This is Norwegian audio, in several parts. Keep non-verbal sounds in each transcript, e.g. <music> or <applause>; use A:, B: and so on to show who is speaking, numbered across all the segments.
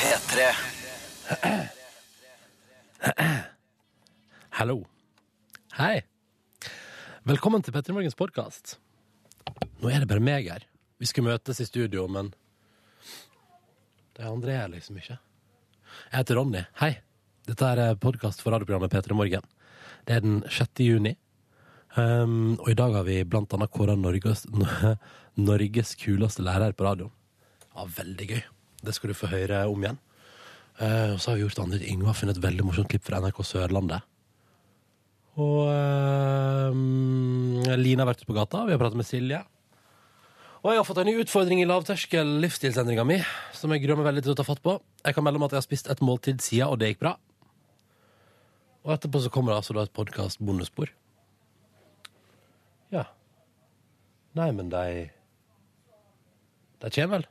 A: P3.
B: <clears throat> Hallo. Hei. Velkommen til Petter Morgens podkast. Nå er det bare meg her. Vi skulle møtes i studio, men De andre er liksom ikke. Jeg heter Ronny. Hei. Dette er podkast for radioprogrammet P3 Morgen. Det er den 6. juni. Um, og i dag har vi blant annet kåra Norges, <laughs> Norges kuleste lærer på radioen. Ja, veldig gøy. Det skal du få høre om igjen. Eh, og så har vi gjort andre ting. Yngve har funnet et veldig morsomt klipp fra NRK Sørlandet. Og eh, Line har vært ute på gata, vi har pratet med Silje. Og jeg har fått en ny utfordring i lavterskel livsstilsendringa mi, som jeg gruer meg veldig til å ta fatt på. Jeg kan melde om at jeg har spist et måltid siden, og det gikk bra. Og etterpå så kommer det altså da et podkast-bonusspor. Ja. Nei, men de De kommer vel?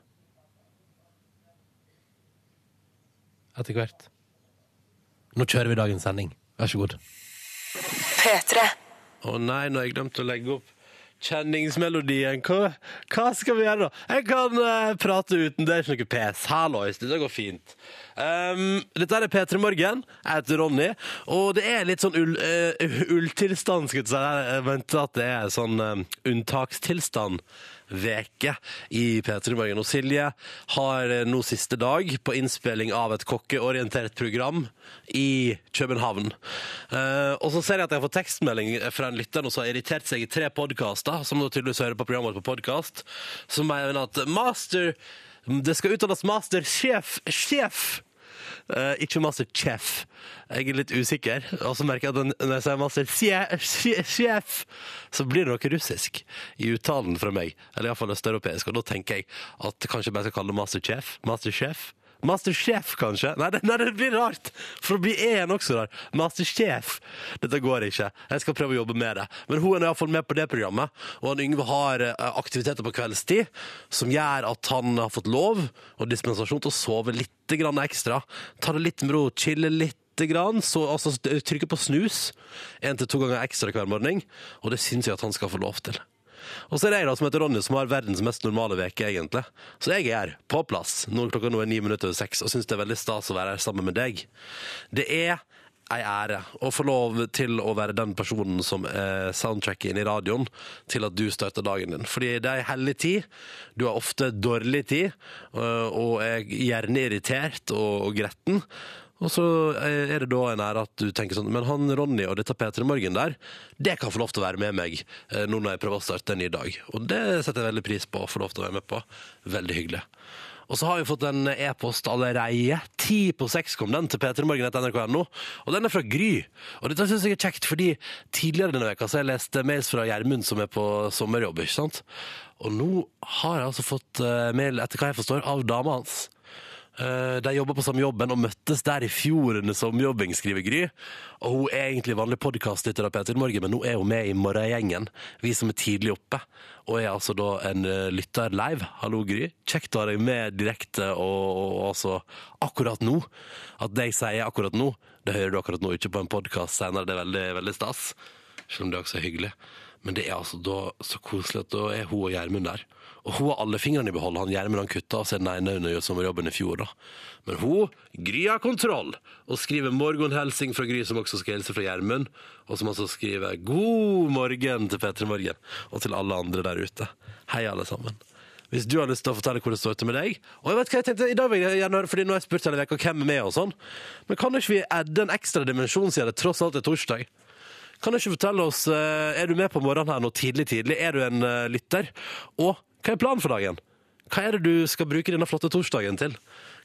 B: Etter hvert. Nå kjører vi dagens sending. Vær så god.
C: P3.
B: Å nei, nå har jeg glemt å legge opp kjenningsmelodien. Hva, hva skal vi gjøre, da? Jeg kan eh, prate uten. Det er ikke noe pes. Hallois, dette går fint. Um, dette her er P3 Morgen. Jeg heter Ronny. Og det er litt sånn ull, eh, ulltilstand, skulle jeg si. Jeg venter at det er sånn eh, unntakstilstand. Veke i P3 Morgen. Og Silje har eh, nå siste dag på innspilling av et kokkeorientert program i København. Eh, og så ser jeg at jeg har fått tekstmelding fra en lytter nå som har irritert seg i tre podkaster, som nå tydeligvis hører på programmet vårt på podkast, som mener at master Det skal uttales mastersjef. Sjef! Eh, ikke masterchef. Jeg er litt usikker. Og så merker jeg at den- når jeg sier masterchef, så blir det noe russisk i uttalen fra meg. Eller iallfall østeuropeisk. Og da tenker jeg at kanskje jeg bare skal kalle det masterchef. Masterchef. Masterchef, kanskje? Nei det, nei, det blir rart! For å bli en også rar. Masterchef. Dette går ikke. Jeg skal prøve å jobbe med det. Men hun er iallfall med på det programmet. Og han Yngve har eh, aktiviteter på kveldstid som gjør at han har fått lov og dispensasjon til å sove litt grann ekstra. Ta det litt med ro, chille litt. Grann, så, altså, trykke på snus én til to ganger ekstra hver morgen, og det syns jeg at han skal få lov til. Og så er det jeg da som heter Ronny, som har verdens mest normale veke, egentlig. Så jeg er her, på plass, når klokka nå er ni minutter over seks, og syns det er veldig stas å være her sammen med deg. Det er ei ære å få lov til å være den personen som eh, soundtracker inn i radioen til at du starter dagen din. Fordi det er ei hellig tid, du har ofte dårlig tid, øh, og er gjerne irritert og, og gretten. Og så eh, er det da en ære at du tenker sånn Men han Ronny og dette P3 Morgen der, det kan få lov til å være med meg eh, nå når jeg prøver å starte en ny dag. Og det setter jeg veldig pris på å få lov til å være med på. Veldig hyggelig. Og så har vi fått en e-post allereie. Ti på seks kom den til p3morgen.nrk.no. Og den er fra Gry. Og dette syns jeg er kjekt, fordi tidligere denne veka så har jeg lest mails fra Gjermund, som er på sommerjobb. ikke sant? Og nå har jeg altså fått eh, mail, etter hva jeg forstår, av dama hans. Eh, De jobber på samme jobben og møttes der i fjor under sommerjobbing, skriver Gry. Og hun er egentlig vanlig podkastlytter av Peter Morgen, men nå er hun med i Morgengjengen. Vi som er tidlig oppe. Og er altså da en eh, lytter live. Hallo, Gry. Kjekt å ha deg med direkte og, og, og altså akkurat nå. At det jeg sier akkurat nå, det hører du akkurat nå, ikke på en podkast senere. Det er veldig, veldig stas. Selv om det også er hyggelig. Men det er altså da så koselig at da er hun og Gjermund der. Og hun har alle fingrene i behold. Han Gjermund han kutta av seg den ene under sommerjobben i fjor, da. Men hun, Gry har kontroll, og skriver morgenhelsing fra Gry, som også skal hilse fra Gjermund. Og som altså skriver god morgen til P3 Morgen, og til alle andre der ute. Hei, alle sammen. Hvis du har lyst til å fortelle hvor det står til med deg Og jeg vet hva jeg tenkte i dag vil jeg gjerne høre Fordi nå har jeg spurt hele veka hvem er med og sånn Men kan ikke vi adde en ekstra dimensjon siden det tross alt er torsdag? Kan du ikke fortelle oss, eh, er du med på morgenen her nå tidlig, tidlig? Er du en eh, lytter? Og hva er planen for dagen? Hva er det du skal bruke denne flotte torsdagen til?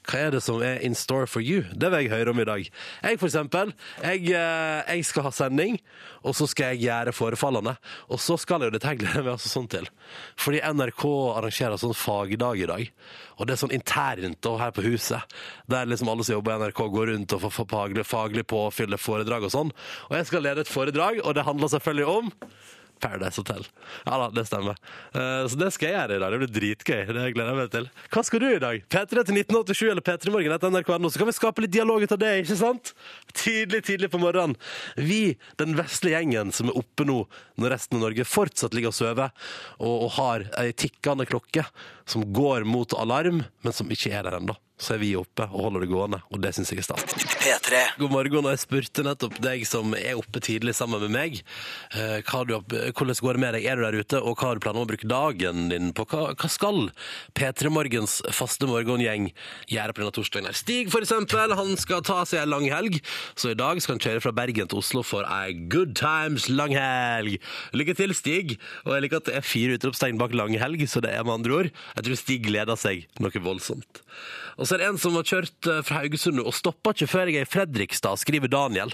B: Hva er det som er in store for you? Det vil jeg høre om i dag. Jeg for eksempel, jeg, eh, jeg skal ha sending, og så skal jeg gjøre forefallene. Og så skal jeg jo dette her gleder jeg meg altså sånn til. Fordi NRK arrangerer sånn fagdag i dag. Og det er sånn internt og her på huset, der liksom alle som jobber i NRK går rundt og får får faglig, faglig påfyll, foredrag og sånn. Og jeg skal lede et foredrag, og det handler selvfølgelig om Paradise Hotel. Ja da, det stemmer. Eh, så det skal jeg gjøre i dag. Det blir dritgøy. Det gleder jeg meg til. Hva skal du i dag? P3 til 1987 eller P3 Morgen etter nrk.no, så kan vi skape litt dialog ut av det, ikke sant? Tidlig, tidlig på morgenen. Vi, den vesle gjengen som er oppe nå, når resten av Norge fortsatt ligger og sover, og, og har ei tikkende klokke som går mot alarm, men som ikke er der ennå. så er vi oppe og holder det gående, og det syns jeg er stas. <laughs> God morgen, og jeg spurte nettopp deg som er oppe tidlig sammen med meg, eh, hva du, har- hvordan går det med deg, er du der ute, og hva har du planer om å bruke dagen din på? Hva, hva skal P3 Morgens faste morgengjeng gjøre på denne torsdagen her? Stig for eksempel, han skal ta seg en lang helg, så i dag skal han kjøre fra Bergen til Oslo for en good times lang helg. Lykke til, Stig, og jeg liker at det er fire utropstegn bak lang helg, så det er med andre ord. Jeg tror Stig gleder seg noe voldsomt. Og så er det en som har kjørt eh, fra Haugesund nå, og stoppa ikke før jeg er i Fredrikstad, skriver Daniel.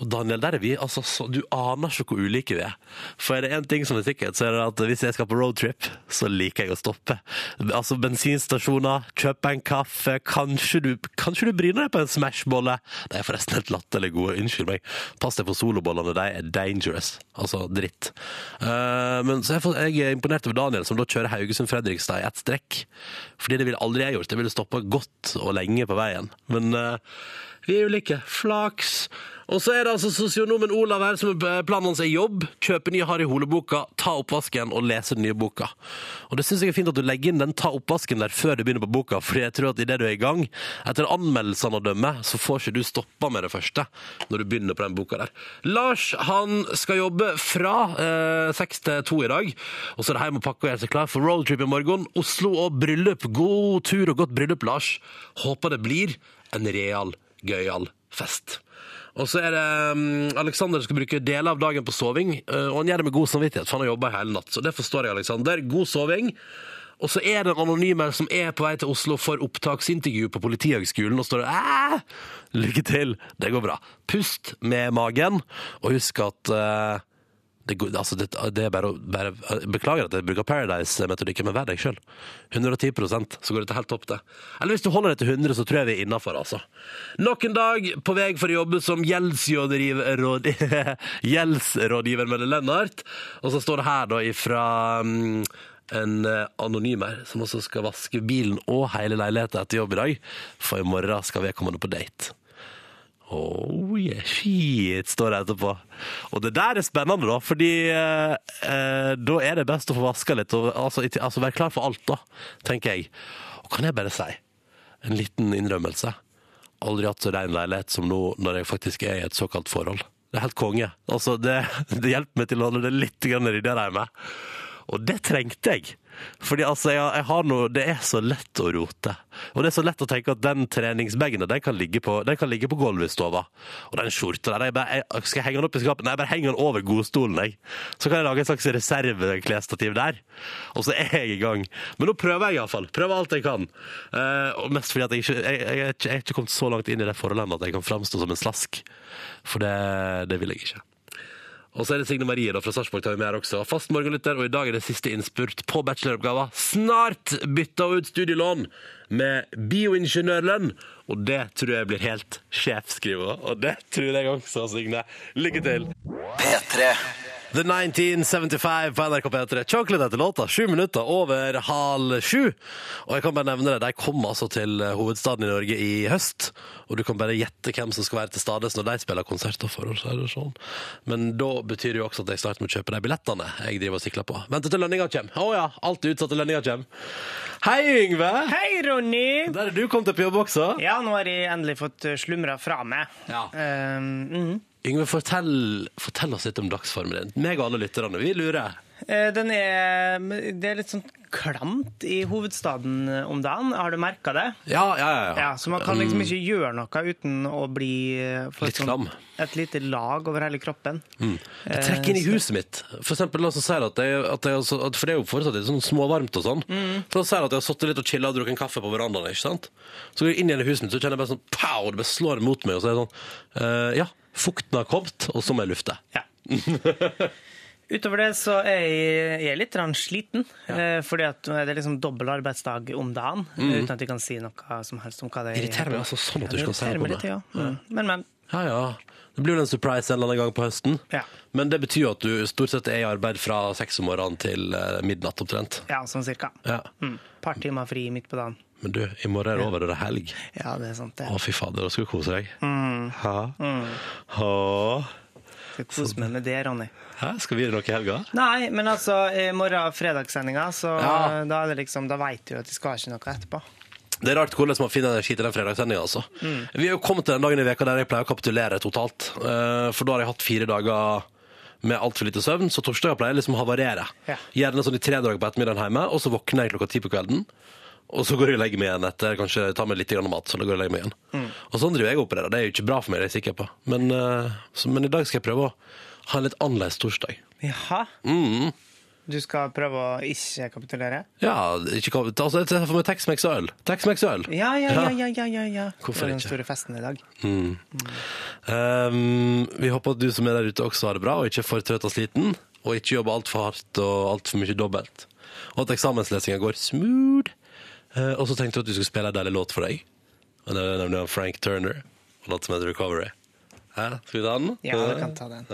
B: Og Daniel, der er vi altså så Du aner ikke hvor ulike vi er. For er det én ting som er sikkert, så er det at hvis jeg skal på roadtrip, så liker jeg å stoppe. Altså bensinstasjoner, kjøpe en kaffe, kanskje du, kanskje du bryner deg på en smashbolle. De er forresten helt latterlig gode, unnskyld meg. Pass deg for solobollene, de er dangerous. Altså dritt. Eh, men så jeg, får, jeg er imponert over Daniel, som da kjører Haugesund-Fredrikstad i ett strekk. Fordi det ville aldri jeg gjort. Jeg ville stoppa godt og lenge på veien. Men eh, vi er ulike. Flaks. Og så er det altså sosionomen Olav her som eh, planen hans er jobb. Kjøpe nye Harry Hole-boka, ta oppvasken og lese den nye boka. Og det syns jeg er fint at du legger inn den ta oppvasken der før du begynner på boka, fordi jeg tror at idet du er i gang, etter anmeldelsene å dømme, så får ikke du stoppa med det første når du begynner på den boka der. Lars han skal jobbe fra eh, seks til to i dag, og så er det hjem og pakke og gjøre seg klar for roadtrip i morgen. Oslo og bryllup. God tur og godt bryllup, Lars. Håper det blir en real, gøyal fest. Og så er det um, Alexander skal bruke deler av dagen på soving, eh, og han gjør det med god samvittighet, for han har jobba hele natt. Så det forstår jeg, Alexander. God soving. Og så er det en anonym her som er på vei til Oslo for opptaksintervju på Politihøgskolen, og står det Æh! Lykke til, det går bra. Pust med magen, og husk at eh, det, går- altså det, det er bare, å- bare Beklager at jeg bruker Paradise-metodikken, men vær deg sjøl. 110 så går dette helt topp, det. Eller hvis du holder deg til 100 så tror jeg vi er innafor, altså. Nok en dag på vei for å jobbe som gjeldsrådgiver råd- <laughs> gjeldsrådgiver med Lennart. Og så står det her, da, ifra mm, en eh, anonym her, som også skal vaske bilen og hele leiligheten etter jobb i dag. For i morgen skal vedkommende på date. Oh yeah, shit, står det etterpå. Og det der er spennende, da, fordi eh, eh, da er det best å få vaska litt. Og, altså, i- altså være klar for alt, da, tenker jeg. Og kan jeg bare si en liten innrømmelse? Aldri hatt så rein leilighet som nå når jeg faktisk er i et såkalt forhold. Det er helt konge. Altså, det, <laughs> det hjelper meg til å holde det litt grann ryddigere hjemme. Og det trengte jeg. Fordi altså, jeg, jeg har noe, det er så lett å rote. Og det er så lett å tenke at den treningsbagen den kan ligge på, den kan ligge på gulvet i stua. Og den skjorta der, jeg bare, jeg, skal jeg henge den opp i skapet? Nei, jeg bare henger den over godstolen, jeg. Så kan jeg lage et slags reserveklesstativ der. Og så er jeg i gang. Men nå prøver jeg iallfall. Prøver alt jeg kan. Eh, og mest fordi at jeg ikke jeg, jeg, er ikke- jeg er ikke kommet så langt inn i det forholdet ennå at jeg kan framstå som en slask. For det, det vil jeg ikke. Og så er det Signe Marie da, fra Sarpsborg tar vi med her også. Fast morgenlytter, og i dag er det siste innspurt på bacheloroppgava. Snart bytter hun ut studielån med bioingeniørlønn, og det tror jeg blir helt sjefskriver. Og det tror jeg også, Signe. Lykke til. The 1975 på NRK P3. Chocolate etter låta, sju minutter over halv sju. Og jeg kan bare nevne det, de kom altså til hovedstaden i Norge i høst. Og du kan bare gjette hvem som skal være til stades når de spiller konserter for oss. eller Sånn. Men da betyr det jo også at jeg snart må kjøpe de billettene jeg driver og sikler på. Vente til lønninga kommer. Å ja, alt er utsatt til lønninga kommer. Hei, Yngve!
A: Hei, Ronny!
B: Der er du kommet deg på jobb også.
A: Ja, nå har jeg endelig fått slumra fra meg.
B: Ja.
A: Eh, mhm.
B: Yngve, fortell, fortell oss litt om dagsformen din. Meg og alle lytterne, vi lurer.
A: Eh, Den er, det er litt sånn klamt i hovedstaden eh, om dagen. Har du merka det?
B: Ja, ja, ja. ja.
A: Ja, Så man kan liksom ikke gjøre noe uten å bli eh, få
B: Mm. Litt
A: et sånt-
B: klam. Mm.
A: Et lite lag over hele kroppen.
B: Jeg trekker inn i huset mitt. For eksempel, la oss si at jeg, at jeg, også- at, for det er jo fortsatt litt sånn småvarmt og sånn. Så la oss si at jeg har sittet litt og chilla og drukket en kaffe på verandaen. ikke sant? Så går jeg inn igjen i huset mitt, så kjenner jeg bare sånn pow, det bare slår mot meg. Og så er det sånn eh, Ja, fukten har kommet, og så må jeg lufte. <laughs>
A: Ja. Utover det så er jeg, jeg er litt grann sliten, eh, fordi at det er liksom dobbel arbeidsdag om dagen. Uten at jeg kan si noe som helst om hva det er. jeg
B: Mm. Irriterer meg altså sånn at du ikke kan si
A: irriterer
B: det på
A: meg
B: meg.
A: litt, ja. Mm. Men, men.
B: Ja, ja. Det blir jo en surprise en eller annen gang på høsten.
A: Ja.
B: Men det betyr jo at du stort sett er i arbeid fra seks om morgenen til eh, midnatt omtrent.
A: Ja, sånn cirka.
B: Ja.
A: Mm. Par timer fri midt på dagen.
B: Men du, i morgen er det over, og det er helg.
A: Ja, det er sant.
B: Å,
A: det.
B: fy fader, da skal du kose deg. Hæ? Hæ?
A: Skal kose meg med det, Ronny.
B: Hæ? Skal vi gjøre noe i helga?
A: Nei, men altså, i morgen er fredagssendinga, så
B: Ja.
A: eh, da er det liksom, da veit du at jeg skal ha ikke noe etterpå.
B: Det er rart hvordan man finner energi til den fredagssendinga. Altså.
A: Mm.
B: Vi er jo kommet til den dagen i veka der jeg pleier å kapitulere totalt. eh, For da har jeg hatt fire dager med altfor lite søvn, så torsdager pleier jeg liksom å havarere.
A: Ja.
B: Gjerne sånn i tre dager på ettermiddagen hjemme, og så våkner jeg klokka ti på kvelden. Og så går jeg og legger meg igjen etter kanskje ta meg litt grann mat. så da går jeg Og legger meg igjen.
A: Mm.
B: Og sånn driver jeg og opererer. Det er jo ikke bra for meg, det er jeg sikker på. Men, eh, så, men i dag skal jeg prøve å ha en litt annerledes torsdag.
A: Jaha?
B: Mm.
A: Du skal prøve å ikke kapitulere?
B: Ja, ikke, kom- altså, jeg ser for meg Tex-Mex og øl. Tex-Mex og øl.
A: Ja, ja, ja. ja, ja, ja, ja.
B: Hvorfor
A: Det er
B: ikke?
A: Den store festen i dag.
B: Um, vi håper at du som er der ute også har det bra, og ikke er for trøtt og sliten, og ikke jobber altfor hardt og altfor mye dobbelt. Og at eksamenslesinga går smooth. Eh, og så tenkte jeg at du skulle spille en deilig låt for deg. Og det er nemlig av Frank Turner, og låt som heter Recovery. Hæ? Skal vi ta den?
A: Ja, du kan ta den.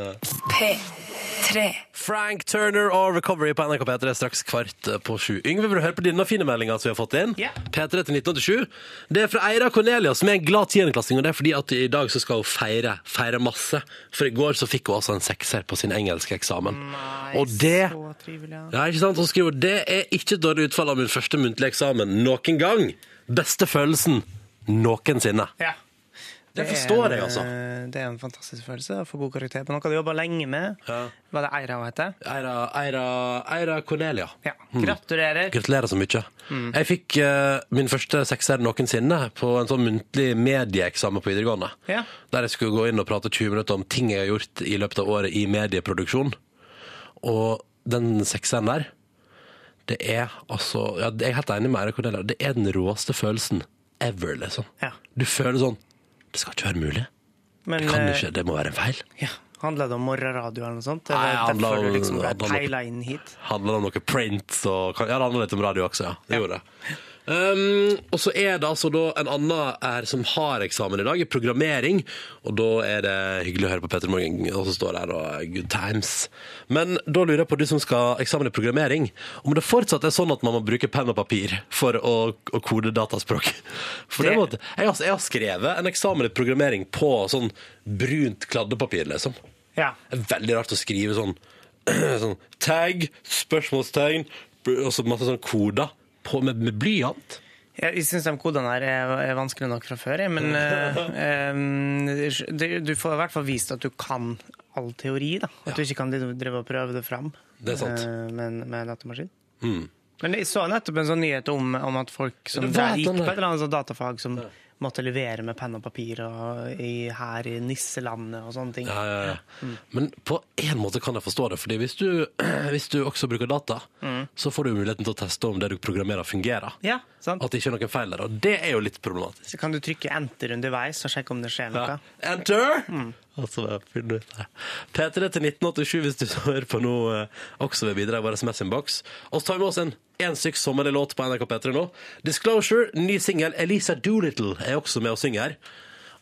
C: P3.
B: Frank Turner og Recovery på NRK P3 straks kvart på sju. Yngve, vil du høre på denne fine meldinga som vi har fått inn?
A: Ja.
B: P3 til 1987. Det er fra Eira Cornelia, som er en glad tiendeklassing. Og det er fordi at i dag så skal hun feire, feire masse. For i går så fikk hun altså en sekser på sin engelske eksamen. og det
A: Så trivelig. ja.
B: ja, ikke sant? Hun skriver det er ikke et dårlig utfall av min første muntlige eksamen noen gang. Beste følelsen noensinne.
A: Ja.
B: Det
A: er
B: forstår
A: en,
B: jeg, altså.
A: eh, Det er en fantastisk følelse å få god karakter på noe du jobber lenge med.
B: Ja.
A: Var det Eira hun heter?
B: Eira, Eira, Eira Cornelia. Hmm.
A: Ja. Gratulerer.
B: Gratulerer så mye. Jeg fikk eh, min første sekser noensinne på en sånn muntlig medieeksamen på videregående.
A: Ja.
B: Der jeg skulle gå inn og prate 20 minutter om ting jeg har gjort i løpet av året i medieproduksjon. Og den sekseren der, det er altså ja, Jeg er helt enig med Eira Cornelia. Det er den råeste følelsen ever, liksom.
A: Ja.
B: Du føler sånn Det skal ikke være mulig.
A: Men
B: Det kan
A: eh,
B: ikke, det må være en feil.
A: ja, handla det om morgenradio eller noe sånt?
B: Nei,
A: Eller
B: handlet
A: derfor
B: om-
A: du liksom ble
B: handlet om-
A: peila inn hit?
B: handler det om noe print og Ja, det handler litt om radio også, ja. Det gjorde det. Um, og så er det altså da en annen her som har eksamen i dag, i programmering. Og da er det hyggelig å høre på Petter Morgen, og så står det her da Good times. Men da lurer jeg på, du som skal ha eksamen i programmering, om det fortsatt er sånn at man må bruke penn og papir for å, å kode dataspråk? <laughs> For det,
A: Det-
B: måtte, jeg, har- jeg har skrevet en eksamen i programmering på sånn brunt kladdepapir, liksom.
A: Ja.
B: Det er veldig rart å skrive sånn, <clears throat> sånn tag, spørsmålstegn, br- og så masse sånn koder på, med, med blyant.
A: Jeg, jeg syns de kodene her er, er vanskelig nok fra før, jeg, men eh, eh, det- du får i hvert fall vist at du kan all teori. da. At du ikke kan drive og prøve det fram
B: Det er sant. Mm.
A: eh, med, med datamaskin. Men jeg så nettopp en sånn nyhet om, om at folk som
B: Det var
A: der, gikk
B: den
A: på
B: der.
A: et eller annet sånt datafag, som måtte levere med penn og papir og i, her i nisselandet og sånne ting.
B: Ja, ja, ja. Mm. Men på en måte kan jeg forstå det, fordi hvis du, <clears throat> hvis du også bruker data, så får du muligheten til å teste om det du programmerer fungerer.
A: Ja, sant?
B: At det ikke er noen feil der, og det er jo litt problematisk.
A: Så kan du trykke enter underveis og sjekke om det skjer noe.
B: Ja. Enter! Og så bare finne ut det. P3 til 1987 hvis du hører på nå, eh, også ved bidra i vår SMS-innboks. Og så tar vi med oss en én stykk sommerlig låt på NRK P3 nå. Disclosure, ny singel. Elisa Doolittle er også med og synger her.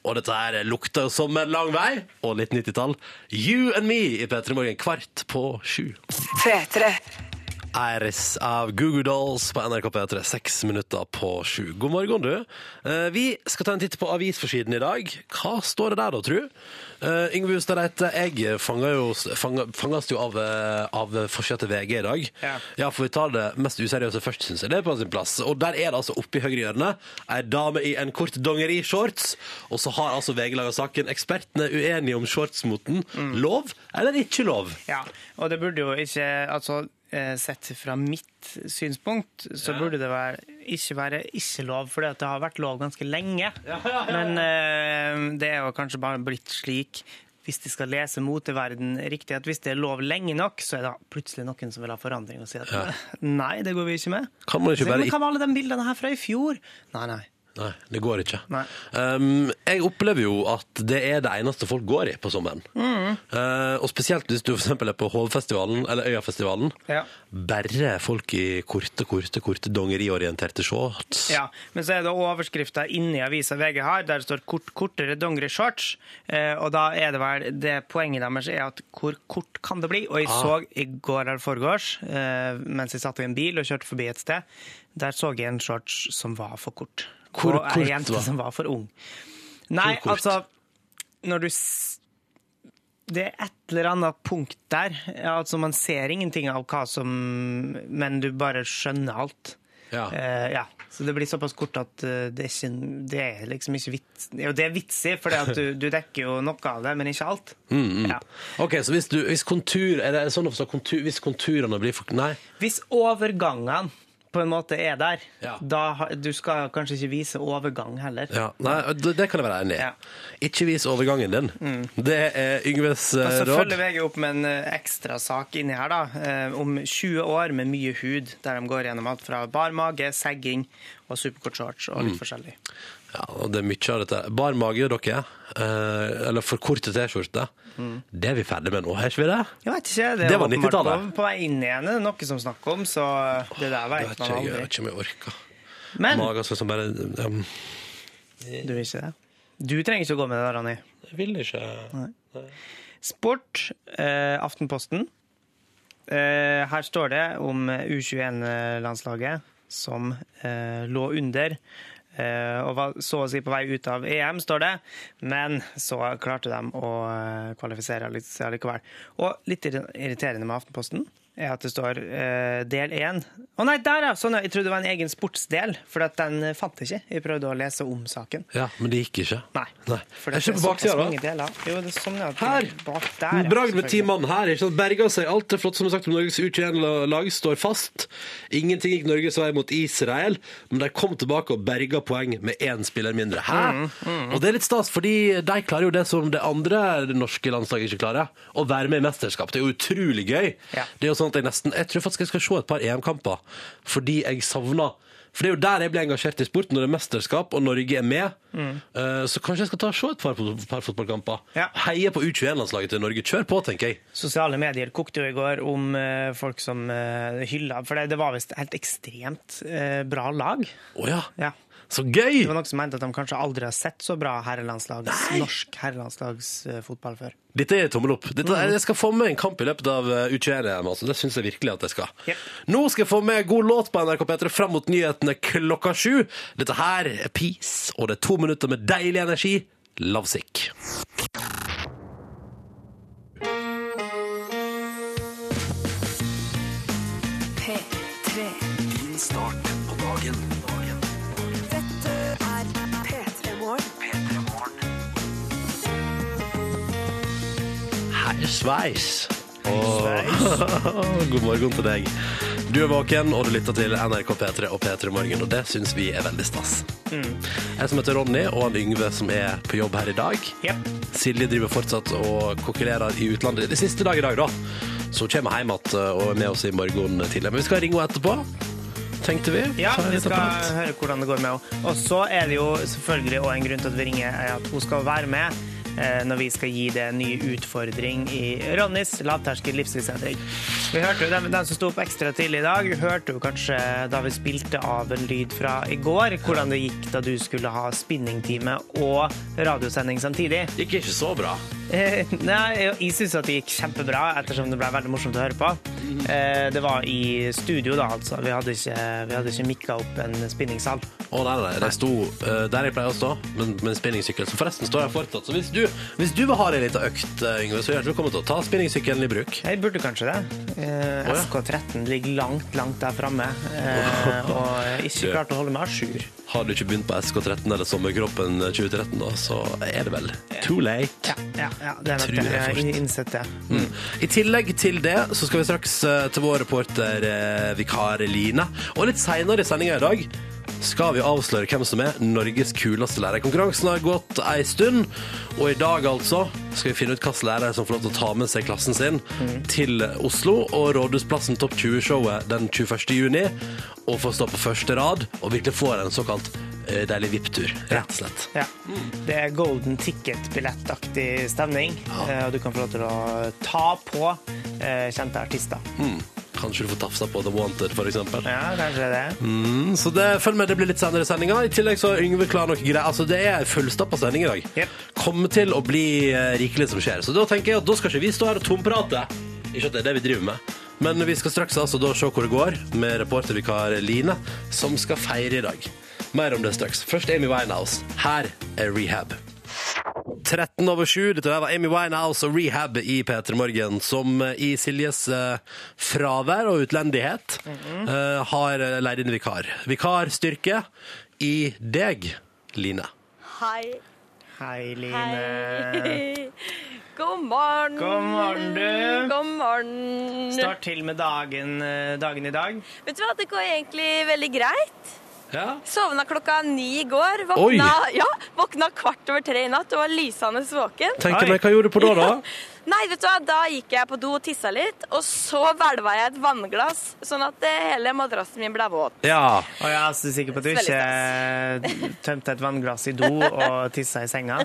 B: Og dette her lukter jo som en lang vei, og litt 90-tall. You and me i P3 Morgen kvart på sju.
C: P3.
B: Iris av Goo Goo Dolls på NRK P3, seks minutter på sju. God morgen, du. Eh, Vi skal ta en titt på avisforsiden i dag. Hva står det der, da, tru? Eh, Yngve Hustad Reite, jeg fanga jo, fanga, fanges jo av, eh, av forsida til VG i dag.
A: Ja.
B: for vi tar det mest useriøse først, syns jeg. Det er på sin plass. Og der er det altså oppe i høyre hjørne ei dame i en kort dongerishorts. Og så har altså VG laga saken 'Ekspertene er uenige om shortsmoten. Lov eller ikke lov?'
A: Ja, og det burde jo ikke altså, eh, Sett fra mitt synspunkt så burde det være, ikke være ikke lov, for det har vært lov ganske lenge. Men eh, det er jo kanskje bare blitt slik hvis de skal lese moteverden riktig, at hvis det er lov lenge nok, så er det plutselig noen som vil ha forandring og si at <laughs> nei, det går vi ikke med.
B: Kan man ikke
A: Så,
B: bare
A: Men hva var alle de bildene her fra i fjor? Nei, nei.
B: Nei, det går ikke.
A: Nei.
B: Um, jeg opplever jo at det er det eneste folk går i på sommeren.
A: Mm.
B: Uh, og spesielt hvis du for eksempel er på Hovfestivalen, eller Øyafestivalen.
A: Ja.
B: Bare folk i korte, korte, korte dongeriorienterte shorts.
A: Ja, men så er det overskrifta inni avisa VG har, der det står kort, 'kortere dongerishorts'. Eh, og da er det vel det poenget deres er at hvor kort kan det bli? Og jeg
B: Ah.
A: så i går eller forgårs, eh, mens jeg satt i en bil og kjørte forbi et sted, der så jeg en shorts som var for kort.
B: Hvor
A: og
B: kort
A: ei jente
B: var-
A: som var for ung. Nei,
B: kort?
A: altså Når du s det er et eller annet punkt der. Altså, man ser ingenting av hva som Men du bare skjønner alt.
B: Ja.
A: Eh, ja. Så det blir såpass kort at eh, det er, ikke, det er liksom ikke vits. Jo, det er vitsig, for du, du dekker jo noe av det, men ikke alt.
B: Mm-hmm.
A: Ja.
B: Ok, så hvis, du, hvis kontur Er det sånn å forstå kontur, hvis konturene blir for Nei.
A: Hvis overgangene på en måte er der,
B: Ja.
A: da ha- du skal kanskje ikke vise overgang heller.
B: Ja, nei, det, det kan jeg være enig i.
A: Ja. Mm.
B: Ikke vis overgangen din. Det er Yngves eh,
A: Og så
B: råd.
A: følger VG opp med en eh, ekstra sak inni her, da. eh, Om 20 år med mye hud, der de går gjennom alt fra bar mage, segging og superkort shorts og
B: Mm.
A: litt forskjellig.
B: Ja, og det er mye av dette. Bar mage, dere. eh, eller for korte T-skjorter.
A: Mm.
B: Det er vi ferdig med nå, er ikke vi det?
A: Jeg vet ikke, det,
B: Det var
A: var åpenbart
B: 90-tallet.
A: på, på vei inn igjen, er det noe som snakker om, så det der
B: Jeg
A: vet
B: vet
A: man
B: ikke, jeg
A: aldri.
B: vet ikke om jeg orker.
A: Men
B: Magen sånn som bare um,
A: du vil ikke det. Du trenger ikke å gå med det der, Ronny.
B: Jeg vil ikke
A: Sport, eh, Aftenposten. Eh, her står det om U21-landslaget som eh, lå under. eh, Og var så å si på vei ut av EM, står det. Men så klarte de å eh, kvalifisere litt seg likevel. Og litt irri- irriterende med Aftenposten er at det står eh, del én. Å nei, der, ja! Sånn, ja. jeg trodde det var en egen sportsdel, for at den fant jeg ikke. Jeg prøvde å lese om saken.
B: Ja, men det gikk ikke.
A: Nei.
B: Nei.
A: For
B: Jeg er ikke
A: det er
B: på
A: såpass
B: baksida, da.
A: mange deler. Jo, det er sånn ja,
B: Her!
A: Bak der, ja,
B: Bragd med ti
A: selvfølgelig.
B: mann her. ikke sant? Berga seg. Alt er flott som er sagt om Norges U21-lag står fast. Ingenting gikk Norges vei mot Israel, men de kom tilbake og berga poeng med én spiller mindre. Hæ?
A: Mm,
B: Og det er litt stas, fordi de klarer jo det som det andre norske landslaget ikke klarer. Å være med i mesterskap. Det er jo utrolig gøy.
A: Ja.
B: Det er jo sånn at Jeg nesten, jeg tror faktisk jeg skal se et par EM-kamper, fordi jeg savner for Det er jo der jeg ble engasjert i sport, når det er mesterskap og Norge er med.
A: Mm.
B: Eh, Så kanskje jeg skal ta og se et par, par fotballkamper.
A: Ja.
B: Heie på U21-landslaget til Norge. Kjør på, tenker jeg.
A: Sosiale medier kokte jo i går om eh, folk som uh, hylla For det, det var visst helt ekstremt eh, bra lag.
B: Å ja.
A: Ja.
B: Så gøy!
A: Det var noen som mente at de kanskje aldri har sett så bra herrelandslags, norsk herrelandslagsfotball før.
B: Dette er tommel opp. Dette,
A: Mm.
B: Jeg skal få med en kamp i løpet av eh, U21-EM. Altså. Det syns jeg virkelig at jeg skal.
A: Jep.
B: Nå skal jeg få med god låt på NRK P3 fram mot nyhetene klokka sju. Dette her er Peace, og det er to minutter med deilig energi. Lovesick.
C: P3. Dette er P3 Morgen.
B: Hei, sveis. <laughs> God morgen til deg. Du er våken, og du lytter til NRK P3 og P3 Morgen, og det syns vi er veldig stas.
A: Mm.
B: Jeg som heter Ronny, og han Yngve som er på jobb her i dag.
A: Jep.
B: Silje driver fortsatt og kokulerer i utlandet. Det er siste dag i dag, da. Så hun kommer hjem igjen og er med oss i morgen tidlig. Men vi skal ringe henne etterpå, tenkte vi.
A: Ja,
B: Ta en
A: vi
B: liten
A: skal
B: prat.
A: høre hvordan det går med henne. Og så er det jo selvfølgelig også en grunn til at vi ringer, er at hun skal være med eh, når vi skal gi det en ny utfordring i Ronnys lavterskel livsstilsendring. Vi hørte jo den, den som sto opp ekstra tidlig i dag, hørte jo kanskje da vi spilte av en lyd fra i går, hvordan det gikk da du skulle ha spinningtime og radiosending samtidig.
B: Gikk ikke så bra.
A: Eh, Nei, jeg- jeg syns at det gikk kjempebra, ettersom det ble veldig morsomt å høre på. Eh, Det var i studio, da, altså. Vi hadde ikke, vi hadde ikke mikka opp en spinningsal.
B: Å nei, nei, de sto eh, der jeg pleier å stå, men med en spinningsykkel. Så forresten står jeg fortsatt. Så hvis du, hvis du vil ha deg en liten økt, eh, Yngve, så er du hjertelig velkommen til å ta spinningsykkelen i bruk.
A: Jeg burde kanskje det. Eh,
B: Å, ja.
A: SK13 ligger langt, langt der framme, eh, <laughs> og ikke klart å holde meg à jour.
B: Har du ikke begynt på SK13 eller Sommerkroppen eh, 2013, da, så er det vel too late.
A: Ja, ja, ja, det er nok
B: Tror
A: det.
B: jeg
A: Jeg har
B: fortsatt.
A: innsett det.
B: Mm. I tillegg til det så skal vi straks eh, til vår reporter eh, vikar Line. Og litt seinere i sendinga i dag skal vi avsløre hvem som er Norges kuleste lærer. Konkurransen har gått ei stund, og i dag altså skal vi finne ut hvilken lærer som får lov til å ta med seg klassen sin til Oslo og Rådhusplassen Topp 20-showet den 21. juni, og får stå på første rad og virkelig får en såkalt eh, deilig VIP-tur, rett og slett.
A: Ja. Det er golden ticket-billettaktig stemning, eh, og du kan få lov til å ta på eh, kjente artister.
B: Mm. Kanskje du får tafsa på The Wanted, for eksempel.
A: Ja, kanskje det.
B: Mm, så det, følg med, det blir litt senere i sendinga. I tillegg så har Yngve klar noen greier. Altså, det er fullstappa sending i dag.
A: Jep.
B: Kommer til å bli eh, rikelig som skjer. Så da tenker jeg at da skal ikke vi stå her og tomprate. Ikke at det er det vi driver med. Men vi skal straks altså da se hvor det går med reportervikar Line, som skal feire i dag. Mer om det straks. Først Amy Winehouse. Her er Rehab. 13 over 7. Dette her var Amy Winehouse og Rehab i P3 Morgen, som eh, i Siljes eh, fravær og utlendighet
D: Mhm.
B: eh, har eh, leid inn vikar. Vikarstyrke i deg, Line.
D: Hei.
A: Hei, Line.
D: Hei. <laughs> God morgen.
A: God morgen, du.
D: Mm, God morgen.
A: Start til med dagen, eh, dagen i dag.
D: Vet du hva, det går egentlig veldig greit.
B: Ja.
D: Sovna klokka ni i går.
B: Oi.
D: Våkna, ja, våkna kvart over tre i natt og var lysende våken.
B: Tenker
A: Oi.
B: meg, hva gjorde du på da, da?
D: <laughs> Nei, vet du hva, da gikk jeg på do og tissa litt, og så hvelva jeg et vannglass, sånn at eh, hele madrassen min ble våt.
B: <laughs>
D: <laughs>
B: Ja.
A: Og jeg er så sikker på at altså, du
D: Veldig
A: ikke eh, tømte et vannglass i do og tissa i
D: <laughs>
A: senga.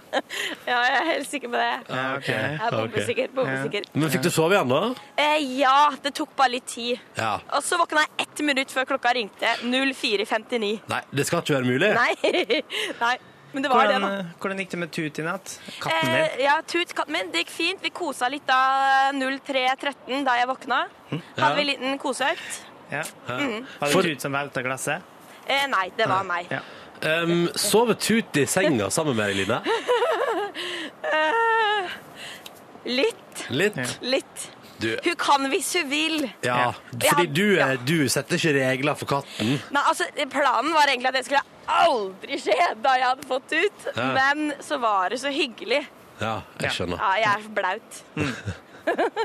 D: Ja, jeg er helt sikker på det.
A: Ja, ok.
D: Jeg er
B: Ok.
D: bombesikker. bombesikker.
B: Men fikk du sove igjen, da?
D: Eh, ja, det tok bare litt tid.
B: Ja.
D: Og så våkna jeg ett minutt før klokka ringte. 04.59.
B: Nei, det skal ikke være mulig.
D: Nei. <laughs> Nei. Men det var det, da.
A: Hvordan, hvordan gikk det med Tut i natt? Katten din?
D: Eh, ja, Tut, katten min, det gikk fint. Vi kosa litt da 03.13, da jeg våkna.
A: Hm,
D: Hadde vi en liten koseøkt.
A: Ja. Var
B: For-
A: det Tut som velta glasset?
D: Eh, nei, det var meg.
A: Ja.
B: Um, sover Tut i senga sammen med deg, Line?
D: Eh, litt.
B: Litt?
A: Ja.
D: Litt.
B: Du,
D: Hun kan hvis hun vil.
B: ja.
D: Ja.
B: Fordi du, er,
D: Ja.
B: du setter ikke regler for katten.
D: Nei, altså, Planen var egentlig at det skulle aldri skje da jeg hadde fått Tut.
B: Ja.
D: Men så var det så hyggelig.
B: Ja,
A: Ja.
B: jeg skjønner.
D: Ja, jeg er blaut.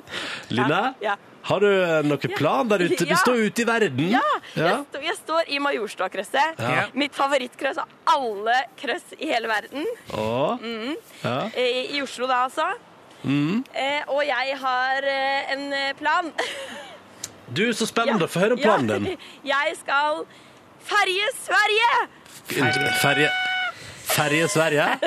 B: Line,
D: Ja.
B: har du eh, noen plan der ute? Du
D: Ja.
B: står ute i verden.
D: Ja,
B: Ja.
D: Jeg, sto, jeg står i Majorstua-krøsset.
B: Ja.
D: Mitt favorittkrøss av alle krøss i hele verden.
B: Og, ja.
D: I, i Oslo, da, altså.
B: Mm.
D: Eh, og jeg har eh, en eh, plan.
B: Du, så spennende. Få høre om
D: Ja. <laughs>
B: planen din.
D: Jeg skal ferje Sverige!
B: Ferje Ferje Sverige?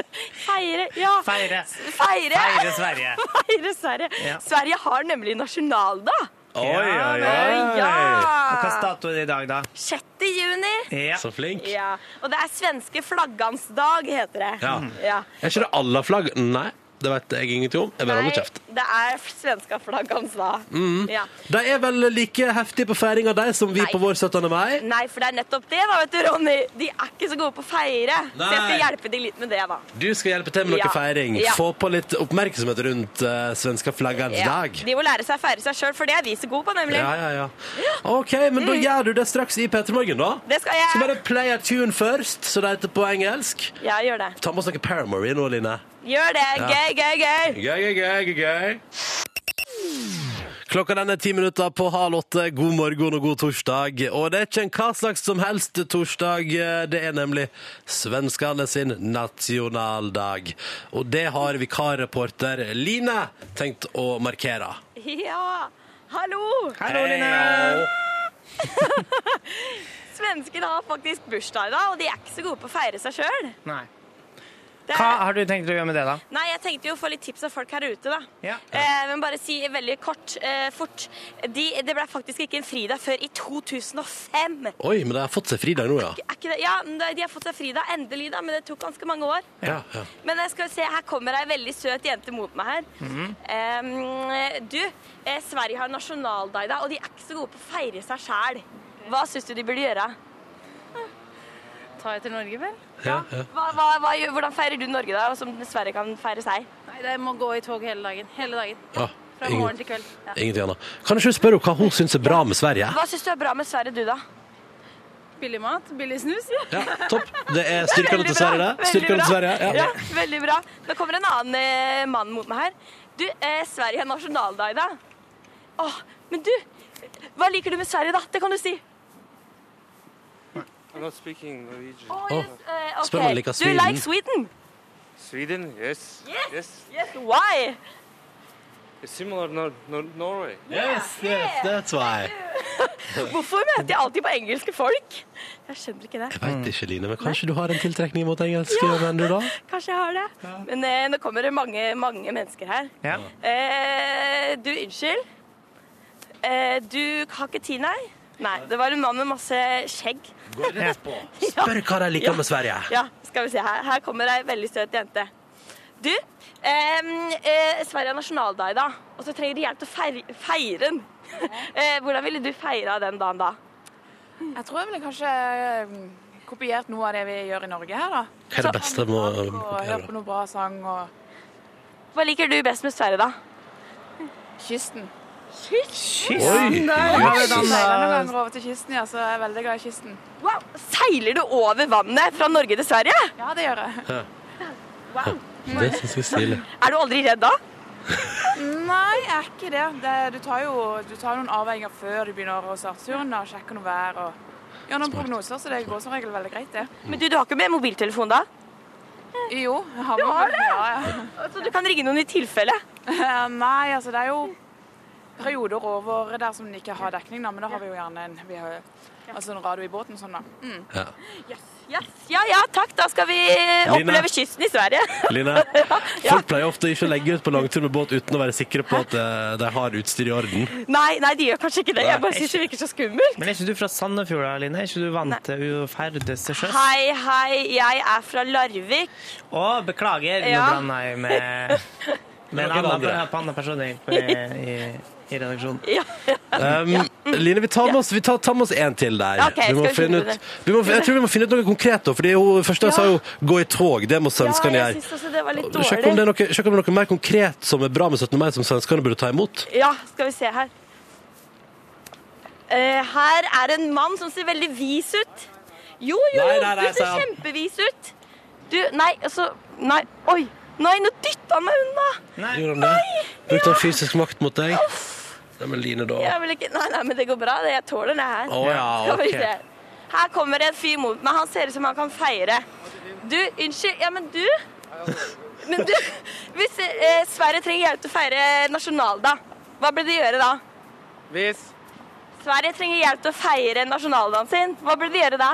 D: Feire Ja.
A: Feire.
D: Feire.
A: Feire
D: <laughs>
A: Sverige.
D: Feire Sverige.
A: Ja.
D: Sverige har nemlig nasjonaldag.
B: Oi, oi,
A: vel,
B: oi.
A: Og hva er
D: Ja!
A: datoen i dag, da?
D: 6. juni.
A: Ja.
B: Så flink.
D: Ja. Og det er svenske flaggans dag, heter det.
B: Ja.
D: ja.
B: Er ikke det alle flagg? Nei, det vet jeg ingenting om. Jeg bare
D: Nei,
B: holder kjeft. Mm.
D: det er svenska flaggans dag. Ja.
B: De er vel like heftige på feiring av deg som vi
D: Nei.
B: på vår 17. mai?
D: Nei, for det er nettopp det, da, vet du, Ronny. De er ikke så gode på å feire. Så jeg skal
B: Nei.
D: hjelpe de litt med det, da.
B: Du skal hjelpe til med noe
D: Ja.
B: feiring.
D: Ja.
B: Få på litt oppmerksomhet rundt uh, svenska flaggans
D: Ja,
B: dag.
D: De må lære seg å feire seg sjøl, for det er vi så gode på, nemlig.
B: Ja, ja, ja. OK, men da gjør du det straks i P3 Morgen, da.
D: Det skal jeg.
B: Skal bare play a tune først, så det heter på engelsk.
D: Ja, gjør det.
B: Ta med oss noe Paramore i nå, Line.
D: Gjør det. Gøy, gøy, gøy.
B: Gøy, gøy, gøy, gøy, gøy. Klokka den er ti minutter på halv åtte. God morgen og god torsdag. Og det er ikke en hva slags som helst torsdag. Det er nemlig svenskene sin nasjonaldag. Og det har vikarreporter Line tenkt å markere.
D: Ja. Hallo!
A: Hallo, Line.
B: Hei.
D: Svenskene har faktisk bursdag i dag, og de er ikke så gode på å feire seg sjøl.
A: Nei. Hva har du tenkt å gjøre med det, da?
D: Nei, jeg tenkte jo å få litt tips av folk her ute, da.
A: Ja.
D: Eh, men bare si veldig kort, eh, fort. De, det ble faktisk ikke en fridag før i 2005.
B: Oi, men de har fått seg fridag nå, ja.
D: Er ikke det? Ja, men de har fått seg fridag endelig, da, men det tok ganske mange år.
B: Ja, ja.
D: Men jeg skal se, her kommer ei veldig søt jente mot meg her.
B: Mhm.
D: Eh, du, eh, Sverige har nasjonaldag i dag, og de er ikke så gode på å feire seg sjæl. Hva syns du de burde gjøre?
E: ta etter Norge, vel?
B: ja, ja.
D: Hva, hva, hva, gjør- hvordan feirer du Norge, da, som Sverige kan feire seg?
E: Nei, det må gå i tog hele dagen. Hele dagen.
B: ja.
E: Fra morgen
B: Ingen,
E: til kveld. Ja.
B: ingenting annet. Kan ikke du spørre henne hva hun syns er bra med Sverige?
D: Hva syns du er bra med Sverige, du, da?
E: Billig mat, billig
F: <laughs>
E: snus.
B: Ja, topp. Det er styrkene til Sverige, det. Styrkene til Sverige.
D: Ja.
B: Ja.
D: veldig bra. Nå kommer en annen eh, mann mot meg her. Du, eh, Sverige har nasjonaldag i dag. Åh, men du, hva liker du med Sverige, da? Det kan du si.
G: I'm not speaking Norwegian.
D: Oh,
B: Åh.
D: yes, eh, ok.
B: Spør om han liker Sweden.
D: Du like Sweden?
G: Sweden, yes.
D: Yes. Yes, why?
G: It's similar to Nor- Nor- Norway.
B: Yes, yes, that's why.
D: Hvorfor møter jeg alltid på engelske folk? Jeg skjønner ikke det.
B: Jeg vet ikke, Line, men kanskje du har en tiltrekning mot engelske venn du da?
D: Kanskje jeg har det. Men eh, nå kommer det mange, mange mennesker her.
A: Ja.
D: Eh, du, unnskyld. Eh, du har ikke tid, nei? Nei, det var en mann med masse skjegg.
B: Går rett
D: <laughs>
B: på. Spør hva de liker med Sverige.
D: Ja, skal vi se her. Her kommer ei veldig søt jente. Du, ehm, eh, Sverige har nasjonaldag i dag, og så trenger de hjelp til å feire, feire den. <laughs> eh, hvordan ville du feira den dagen da?
F: Jeg tror jeg ville kanskje eh, kopiert noe av det vi gjør i Norge her, da.
B: Hva er det beste med å
F: Og høre på noe bra sang og
D: Hva liker du best med Sverige, da?
F: Kysten.
A: Kysten der! har vi
F: Jeg seiler noen
A: dannet-
F: ganger over til kysten, ja, så jeg er veldig glad i kysten.
D: Wow, Seiler du over vannet fra Norge til Sverige?
F: Ja, det gjør jeg.
B: Det syns jeg er stilig.
D: Er du aldri redd da?
F: Nei, jeg er ikke det. det du tar jo du tar noen avveininger før du begynner å starte turen. da, Sjekker noe vær og gjør noen prognoser, så det går som regel veldig greit, det.
D: Men du, du har ikke med mobiltelefon da?
F: Jo, jeg har med meg. Ja, ja.
D: Så Altså, du kan ringe noen i tilfelle?
F: Eh, Nei, altså det er jo perioder over der som den ikke har dekning, da, men da har vi jo gjerne en, vi har, altså en radio i båten sånn, da. Mm.
D: Yes. Ja ja, takk. Da skal vi oppleve kysten i Sverige. <laughs>
B: Line, folk pleier ofte ikke å legge ut på langtur med båt uten å være sikre på at eh, de har utstyr i orden.
D: Nei, nei, de gjør kanskje ikke det. Jeg bare syns det virker så skummelt.
A: Men er ikke du fra Sandefjord, da, Line? Er ikke du vant til å ferdes til sjøs?
D: Hei, hei, jeg er fra Larvik.
A: Å, beklager. Nå
D: Ja.
A: blanda
D: <laughs>
A: jeg med, med en
B: noen
A: annen,
B: andre.
A: på annen person i, i, i redaksjonen.
D: Ja, ja.
B: Um, Line, vi tar med oss, vi tar, tar med oss en til der.
D: Ok,
B: vi må
D: skal vi finne
B: finne
D: ut det?
B: ut, vi må, jeg tror vi må finne ut noe konkret. da, Fordi hun, Først jeg sa jo 'gå i tog'. Det må svenskene
D: jeg
B: gjøre.
D: syns også det var litt
B: Sjekk om, det
D: dårlig.
B: er noe, sjekk om det er noe mer konkret som er bra med 17. mai, som svenskene burde ta imot.
D: Ja, skal vi se her. Eh, her er en mann som ser veldig vis ut. Jo, jo,
B: Nei,
D: jo,
B: nei, nei,
D: du ser
B: sa han.
D: kjempevis ut. Du, nei, altså Nei, oi. Nei, nå dytta han meg unna.
B: Gjorde han det? Brukte han fysisk makt mot deg? Nei, men Line, da.
D: Jeg vil ikke, nei, nei, men det går bra. det. Jeg tåler det her.
B: Å, ja,
D: Skal vi
B: ok.
D: se. Her kommer det en fyr mot meg. Han ser ut som han kan feire. Du, unnskyld. Ja, men du Men du, <laughs> hvis eh, Sverige trenger hjelp til å feire nasjonaldag, hva burde de gjøre da?
G: Hvis
D: Sverige trenger hjelp til å feire nasjonaldagen sin. Hva burde de gjøre da?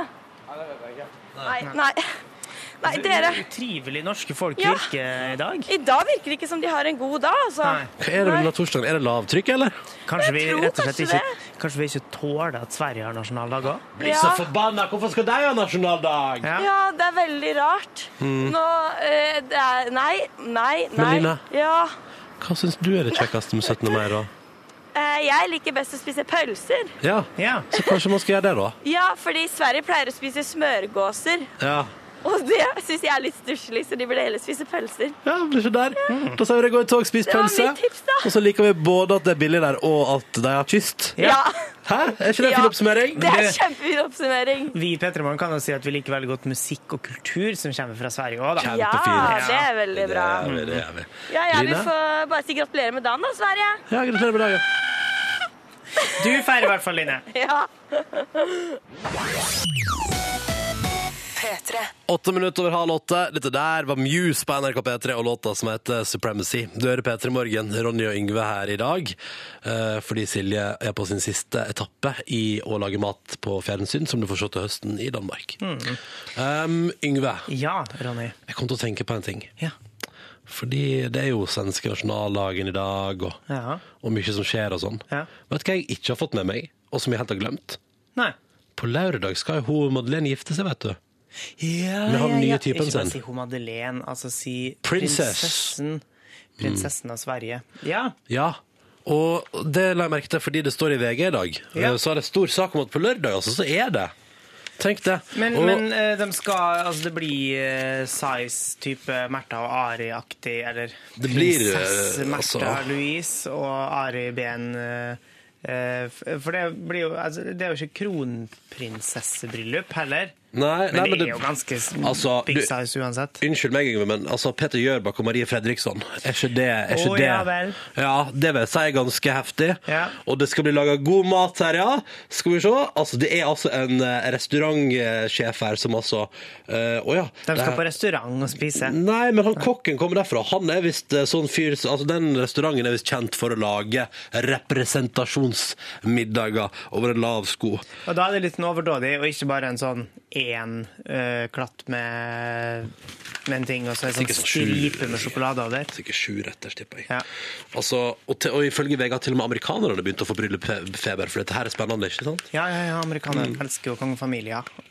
D: Nei, nei. Nei, dere.
A: Utrivelig norske folk
D: Ja.
A: virker i dag.
D: I dag virker det ikke som de har en god dag, altså.
A: Nei.
B: Hva er det med denne torsdagen? Er det lavtrykk, eller?
A: Kanskje vi
D: Jeg tror
A: rett og slett
D: kanskje
A: ikke, kanskje vi ikke tåler at Sverige har nasjonaldag òg?
D: Ja.
B: forbanna! Hvorfor skal de ha nasjonaldag?
A: Ja.
D: Ja, det er veldig rart. Nå eh, det er, Nei, nei, nei.
B: Lina?
D: Ja.
B: Hva syns du er det kjekkeste med 17. mai, da?
D: eh, jeg liker best å spise pølser.
B: Ja,
A: Ja.
B: så kanskje man skal gjøre det, da.
D: Ja, fordi Sverige pleier å spise smørgåser.
B: Ja,
D: Og det syns jeg er litt stusslig, så de burde heller spise pølser.
B: ja blir ikke der. Da sier vi det går i tog, spis
D: Mm. Det var
B: pølse.
D: mitt tips, da.
B: Og så liker vi både at det er billig der, og at de har kyst.
A: Ja.
D: Ja.
B: Hæ? Er ikke det en fin
D: Ja.
B: oppsummering?
D: Det er en kjempefin oppsummering.
A: Vi i P3morgen kan jo si at vi liker veldig godt musikk og kultur som kommer fra Sverige òg, da.
B: Kjempe-
D: Ja,
B: Kjempefin.
D: det er veldig bra.
B: Det er vi, det er vi.
D: Ja, ja, vi
B: Lina?
D: får bare si gratulerer med dagen, da, Sverige.
B: Ja, gratulerer med dagen.
A: Du feirer i hvert fall, Line.
D: Ja.
C: P3.
B: Åtte minutter over halv åtte. Dette der var Muse på NRK P3 og låta som heter Supremacy. Du hører P3 Morgen, Ronny og Yngve her i dag. eh, Fordi Silje er på sin siste etappe i å lage mat på fjernsyn, som du får se til høsten i Danmark.
D: Mm.
B: Um, Yngve,
A: Ja, Ronny.
B: jeg kom til å tenke på en ting.
A: Ja.
B: Fordi det er jo svenske nasjonaldagen i dag, og,
A: Ja.
B: og mye som skjer og sånn.
A: Ja.
B: Vet du hva jeg ikke har fått med meg, og som jeg helt har glemt?
A: Nei.
B: På lørdag skal jo hun Madeleine gifte seg, vet du.
A: Ja,
B: Men han nye typen
A: Ikke
B: sin.
A: bare si hun Madeleine, altså si
B: Princess.
A: prinsessen. Prinsessen av Sverige. Ja.
B: Ja, og det la jeg merke til fordi det står i VG i dag. Eh,
A: Ja.
B: Så er det stor sak om at på lørdag altså, så er det. Tenk det.
A: Men,
B: og,
A: men eh, de skal Altså, det blir eh, size-type Märtha og Ari-aktig, eller
B: Det blir, eh,
A: prinsesse Märtha
B: altså-
A: Louise og Ari Ben eh, eh, f- For det blir jo altså, Det er jo ikke kronprinsessebryllup heller.
B: Nei,
A: Men
B: nei,
A: det
B: men
A: er
B: det-
A: jo ganske s-
B: altså,
A: big
B: du-
A: size uansett.
B: Unnskyld meg, Yngve, men altså, Peter Gjørbakk og Marie Fredriksson, er ikke det er ikke
A: Å,
B: det.
A: ja vel.
B: Ja, det vil jeg si er ganske heftig.
A: Ja.
B: Og det skal bli laga god mat her, ja. Skal vi se. Altså, det er altså en eh, restaurantsjef her som altså eh, Å ja.
A: De
B: det Mm.
A: skal
B: er-
A: på restaurant og spise.
B: Nei, men han kokken kommer derfra. Han er visst eh, sånn fyr Altså, den restauranten er visst kjent for å lage representasjonsmiddager over en lav sko.
A: Og da er det litt sånn overdådig, og ikke bare en sånn én eh, klatt med, med en ting, og så en sånn
B: Sikkert sånn sju-
A: stripe med sjokolade over.
B: Sikkert sju retter, tipper jeg.
A: Ja.
B: Altså, og, til, og ifølge VG har til og med amerikanerne begynt å få bryllupsfeber, for dette her er spennende, ikke sant?
A: Ja, ja, ja amerikanere elsker jo kongefamilier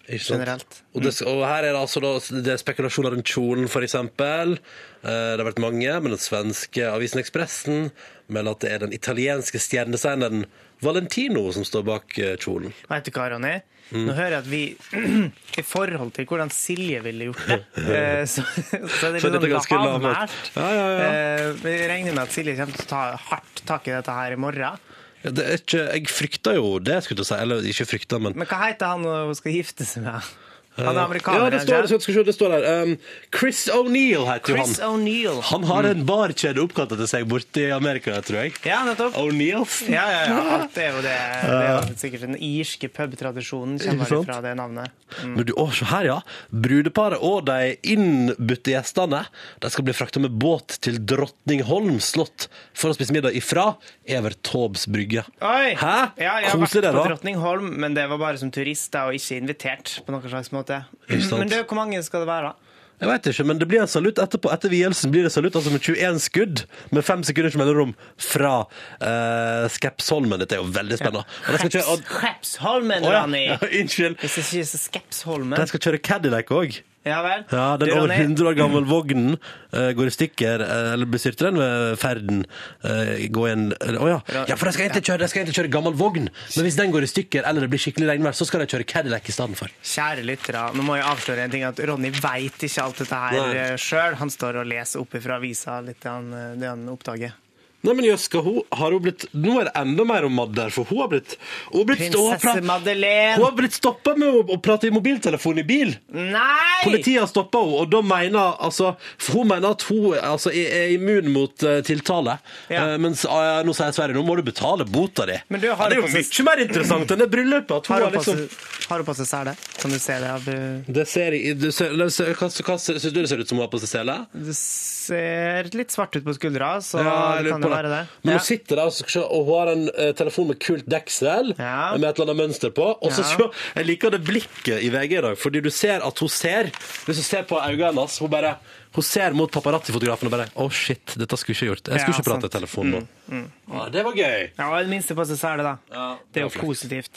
B: Mm. Ikke sant?
A: generelt.
B: Og, det, og her er det altså da, det er spekulasjoner rundt kjolen, for eksempel. Eh, Det har vært mange, men den svenske avisen Expressen melder at det er den italienske stjernedesigneren Valentino som står bak eh, kjolen.
A: Vet du hva, Ronny?
B: Mm.
A: Nå hører jeg at vi <clears throat> I forhold til hvordan Silje ville gjort
B: <laughs>
A: det, eh, så, så er det
B: Så
A: litt
B: dette er
A: sånn
B: ganske lavmålt.
A: lavmælt.
B: Ja, ja, ja.
A: Eh, Vi regner med at Silje kommer til å ta hardt tak i dette her i morgen.
B: Ja, Det er ikke, jeg frykter jo det, skulle jeg si. Eller ikke frykter, men
A: Men hva heter han når hun skal gifte seg med? Han er
B: Eh, Ja,
A: amerikaner.
B: det står,
A: ikke?
B: det skal vi se, det står der. Um, Chris O'Neill heter jo han.
A: Chris O'Neill.
B: Han har en barkjede oppkalt etter seg borte i Amerika, tror jeg.
A: Ja, nettopp.
B: O'Neills.
A: Ja, ja, ja. Alt er jo det. Det er jo sikkert den irske pubtradisjonen
B: Eh. Ikke
A: kommer
B: sant?
A: fra det navnet.
B: Mm. Men du, å, se her, ja. Brudeparet og de innbudte gjestene De skal bli frakta med båt til Drottningholm slott for å spise middag ifra Evert Taubes brygge.
A: Oi!
B: Hæ?
A: Ja, jeg har
B: Koselig
A: vært
B: det,
A: på
B: da.
A: Drottningholm, men det var bare som turister og ikke invitert på noen slags måte.
B: Ikke sant.
A: Men det, hvor mange skal det være? da?
B: Jeg vet ikke, men det blir en salutt etterpå. Etter vielsen blir det salutt altså med 21 skudd med fem sekunders mellomrom fra uh, Skepsholmen. Dette er jo veldig spennende. Og de skal kjøre,
A: Skreps-
B: og,
A: Skrepsholmen,
B: Å, ja.
A: Ronny!
B: Ja, Unnskyld.
A: Hvis det ikke er så Skepsholmen.
B: De skal kjøre Cadillac òg.
A: Ja vel?
B: Ja, den
A: Du,
B: over
A: Ronny,
B: 100 år gamle vognen eh, går i stykker, eh, eller bestyrter den ved ferden. eh, går i en, eller, å ja. ja, for de skal egentlig kjøre, de skal egentlig kjøre gammel vogn, men hvis den går i stykker eller det blir skikkelig regnvær, så skal de kjøre Cadillac i stedet for.
A: Kjære lyttere, nå må jeg avsløre en ting at Ronny veit ikke alt dette
B: Nei.
A: her sjøl. Han står og leser opp fra avisa litt det han, eh, det han oppdager.
B: Nei, men Jøska, hun har jo blitt Nå er det enda mer om Madd der, for hun har blitt Hun har blitt, hun har
A: Prinsesse
B: prat- hun
A: Madeleine!
B: har blitt stoppa med å, å prate i mobiltelefon i bil.
A: Nei!
B: Politiet har stoppa henne, og da mener altså for Hun mener at hun altså, er er immun mot eh, tiltale.
A: Ja.
B: Eh, mens eh, nå sier Sverre nå må du betale bota di.
A: Men du, har
B: Ja, det er
A: du
B: jo
A: på sist-
B: mye mer interessant enn det bryllupet. At hun
A: Har
B: har
A: hun på
B: liksom
A: seg- har hun på seg sele? Kan du se det? av, eh,
B: det ser, i- du ser, eller, ser- hva, hva ser- Syns du det ser ut som hun har på seg sele?
A: Det ser litt svart ut på skuldra, så
B: jeg
A: det
B: lurer
A: kan
B: på
A: det være det.
B: Men
A: Ja.
B: hun sitter der og, skal se, og hun har en eh, telefon med kult deksel
A: Ja.
B: med et eller annet mønster på. Og så
A: Ja.
B: se, Jeg liker det blikket i VG i dag, fordi du ser at hun ser Hvis du ser på øynene hennes, hun bare hun ser mot paparazzi-fotografen og bare Å, shit, dette skulle jeg ikke gjort. Jeg skulle
A: Ja,
B: ikke prate i
A: sant. Mm,
B: telefonen nå. Ja, det var gøy.
A: Ja, og i det minste på seg sele, da.
B: Ja,
A: det er
B: det Mm.
A: jo
B: var flott.
A: positivt.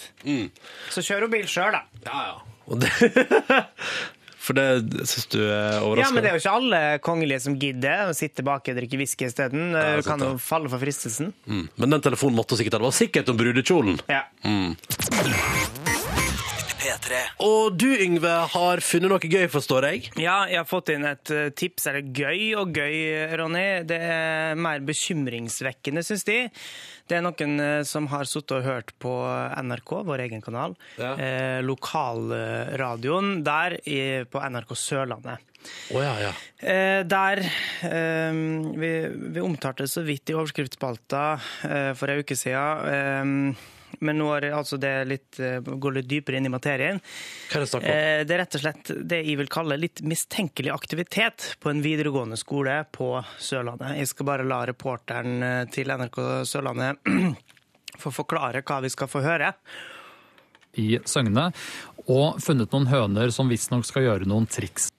A: Så kjør hun bil sjøl, da.
B: Ja, ja. Og det, <laughs> for det syns du er overraskende?
A: Ja, men det er jo ikke alle kongelige som gidder å sitte bak og drikke whisky isteden.
B: Ja,
A: Du
B: sant
A: kan
B: det.
A: jo falle for fristelsen.
B: mm. men den telefonen måtte hun sikkert ha. Det var sikkert om brudekjolen.
A: Ja.
B: Og du, Yngve, har funnet noe gøy, forstår jeg?
A: ja, jeg har fått inn et eh, tips. Er det gøy og gøy, Ronny? Det er mer bekymringsvekkende, syns de. Det er noen eh, som har sittet og hørt på NRK, vår egen kanal,
B: Ja.
A: eh, lokalradioen der i, på NRK Sørlandet.
B: Å ja, ja.
A: Eh, der eh, vi, vi omtalte det så vidt i overskriftsspalta eh, for en uke siden. Eh, men nå er det altså det litt, eh, går litt dypere inn i materien.
B: Hva er det snakk om?
A: Eh, det er rett og slett det jeg vil kalle litt mistenkelig aktivitet på en videregående skole på Sørlandet. Jeg skal bare la reporteren eh, til NRK Sørlandet <clears throat> få forklare hva vi skal få høre.
H: i Søgne, og funnet noen høner som visstnok skal gjøre noen triks.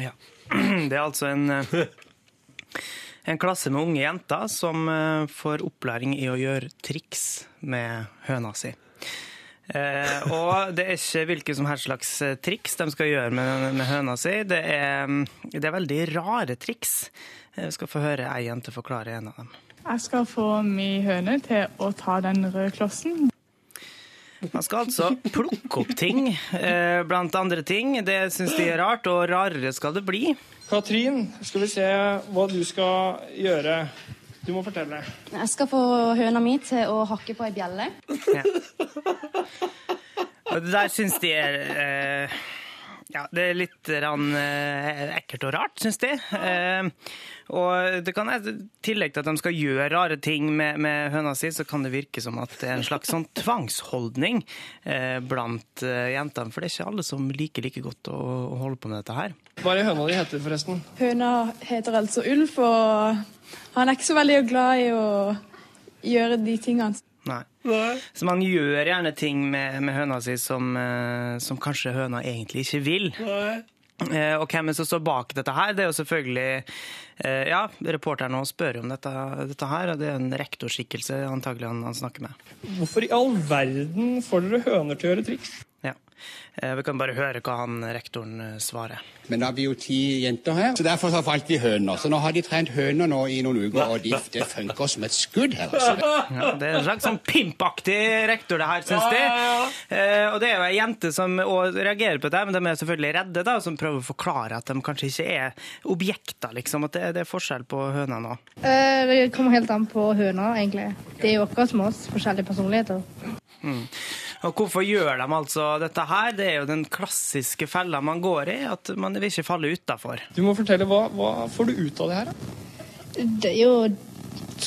A: Ja. <clears throat> Det er altså en, eh, en klasse med unge jenter som eh, får opplæring i å gjøre triks med høna si. Eh, og det er ikke hvilke som helst slags eh, triks de skal gjøre med, med høna si. Det er, mm, det er veldig rare triks. Jeg skal få høre ei jente forklare en av dem.
I: Jeg skal få min høne til å ta den røde klossen.
A: Man skal altså plukke opp ting, eh, blant andre ting. Det syns de er rart, og rarere skal det bli.
J: Katrin, skal vi se hva du skal gjøre. Du må fortelle.
K: Jeg skal få høna mi til å hakke på ei bjelle.
A: Og det der syns de er eh, Ja, det er litt rann, eh, ekkelt og rart, syns de. Eh, og det kan, i tillegg til at de skal gjøre rare ting med, med høna si, så kan det virke som at det er en slags sånn tvangsholdning eh, blant eh, jentene. For det er ikke alle som liker like godt å, å holde på med dette her.
J: Hva er det høna di heter, forresten?
I: Høna heter altså Ulf, og han er ikke så veldig glad i å gjøre de tingene.
A: Nei. Så man gjør gjerne ting med, med høna si som, eh, som kanskje høna egentlig ikke vil. Eh, og hvem er det som står bak dette her? Det er jo selvfølgelig eh, Ja, reporteren nå spør jo om dette, dette her, og det er en rektorskikkelse antagelig han, han snakker med.
J: Hvorfor i all verden får dere høner til å gjøre triks?
A: Ja. Eh, Vi kan bare høre hva han rektoren eh, svarer.
L: Men da blir jo ti jenter her, så derfor så falt de høner. Så nå har de trent høner nå i noen uker, og de, det funker som et skudd her, altså.
A: Ja, det er en slags sånn pimpaktig rektor, det her, syns de. Eh, og det er jo ei jente som også reagerer på det, men de er selvfølgelig redde, da, som prøver å forklare at de kanskje ikke er objekter, liksom. At det, det er forskjell på hønene òg.
M: Eh, Det kommer helt an på høna, egentlig. Det er jo akkurat som oss, forskjellige personligheter.
A: Mm. Og hvorfor gjør de altså dette her? Det er jo den klassiske fella man går i, at man vil ikke falle utafor.
J: Du må fortelle, hva, hva får du ut av det her? da?
M: Det er jo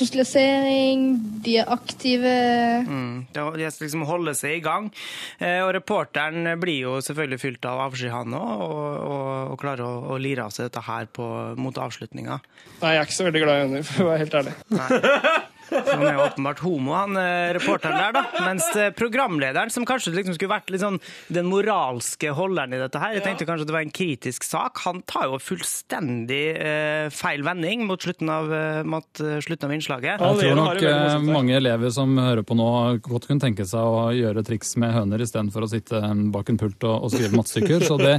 M: sosialisering, de er aktive
A: Mm. Det er- det er liksom å holde seg i gang. Eh, og reporteren blir jo selvfølgelig fylt av avsky, han òg, og, og, og klarer å, å lire av seg dette her på, mot avslutninga.
J: Nei, jeg er ikke så veldig glad i henne, for å være helt ærlig.
A: Så han er jo åpenbart homo, han eh, reporteren der, da. Mens eh, programlederen, som kanskje liksom skulle vært litt sånn den moralske holderen i dette her, jeg tenkte kanskje det var en kritisk sak, han tar jo fullstendig eh, feil vending mot slutten av, eh, mot, eh, slutten av innslaget.
H: Jeg tror nok eh, mange elever som hører på nå, godt kunne tenke seg å gjøre triks med høner istedenfor å sitte eh, bak en pult og, og skrive mattestykker. Så det,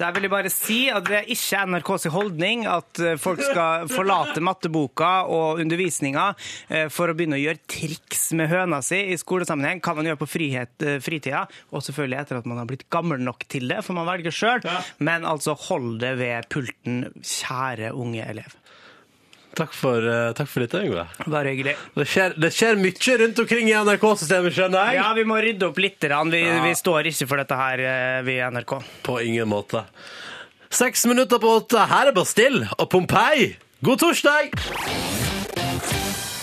A: Der vil jeg bare si at det er ikke NRKs holdning at eh, folk skal forlate matteboka og undervisninga eh, for å begynne å gjøre triks med høna si i skolesammenheng. Kan man gjøre på frihet, eh, fritida, og selvfølgelig etter at man har blitt gammel nok til det, for man velger sjøl. Men altså, hold det ved pulten, kjære unge elev.
B: Takk for, eh, takk for dette, Yngve.
A: Bare hyggelig.
B: Det skjer, det skjer mye rundt omkring i NRK-systemet, skjønner jeg.
A: Ja, vi må rydde opp litt. grann. Vi,
B: Ja.
A: vi står ikke for dette her, eh, vi i NRK.
B: På ingen måte. Seks minutter på åtte. Her er Bastille og Pompeii. God torsdag!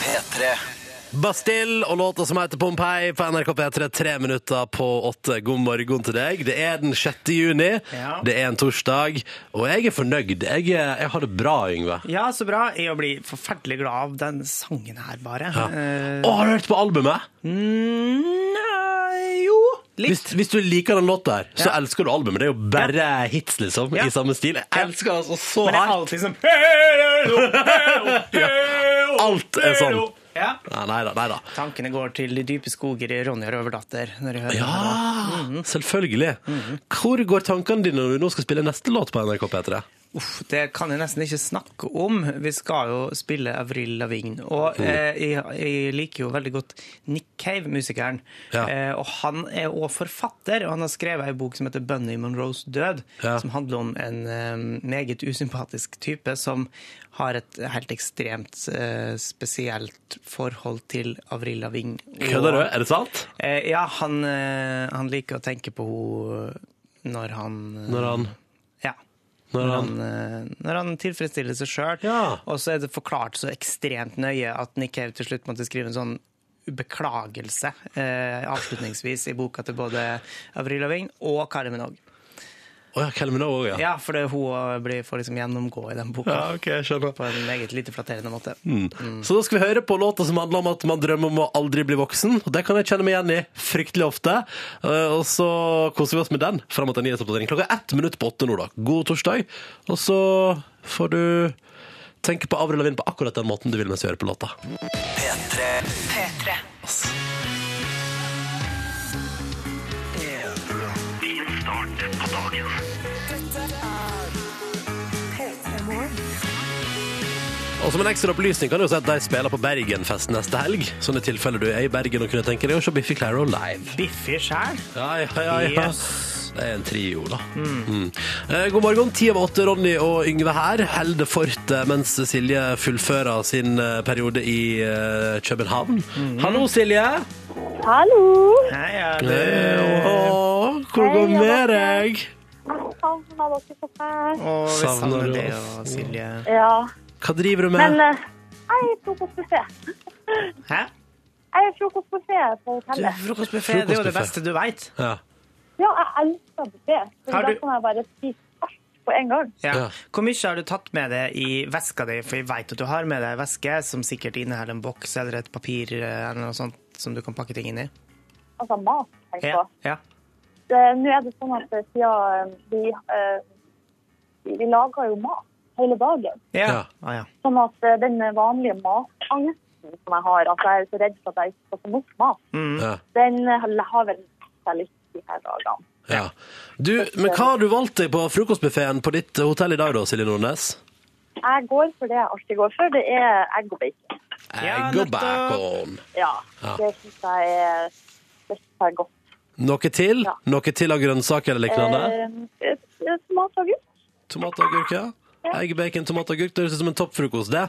B: P3. Bastille og låta som heter Pompeii på NRK P3, tre minutter på åtte. God morgen til deg. Det er den 6. juni,
A: Ja.
B: det er en torsdag, og jeg er fornøyd. Jeg, er- jeg har det bra, Yngve.
A: Ja, så bra. Jeg blir forferdelig glad av den sangen her, bare.
B: Ja.
A: Eh,
B: Å, har du hørt på albumet?
A: Nei, jo.
B: Hvis, hvis du liker den låta her, så elsker du albumet. Det er jo bare hits, liksom, i samme stil. Jeg elsker altså så
A: Men det er
B: hardt.
A: alltid sånn «Hello, hello, hello,
B: Alt er sånn.
A: hello». Ja.
B: Nei, nei da, nei da.
A: Tankene går til de dype skoger i Ronja Røverdatter. Når jeg hører den her, da.
B: Ja, selvfølgelig. Hvor går tankene dine når du nå skal spille neste låt på NRK P3?
A: Uff, det kan jeg nesten ikke snakke om. Vi skal jo spille Avril Lavigne.
B: Mm.
A: Og eh, jeg, jeg liker jo veldig godt Nick Cave-musikeren. Eh, og han er òg forfatter, og han har skrevet ei bok som heter 'Bunny Monroes død', som handler om en eh, meget usympatisk type som har et helt ekstremt eh, spesielt forhold til Avril Lavigne.
B: Kødder du? Er det sant?
A: Eh, ja, han, eh, han liker å tenke på henne når han eh,
B: Når han-
A: Ja.
B: Når
A: Når han,
B: han-
A: eh, når han tilfredsstiller seg sjøl. Og så er det forklart så ekstremt nøye at Nick Cave til slutt måtte skrive en sånn beklagelse eh, avslutningsvis i boka til både Avril Lavigne og Kari Minogue.
B: Å ja, Kelly Minogue òg,
A: Ja,
B: ja.
A: for det, hun også blir, får liksom gjennomgå i den boka
B: Ja, ok, jeg skjønner.
A: på en meget lite flatterende måte.
B: Mm. Så da skal vi høre på låta som handler om at man drømmer om å aldri bli voksen. Og Det kan jeg kjenne meg igjen i fryktelig ofte. Eh, Og så koser vi oss med den fram mot en nyhetsoppdatering. Klokka er ett minutt på åtte nå, da. God torsdag. Og så får du tenke på Avril Lavigne på akkurat den måten du vil mens du hører på låta.
C: P3.
N: Din start på dagen.
C: Dette er P3 Morgen.
B: Og som en ekstra opplysning kan du jo si at de spiller på Bergenfest neste helg. Sånn i tilfelle du er i Bergen og kunne tenke deg å se Biffy Claro live.
A: Biffy sjæl?
B: Ja, ja, ja, ja.
A: Yes.
B: Det er en trio, da. Mm. Eh, God morgen. Ti av åtte, Ronny og Yngve her. Holder fortet eh, mens Silje fullfører sin eh, periode i eh, København.
A: Mm.
B: Hallo, Silje.
N: Hallo!
A: Hei, ja,
B: Åh, hvor går det med deg?
N: Savner dere så fælt.
A: Å, vi
B: Savner
A: savner
B: du
A: det
B: oss?
A: og Silje.
N: Ja.
B: Hva driver du med?
N: Men eh, jeg frokostbuffé.
A: Hæ?
N: Jeg er frokostbuffé på
A: Du,
N: hotellet.
A: Frokostbuffé det er jo det beste du veit.
B: Ja.
N: Ja, jeg elsker buffé.
A: Har
N: For da
A: du-
N: kan jeg bare spise alt på en gang.
A: Ja. Hvor mye har du tatt med deg i veska di? For jeg vet at du har med deg en veske som sikkert inneholder en boks eller et papir eh, eller noe sånt som du kan pakke ting inn i.
N: Altså mat, tenker jeg på.
A: Ja. ja.
N: Eh, Nå er det sånn at eh, siden eh, vi, eh, vi- vi lager jo mat hele dagen.
A: ja. Ah, ja.
N: Sånn at eh, den vanlige matangsten altså, som jeg har, at jeg er så redd for at jeg ikke skal få nok mat,
A: Mm.
N: den eh, har vel seg litt de her dagene.
B: Ja. Du, men hva har du valgt deg på frokostbuffeen på ditt hotell i dag, da, Silje Nordnes?
N: Jeg går for det jeg alltid går for. Det er egg og bacon.
B: Egg og bacon.
N: Ja,
B: Ja.
N: det syns jeg er, det synes jeg er godt.
B: Noe til?
N: Ja.
B: Noe til av grønnsaker eller lignende?
N: Eh, eh, tomat og agurk.
B: Tomat og agurk, ja. Egg, bacon, tomat og agurk. Det høres ut som en toppfrokost, det.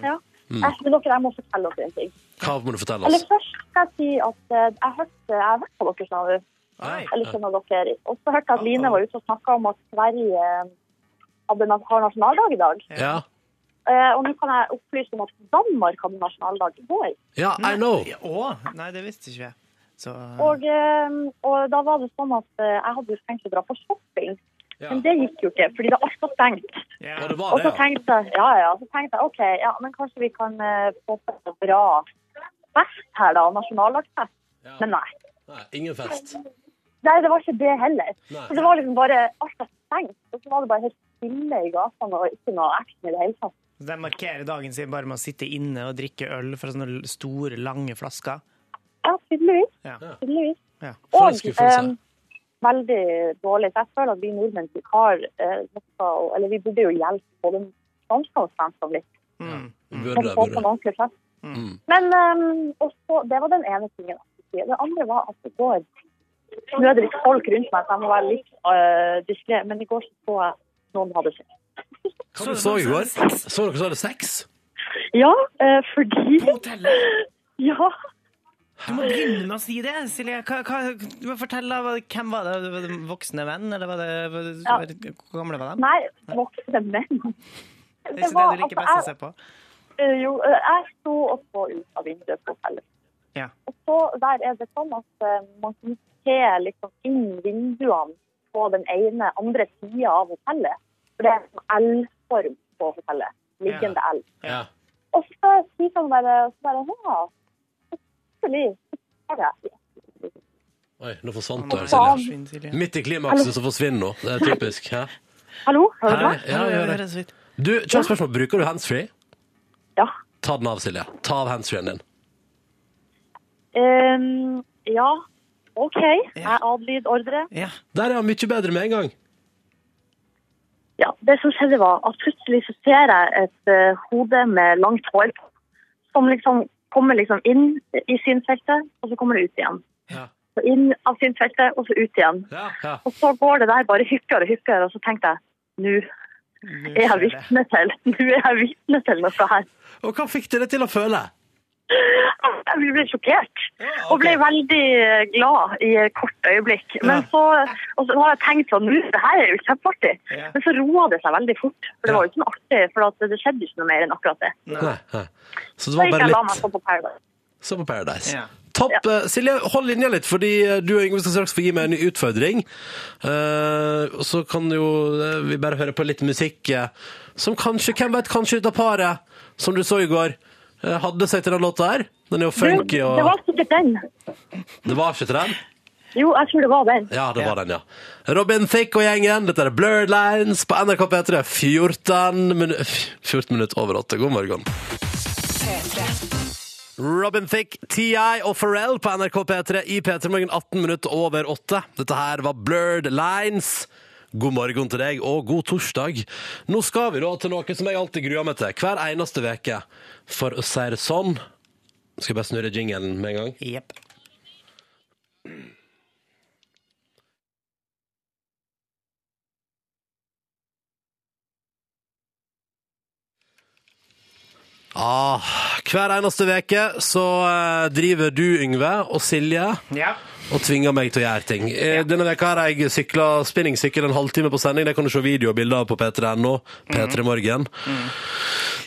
N: Ja.
B: Mm.
N: Jeg, men dere, jeg må fortelle dere en ting.
B: Hva må du fortelle
N: Eller
B: oss?
N: først skal jeg si at eh, jeg hørte Jeg har hørt på dere snart. Eller sånn av dere. Og så hørte jeg at Line var ute og snakka om at Sverige hadde, nas- har nasjonaldag i dag.
B: Ja.
N: Eh, og nå kan jeg opplyse om at Danmark hadde nasjonaldag i går.
B: Ja, I know.
A: Å, nei, det visste ikke jeg. Så
N: Og, eh, og da var det sånn at eh, jeg hadde jo tenkt å dra på shopping. Men det gikk jo ikke, fordi det alt var stengt.
B: Og det
N: Og så tenkte jeg, ja, ja, så tenkte jeg, ok, ja, men kanskje vi kan eh, få til en bra fest her da, nasjonaldagsfest. Men nei.
B: Nei, ingen fest.
N: Nei, det var ikke det heller.
B: Nei.
N: Så det var liksom bare alt var stengt, og så var det bare helt stille i gatene og ikke noe action i det hele tatt.
A: de markerer dagen sin bare med å sitte inne og drikke øl fra sånne store, lange flasker.
N: Ja, tydeligvis.
A: Ja.
N: tydeligvis.
A: Ja.
N: Og
B: Sånn
N: eh, veldig dårlig. Så jeg føler at vi nordmenn vi har eh, noe, eller vi burde jo hjelpe både svensker og svensker litt.
B: Burde
N: Og
B: det, burde
N: få på
B: det.
N: en ordentlig fest.
B: Mm.
N: Men ehm, også, det var den ene tingen. jeg skulle si. Det andre var at i går Nå er det litt folk rundt meg, så jeg må være litt uh, diskré. Men i går så så jeg noen hadde sex.
B: Hva du så i går? Så dere så hadde sex?
N: Ja, eh, fordi
A: På hotellet?
N: Ja.
A: Du må begynne med å si det, Silje. Hva, hva, du må fortelle, hva- hvem var det? Var det en voksne venn, eller var det, var det,
N: Ja.
A: Hvor gamle var de?
N: Nei, altså, voksne menn.
A: Det er ikke det du liker best å se på?
N: jeg, eh, <laughs> jo, eh, jeg sto og så ut av vinduet på hotellet.
A: Ja.
N: Og så der er det sånn at eh, man kan se liksom inn vinduene på den ene andre sida av hotellet. For det er en sånn L-form på hotellet. Liggende L.
B: Ja.
N: Og så sier han bare, så bare ja, selvfølgelig. så er det».
B: Oi, nå forsvant du her,
N: Faen.
B: Silje. Midt i klimaksen så forsvinner hun. Det er typisk. Hæ?
N: Hallo, hører du
B: Nei,
N: meg?
B: ja, ja, ja. Du, kjør spørsmål. Bruker du handsfree?
N: Ja.
B: Ta den av, Silje. Ta av handsfree-en din.
N: Ehm, ja, OK. Jeg adlyder ordre.
B: Der er han mye bedre med en gang.
N: Ja, det som skjedde var at plutselig så ser jeg et eh, hode med langt hår på, som liksom kommer liksom inn i synfeltet, og så kommer det ut igjen. Så inn av synfeltet, og så ut igjen. Og så går det der bare hyppigere og hyppigere, og så tenkte jeg, nå er jeg vitne til, nå er jeg vitne til noe her.
B: Og hva fikk dere til å føle?
N: Jeg ble sjokkert, og ble veldig eh, glad i et kort øyeblikk. Men så, og så har jeg tenkt sånn, nå, det her er jo kjempeartig. Men så roet det seg veldig fort, for det var jo ikke noe artig, for at det skjedde ikke noe mer enn akkurat det.
B: Nei. Nei. Så det
N: Så
B: var
N: gikk
B: bare
N: jeg la meg
B: litt
N: på på Paradise.
B: Så på Paradise. Topp. Eh, Silje, hold linja litt, fordi eh, du og Yngve skal straks få gi meg en ny utfordring. Eh, og så kan jo eh, vi bare høre på litt musikk eh, som kanskje, hvem vet, kanskje ut av paret, som du så i går, eh, hadde seg til den låta her. Den er jo funky
N: Det
B: og
N: var sikkert den.
B: Det var ikke til den?
N: Jo, jeg tror det var den.
B: Ja, det var den, ja. Robin Thicke og gjengen, dette er Blurred Lines på NRK P3. 14 minutter 14 minutter over åtte. God morgen. Robin Thicke, T.I. og Pharrell på NRK P3 i P3 Morgen 18 minutter over 8. Dette her var Blurred Lines. God morgen til deg, og god torsdag. Nå skal vi da til noe som jeg alltid gruer meg til hver eneste veke. For å si det sånn Skal jeg bare snurre jingelen med en gang?
A: Jepp.
B: Ah, hver eneste veke så eh, driver du, Yngve, og Silje
A: Ja.
B: og tvinger meg til å gjøre ting. Eh, Denne veka har jeg sykla spinningsykkel en halvtime på sending. Det kan du se video og bilder av på p3.no.
A: Mhm.
B: P3 Morgen.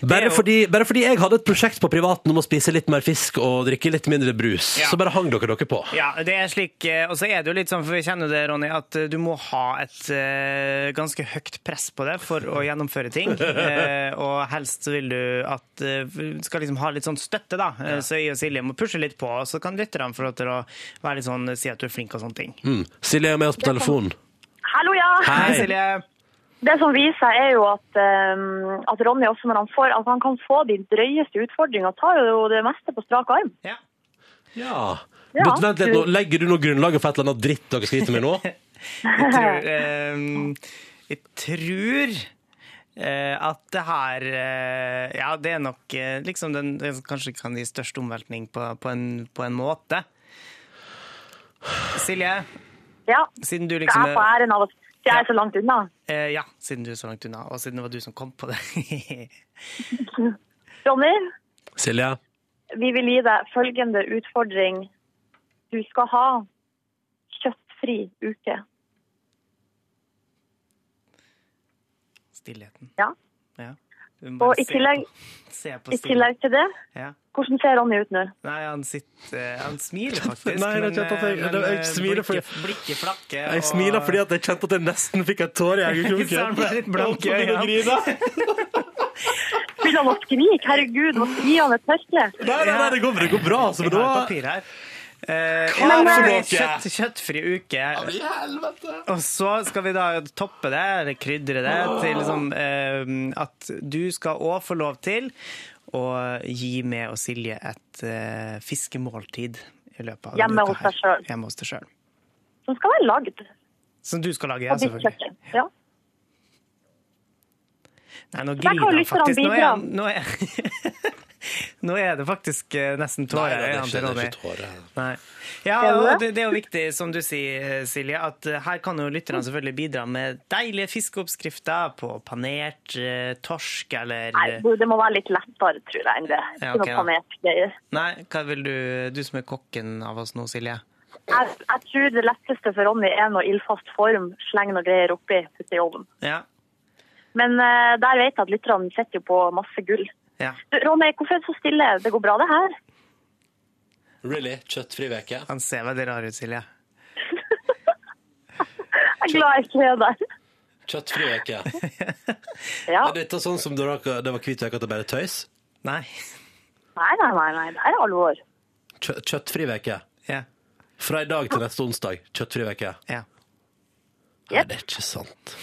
B: Bare, fordi, bare fordi jeg hadde et prosjekt på privaten om å spise litt mer fisk og drikke litt mindre brus,
A: Ja.
B: så bare hang dere dere på.
A: Ja, det er slik, eh, og så er det jo litt sånn, for vi kjenner det, Ronny, at eh, du må ha et eh, ganske høyt press på det for å gjennomføre ting. Eh, og helst så vil du at eh, du skal liksom ha litt sånn støtte, da. Eh, Så jeg og Silje må pushe litt på, og så kan lytterne få lov til å være litt sånn, si at du er flink og sånne ting.
B: Mm. Silje er med oss på telefonen.
N: Hallo, ja!
A: Hei, Silje.
N: Det som viser seg er jo at, ehm, at Ronny også når han får, altså han kan få de drøyeste utfordringene, tar jo det meste på strak arm.
B: Ja.
N: Ja.
B: But, vent litt nå, Legger du noe grunnlaget for et eller annet dritt dere sliter med nå?
A: <laughs> Jeg
N: <laughs>
A: tror, ehm, jeg tror eh, at det her eh, Ja, det er nok eh, liksom den, den som kanskje kan gi størst omveltning på, på, en, på en måte. Silje,
N: Ja.
A: siden du
N: Skal
A: liksom
N: jeg få æren av at jeg er så langt unna?
A: Eh, ja, siden du er så langt unna, og siden det var du som kom på det. <laughs>
N: Ronny,
B: Silje?
N: vi vil gi deg følgende utfordring. Du skal ha kjøttfri uke.
A: Stillheten.
N: Ja.
A: Ja. Du må
N: Og
A: bare
N: i
A: se
N: tillegg,
A: på- se på
N: i
A: stillheten.
N: tillegg til det,
A: Ja.
N: hvordan ser Ronny ut nå?
A: Nei, han, sitter, eh, han smiler faktisk.
B: <laughs> Nei, det er ikke at jeg-
A: men,
B: det- jeg
A: eh,
B: smiler fordi-
A: blikket, blikket flakker.
B: Jeg smiler fordi at jeg kjente at jeg nesten fikk en tåre i
A: <laughs> Så han
B: øyekroken.
A: ble litt blank i
B: Og begynner å grine.
N: Begynner han å skrike? Herregud, må gi han et tørkle?
B: Nei, nei, nei, det går, bra, det går bra. Altså, men
A: Jeg har
B: da-
A: papir her. Eh,
B: Hva
A: ja,
B: for
A: det er
B: noe?
A: Kjøtt, kjøttfri uke. Og så skal vi da toppe det, eller krydre det, til liksom, eh, at du skal òg få lov til å gi meg og Silje et eh, fiskemåltid i løpet av denne
N: Hjemme
A: uka
N: hos
A: her.
N: deg selv.
A: Hjemme hos deg sjøl.
N: Som skal være lagd.
A: Som du skal lage, ja,
N: På ditt
A: selvfølgelig.
N: kjøkken. Ja.
A: Nei, nå
N: Der kan
A: griner han
N: lytterne
A: faktisk. Nå er,
N: bidra.
A: han- nå er, <laughs> nå er det faktisk eh, nesten tårer i øynene til Ronny. Nei. Ja, og det, det er jo viktig, som du sier, Silje, at eh, her kan jo
N: Mm.
A: lytterne selvfølgelig bidra med deilige fiskeoppskrifter på panert eh, torsk eller eh,
N: Nei, du, det må være litt lettere, tror jeg, enn det.
A: Ja,
N: Ikke
A: ok,
N: noe
A: da.
N: panetgreier.
A: Nei, hva vil du Du som er kokken av oss nå, Silje.
N: Jeg, jeg tror det letteste for Ronny er noe ildfast form, sleng noe greier oppi, putte i ovnen.
A: Ja.
N: Men eh, der vet jeg at lytterne sitter jo på masse gull.
A: ja.
N: Du, Ronny, hvorfor er det så stille? Det går bra, det her.
B: Really? Kjøttfri veke?
A: Han ser veldig rar ut, Silje.
N: Jeg er glad jeg ikke er der.
B: Kjøttfri veke.
A: <laughs>
N: Ja.
B: Er dette sånn som da dere- det var hvit veke at det bare er tøys?
A: Nei. <laughs>
N: Nei, nei, nei, nei. Det er alvor.
B: Kjø kjøttfri veke.
A: Ja.
B: Fra i dag til neste onsdag. Kjøttfri veke.
A: Ja.
B: Nei, det er ikke sant.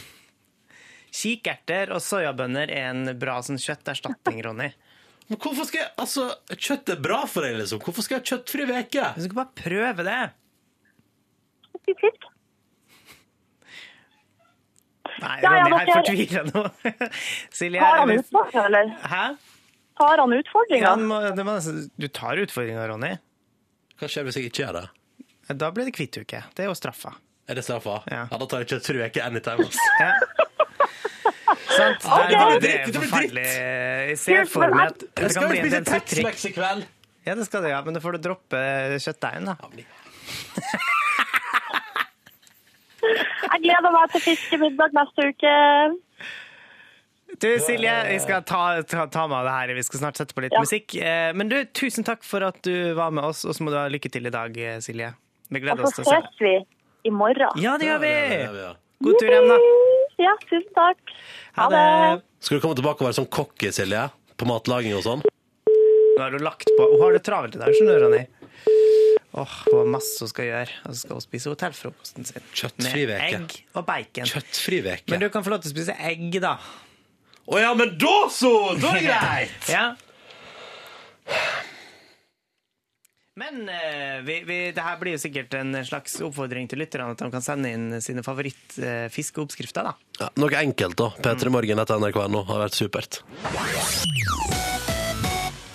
A: Kikerter og soyabønner er en bra sånn kjøtterstatning,
N: <laughs>
A: Ronny.
B: Men hvorfor skal jeg Altså, kjøtt er bra for deg, liksom. Hvorfor skal jeg ha kjøttfri veke?
A: Du skal bare prøve det. Nei,
N: Ja, ja,
A: Ronny, her
N: dere-
A: fortviler jeg nå. <laughs> Silje,
N: Tar han
A: eller-
N: utfordringa, eller?
A: Hæ?
N: Tar han utfordringa?
A: Ja, det må, det må, nesten- du tar utfordringa, Ronny.
B: Hva skjer hvis jeg ikke gjør det?
A: Da blir det kvittuke. Det er jo straffa.
B: Er det straffa? Ja. da tar jeg kjøttfri veke anytime. ass.
A: Ja. Sant?
B: Ok.
A: Det, er- det
B: Det
A: er
B: blir dritt, det blir
A: forferdelig.
B: dritt.
A: Jeg ser for meg at
B: Jeg
A: det
B: skal
A: kan
B: jo
A: bli en
B: spise
A: del sutring.
B: Tex-Mex i kveld.
A: Ja, det skal du, ja. Men da får du droppe kjøttdeigen, da.
N: Jeg gleder meg til fiskemiddag neste uke.
A: Du, Silje, vi skal ta, ta, ta med det her. Vi skal snart sette på litt
N: Ja.
A: musikk. Eh, Men du, tusen takk for at du var med oss, og så må du ha lykke til i dag, eh, Silje. Vi
N: Og
A: gleder
N: så
A: oss til å se deg.
N: ses vi i morgen.
A: Ja, det gjør vi!
N: God tur hjem, da. Ja, tusen takk. Ha det.
B: Skal du komme tilbake og være sånn kokke, Silje? På matlaging og sånn?
A: Nå har du lagt på. Hun har det travelt i dag, skjønner du, Ronny. Åh, Hun har masse hun skal gjøre. Og så skal hun spise hotellfrokosten sin.
B: Kjøttfri
A: Med
B: veke.
A: egg og bacon.
B: Kjøttfri veke.
A: Men du kan få lov til å spise egg, da.
B: Å ja, men da så! Da er det greit!
A: <laughs> ja. Men eh, vi, vi, det her blir jo sikkert en slags oppfordring til lytterne at de kan sende inn sine favorittfiskeoppskrifter. da.
B: Ja, noe enkelt, da. P3morgen etter nrk.no har vært supert.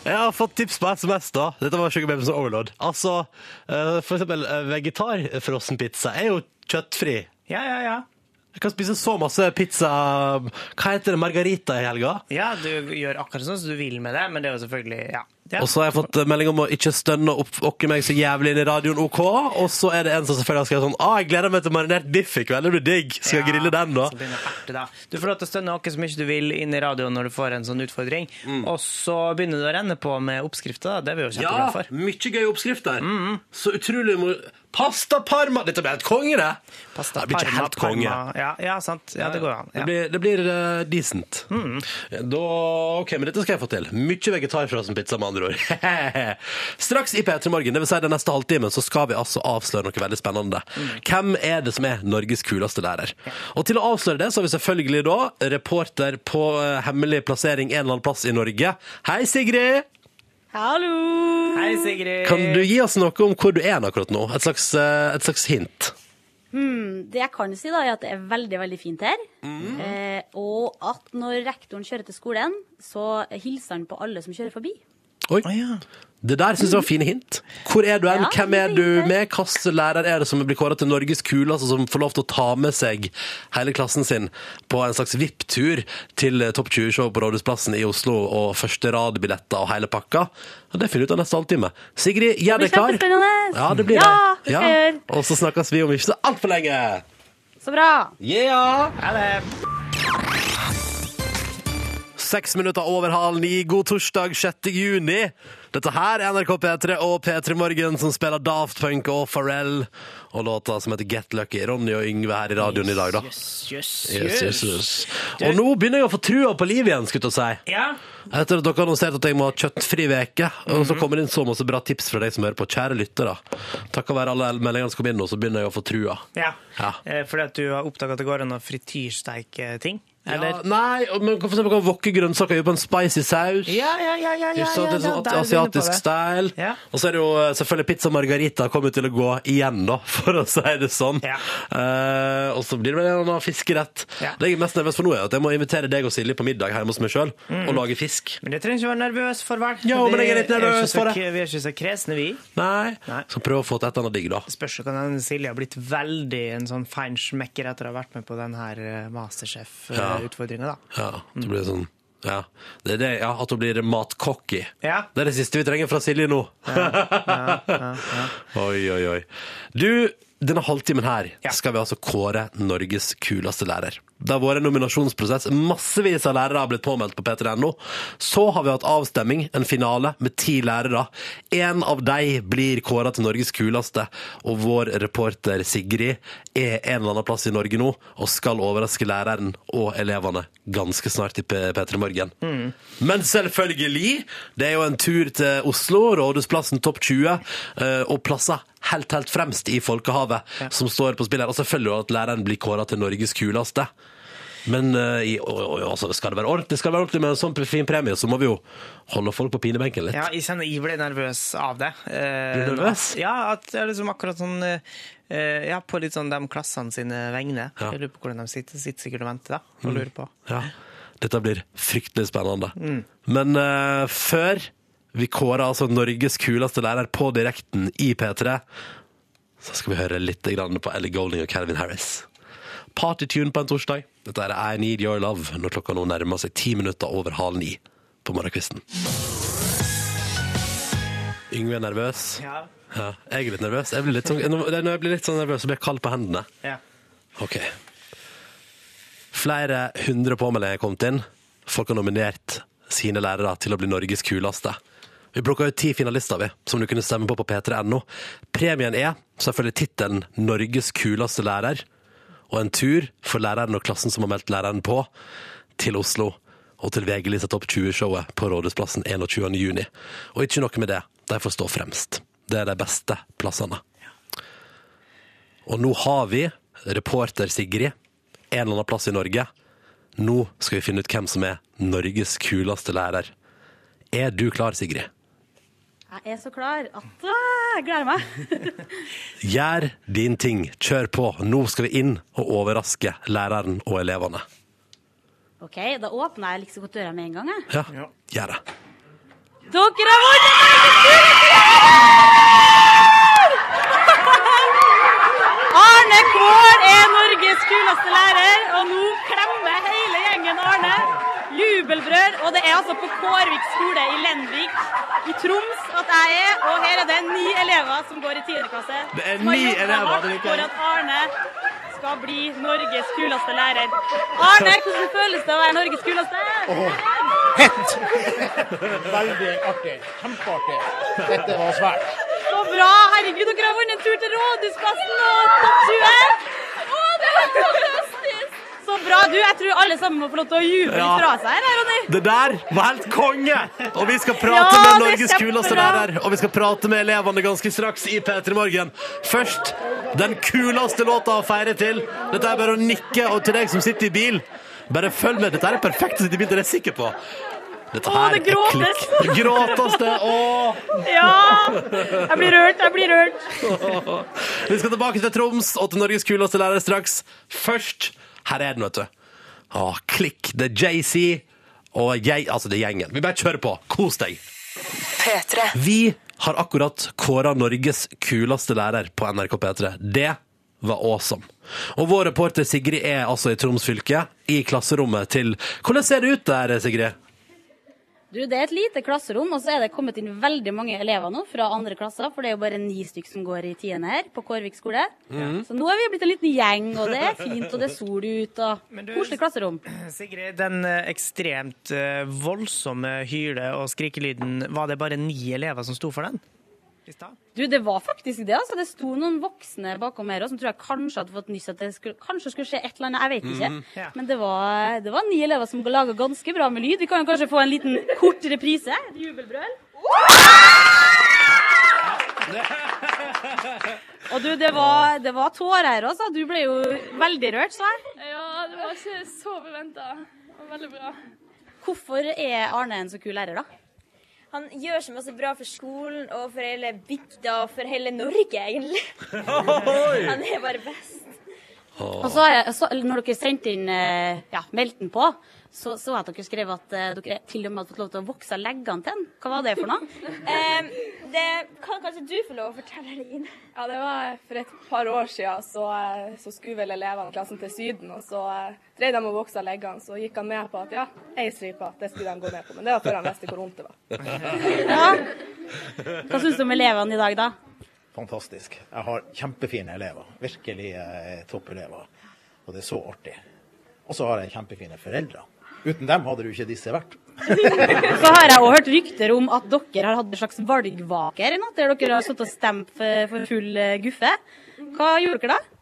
B: Jeg har fått tips på SMS, da. Dette var Sugar Babes og Overlord. Altså, eh, for eksempel eh, vegetarfrossenpizza er jo kjøttfri.
A: Ja, ja, ja.
B: Jeg kan spise så masse pizza Hva heter det? Margarita i helga?
A: Ja, du gjør akkurat sånn som du vil med det, men det er jo selvfølgelig ja. ja.
B: Og så har jeg fått eh, melding om å ikke stønne og okke meg så jævlig inn i radioen, OK? Og så er det en som selvfølgelig har skrevet sånn ah, 'Jeg gleder meg til marinert biff i kveld, det blir digg'. Skal jeg
A: Ja,
B: grille den, da?
A: så begynner jeg å erte, da. Du får lov til å stønne åkke så mye du vil inn i radioen når du får en sånn utfordring. Og så begynner du å renne på med oppskrifter. da. Det er vi jo
B: Mm. Ja,
A: kjempeglade for. Mm,
B: mye gøy oppskrift der. Så utrolig mor... Pasta parma! Dette blir helt konge, det! det blir ikke
A: Parma,
B: helt konge.
A: parma. Ja, ja, sant. Ja, det går an.
B: Det
A: Ja. Mm.
B: blir, det blir eh, decent. Da, ok, men Dette skal jeg få til. Mye vegetarfrossenpizza, med andre ord. <laughs> Straks i P3 Morgen, dvs. Si den neste halvtimen, så skal vi altså avsløre noe veldig spennende.
A: Mm.
B: Hvem er det som er Norges kuleste lærer? Og til å avsløre det, så har vi selvfølgelig da reporter på eh, hemmelig plassering en eller annen plass i Norge. Hei, Sigrid!
O: Hallo!
A: Hei, Sigrid.
B: Kan du gi oss noe om hvor du er akkurat nå? Et slags, eh, et slags hint.
P: Hmm, det jeg kan si, da, er at det er veldig veldig fint her.
B: Mhm.
P: Eh, og at når rektoren kjører til skolen, så hilser han på alle som kjører forbi.
B: Oi. Det der syns jeg var fine hint. Hvor er du hen?
P: Ja,
B: Hvem er du med? Hvilken lærer er det som blir kåra til Norges kuleste, som får lov til å ta med seg hele klassen sin på en slags VIP-tur til eh, Topp 20-show på Rådhusplassen i Oslo, og første rad-billetter og hele pakka? Ja, det finner vi ut av neste halvtime. Sigrid, gjør
P: Det
B: deg
P: blir
B: klar.
P: kjempespennende.
B: Ja, det blir
P: Ja,
B: det.
P: det skal jeg
B: Og så snakkes vi om ikke så altfor lenge.
P: Så bra!
B: Yeah! Seks minutter over halv ni. God torsdag 6. juni. Dette her er NRK P3 og P3 Morgen som spiller Daft Punk og Pharrell og låta som heter Get Lucky. Ronny og Yngve her i radioen i dag, da.
A: Jøss,
B: Yes, yes,
A: jøss.
B: yes. Og nå begynner jeg å få trua på livet igjen, skulle jeg til å si.
A: Ja.
B: Etter at dere annonserte at jeg må ha kjøttfri veke, og så kommer det inn så masse bra tips fra deg som hører på, kjære lyttere. Takk være alle meldingene som kom inn nå, så begynner jeg å få trua.
A: Ja.
B: Ja.
A: Eh, Fordi at du har oppdaga at det går an å frityrsteike ting?
B: Ja, nei, og- men for eksempel kan wokke grønnsaker gjøre på en spicy saus.
A: Ja, ja, ja, ja, ja,
B: Ikke sant?
A: ja,
B: Det er sånn
A: da- da er du inne på
B: asiatisk
A: det.
B: style. Og så er det jo eh, selvfølgelig pizza margarita kommer til å gå igjen, da, <laughs> for å si det sånn. Eh, og så blir det vel en annen fiskerett. Det jeg er mest nervøs for nå, er at jeg må invitere deg og Silje på middag hjemme hos meg sjøl
A: Mm.
B: og lage fisk.
A: Men det trenger ikke være nervøs for, vel?
B: Jo, men
A: Det
B: jeg er litt
A: jo ikke
B: nervøs
A: så
B: for det.
A: k- Vi er ikke så kresne, vi.
B: Nei. Så prøv å få til et eller annet digg, da.
A: Spørs jo kan hende Silje har blitt veldig en sånn feinschmecker etter å ha vært med på den her eh, Masterchef-utfordringa, da.
B: Ja, det blir sånn ja. Det er det, ja, At hun blir matcocky.
A: Ja.
B: Det er det siste vi trenger fra Silje nå. <laughs> oi, oi, oi. Du, denne halvtimen her skal vi altså kåre Norges kuleste lærer. Det har vært en nominasjonsprosess. Massevis av lærere har blitt påmeldt på p3.no. Så har vi hatt avstemning, en finale med ti lærere. En av de blir kåra til Norges kuleste, og vår reporter Sigrid er en eller annen plass i Norge nå og skal overraske læreren og elevene ganske snart i P- P3 Morgen.
A: Mm.
B: Men selvfølgelig, det er jo en tur til Oslo, Rådhusplassen topp 20, eh, og plasser helt, helt fremst i folkehavet som står på spill her. Og selvfølgelig jo at læreren blir kåret til Norges kuleste. Men eh, i, og, og, altså, skal det være ordentlig, skal det være ordentlig med en sånn fin premie, så må vi jo holde folk på pinebenken litt.
A: Ja, jeg kjenner jeg ble nervøs av det. Eh,
B: Blir du nervøs?
A: at- Ja, at det er liksom akkurat sånn eh, eh, Ja, på litt sånn de klassene sine vegne. Jeg lurer på hvordan de sitter. Sitter sikkert og venter, da. Og
B: Mm.
A: lurer på.
B: Ja. Dette blir fryktelig spennende.
A: Mm.
B: Men eh, før vi kårer altså Norges kuleste lærer på direkten i P3, så skal vi høre litt grann på Ellie Golding og Calvin Harris. Partytune på en torsdag. Dette er I Need Your Love når klokka nå nærmer seg ti minutter over halv ni på morgenkvisten. Yngve er nervøs.
A: Ja.
B: Ja, jeg er litt nervøs. Jeg blir litt sånn, når jeg blir litt sånn nervøs, så blir jeg kald på hendene.
A: Ja.
B: Ok. Flere hundre påmeldinger er kommet inn. Folk har nominert sine lærere til å bli Norges kuleste. Vi plukka ut ti finalister vi, som du kunne stemme på på p3.no. Premien er selvfølgelig tittelen 'Norges kuleste lærer' og en tur for læreren og klassen som har meldt læreren på, til Oslo og til VG-lista Topp 20-showet på Rådhusplassen 21. juni. Og ikke nok med det, de får stå fremst. Det er de beste plassene. Og nå har vi reporter Sigrid en eller annen plass i Norge. Nå skal vi finne ut hvem som er Norges kuleste lærer. Er du klar, Sigrid?
P: Jeg er så klar at ah, jeg gleder meg.
B: Gjør din ting. Kjør på. Nå skal vi inn og overraske læreren og elevene.
P: OK, da åpner jeg liksom godt døra med en gang, jeg.
B: Ja, gjør det.
P: Dere har vunnet Norges kuleste! Arne Kvaal er Norges kuleste lærer, og nå klemmer hele gjengen Arne. Jubelbrøl. Og det er altså på Kårvik skole i Lenvik i Troms at jeg er, og her er det ni elever som går i tiende klasse.
B: Det er
P: som har
B: ni
P: jobbet
B: elever,
P: hardt
B: det liker
P: For
B: jeg.
P: at Arne skal bli Norges kuleste lærer. Arne, hvordan føles det å være Norges kuleste?
Q: Hett! Veldig artig. Kjempeartig. Dette var svært.
P: Så bra! Herregud, dere har vunnet en tur til Rådhusplassen og Topp 20! Å, det var fantastisk! Så bra. Du, jeg tror alle sammen må få lov til å juble
B: Ja.
P: litt fra seg her, Ronny.
B: Det der var helt konge! Og vi skal prate
P: Ja, det er
B: med Norges
P: kjempebra.
B: kuleste lærer, og vi skal prate med elevene ganske straks i P3 Morgen. Først den kuleste låta å feire til. Dette er bare å nikke, og til deg som sitter i bil, bare følg med. Dette er perfekt å sitte i bil, det er jeg sikker på. Dette
R: Å,
B: her
R: det
B: er
R: gråtes.
B: klikk. Det gråtes, det! Å!
R: Ja! Jeg blir rørt, jeg blir rørt.
B: Vi skal tilbake til Troms og til Norges kuleste lærer straks. Først, her er den, vet du. Å, klikk. Det er JC og jeg, altså det er gjengen. Vi bare kjører på. Kos deg.
C: P3.
B: Vi har akkurat kåra Norges kuleste lærer på NRK P3. Det var awesome. Og vår reporter Sigrid er altså i Troms fylke, i klasserommet til Hvordan ser det ut der, Sigrid?
P: Du, Det er et lite klasserom, og så er det kommet inn veldig mange elever nå fra andre klasser. For det er jo bare ni stykk som går i tiende her på Kårvik skole.
A: Mhm.
P: Så nå er vi blitt en liten gjeng, og det er fint, og det er sol ute, og koselig klasserom.
A: Sigrid, den eh, ekstremt eh, voldsomme hyle- og skrikelyden, var det bare ni elever som sto for den?
P: Du, det var faktisk det, altså. Det sto noen voksne bakom her også, som tror jeg kanskje hadde fått nyss at det skulle, kanskje skulle skje et eller annet, jeg vet ikke.
A: Mhm. Ja.
P: Men det var, det var ni elever som laga ganske bra med lyd. Vi kan jo kanskje få en liten kort reprise? Et Jubelbrøl. Og du, det var, det var tårer her også. Du ble jo veldig rørt, så jeg.
S: Ja, det var ikke så beventa. Veldig bra.
P: Hvorfor er Arne en så kul lærer, da?
T: Han gjør så masse bra for skolen og for hele bygda og for hele Norge, egentlig. Han er bare best.
P: Og så, har jeg- så, eller når dere sendte inn eh, ja, meldten på, så så jeg at dere skrev at eh, dere til og med hadde fått lov til å vokse leggene til den. Hva var det for noe?
T: <laughs> Em, det kan kanskje du få lov å fortelle, Line.
S: Ja, det var for et par år siden, så, eh, så skulle vel elevene i klassen til Syden, og så eh, drev de og vokste av leggene, så gikk han med på at ja, ei stripe, det skulle de gå med på. Men det var før han visste hvor vondt det var.
P: Ja. Hva syns du om elevene i dag, da?
Q: Fantastisk. Jeg har kjempefine elever. Virkelig eh, toppelever. Og det er så artig. Og så har jeg kjempefine foreldre. Uten dem hadde du ikke disse vært.
P: Så har jeg òg hørt rykter om at dere har hatt en slags valgvake her i natt, der dere har sittet og stemt for, for full eh, guffe. Hva gjorde dere da?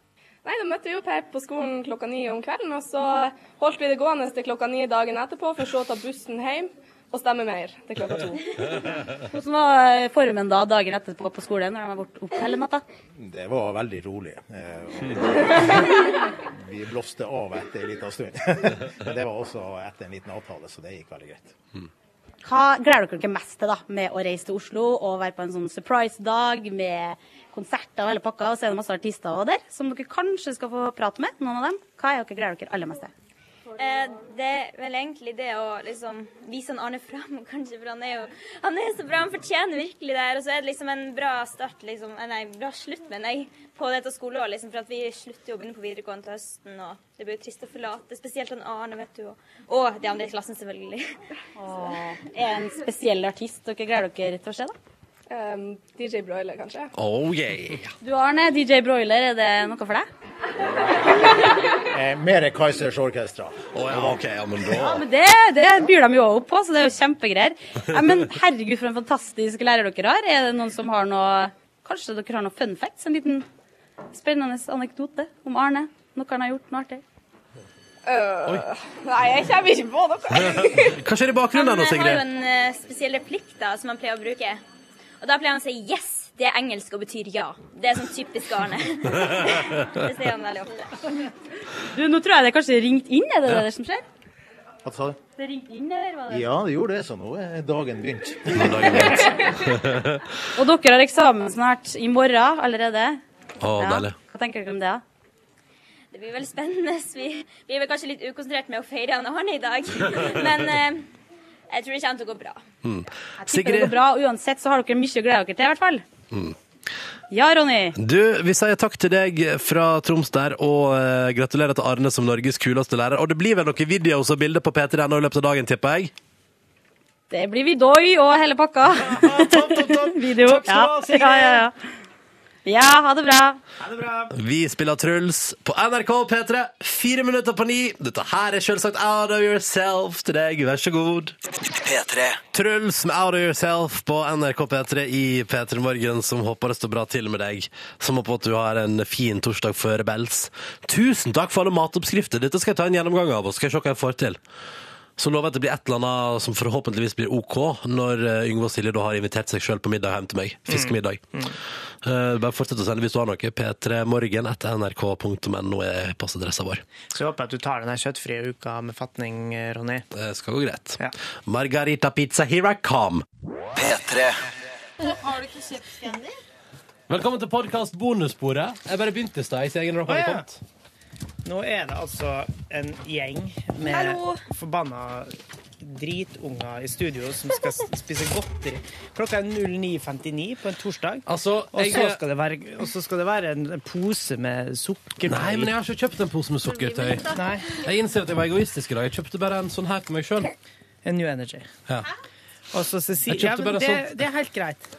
S: Nei, da møtte vi opp her på skolen klokka ni om kvelden, og så holdt vi det gående til klokka ni dagen etterpå, for så å ta bussen hjem og stemme mer til klokka to.
P: Hvordan var eh, formen da dagen etterpå på skolen når de var borte opp hele natta?
Q: Det var veldig rolig. Eh, og Vi blåste av etter en liten stund. <laughs> Men det var også etter en liten avtale, så det gikk veldig greit.
P: Hva gleder dere dere mest til da, med å reise til Oslo og være på en sånn surprise-dag med konserter og hele pakka, og så er det masse artister også der som dere kanskje skal få prate med, noen av dem. Hva er dere gleder dere aller mest til?
T: Eh, det er vel egentlig det å liksom vise han Arne fram, <laughs> kanskje, for han er jo han er så bra. Han fortjener virkelig det her. Og så er det liksom en bra start, liksom, eh, nei, bra slutt, mener jeg, på dette skoleåret. Liksom, for at vi slutter jo å begynne på videregående til høsten, og det blir jo trist å forlate. Spesielt han Arne, vet du. Og, og de andre i klassen, selvfølgelig.
P: Åh, er det en spesiell artist dere gleder dere til å se, da?
S: Em, DJ Broiler, kanskje?
B: Oh yeah!
P: Du Arne, DJ Broiler, er det noe for deg?
Q: Eh, Mer Kaizers Orkestra.
B: OK, ja, men da
P: Ja, men det, det byr de jo opp på, så det er jo kjempegreier. Ja, men herregud, for en fantastisk lærer dere har. Er det noen som har noe Kanskje dere har noen fun facts? En liten spennende anekdote om Arne? Noe han har gjort noe artig?
S: Øh, nei, jeg kommer ikke på noe.
B: Hva skjer i bakgrunnen der
T: Han har
B: nå,
T: jo
B: Sigrid?
T: en eh, spesiell replikk da, som han pleier å bruke. Og da pleier han å si 'yes'. Det er engelsk og betyr ja. Det er sånn typisk
Q: <laughs>
T: Arne. Det sier han veldig ofte.
P: Du, nå tror jeg det kanskje ringt inn, er det
Q: Ja.
P: det som skjer?
Q: Hva sa du?
P: Det ringte inn, eller var det?
Q: Ja, det gjorde det, så nå er dagen begynt.
P: Og dere har eksamen snart, i morgen allerede.
B: Å, deilig.
P: Hva tenker dere om det? da?
T: Det blir veldig spennende. så Vi vi er vel kanskje litt ukonsentrert med å feire han Arne i
B: <laughs>
T: dag, men eh, jeg tror det kommer til å gå bra.
B: Mm.
P: Jeg tipper det går bra, uansett så har dere mye å glede dere til, i hvert fall.
B: Mm.
P: Ja, Ronny.
B: Du, vi sier takk til deg fra Troms der, og eh, gratulerer til Arne som Norges kuleste lærer. Og det blir vel noen videoer og bilder på P3.no i løpet av dagen, tipper jeg?
P: Det blir Vidoi og hele
B: <laughs>
P: pakka. <laughs> Video.
C: Takk skal du ha, Sigrid.
P: Ja, ja, ja. ja, ha det bra.
B: Vi spiller Truls på NRK P3, fire minutter på ni. Dette her er selvsagt Out of Yourself til deg, vær så god.
C: P3.
B: Truls med Out of Yourself på NRK P3 i P3 Morgen, som håper det står bra til med deg. Som håper at du har en fin torsdag før Bells. Tusen takk for alle matoppskrifter. Dette skal jeg ta en gjennomgang av, og så skal jeg se hva jeg får til. Så lover jeg at det blir et eller annet som forhåpentligvis blir OK når eh, Yngve og Silje da har invitert seg sjøl på middag hjem til meg. Fiskemiddag. Eh, bare fortsett å sende hvis du har noe. P3morgen etter nrk.no er passadressa vår.
A: Så jeg håper at du tar den her kjøttfrie uka med fatning, eh, Ronny.
B: Det skal gå greit. Margarita pizza, here I come! P3.
R: Har du ikke kjøpt Scandy?
B: Velkommen til podkast bonussporet. Jeg bare begynte i stad. Jeg ser når dere
A: Å,
B: hadde
A: ja.
B: kommet.
A: Nå er det altså en gjeng med
B: Hallo.
A: forbanna dritunger i studio som skal s- spise godteri. Klokka er 09.59 på en torsdag. og,
B: Altså, jeg-
A: så skal det være, og så skal det være en en pose med sukkertøy.
B: Nei, men jeg har ikke kjøpt en pose med sukkertøy.
A: Nei.
B: Jeg innser at jeg var egoistisk i dag. Jeg kjøpte bare en sånn her til meg sjøl.
A: En New Energy.
B: Ja.
A: Og så Cecilie
B: Jeg kjøpte
A: ja, men
B: bare sånn-
A: det,
B: sånt.
A: det er helt greit.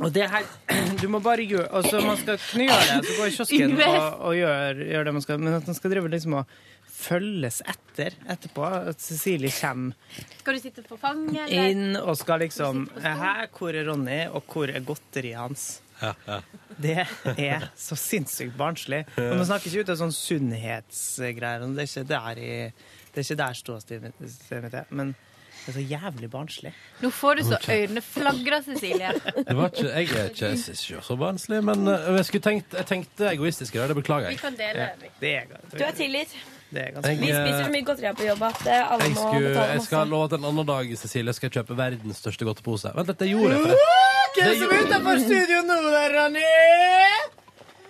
A: Og det er helt <clears throat> Du må bare gjøre Og så man skal kunne gjøre det. Så gå i
R: <laughs>
A: kiosken
R: Yngve.
A: og, og gjøre, gjøre det man skal. Men at man skal drive liksom og følges etter etterpå. At Cecilie kommer
R: Skal du sitte på fanget, eller?
A: inn og skal liksom Her, hvor er Ronny, og hvor er godteriet hans? Det er så sinnssykt barnslig. Og man snakker ikke ut av sånn sunnhetsgreier. og Det er ikke der, i, det er ikke der ståstedet mitt- stedet mitt er. Men det er så jævlig barnslig.
R: Nå får du så øynene flagrer, Cecilie.
B: Det var ikke, jeg er ikke, jeg synes ikke så barnslig, men eh, jeg, skulle tenkt, jeg tenkte egoistisk i dag. Det beklager
T: Vi
B: jeg.
T: kan dele,
B: Ja.
T: vi.
A: Det er greit.
T: Du er tilgitt.
A: Det er
B: ganske-
T: Vi
B: Jeg, eh,
T: spiser så mye godteri her på jobb at eh, alle
B: Jeg,
T: må
B: skulle,
T: betale
B: jeg skal
T: masse.
B: love at en annen dag Cecilie, skal jeg kjøpe verdens største godtepose. Vent litt, det gjorde jeg. forresten.
A: Hvem
B: Det
A: som
B: gjorde-
A: er utenfor studio nå, der, Ronny?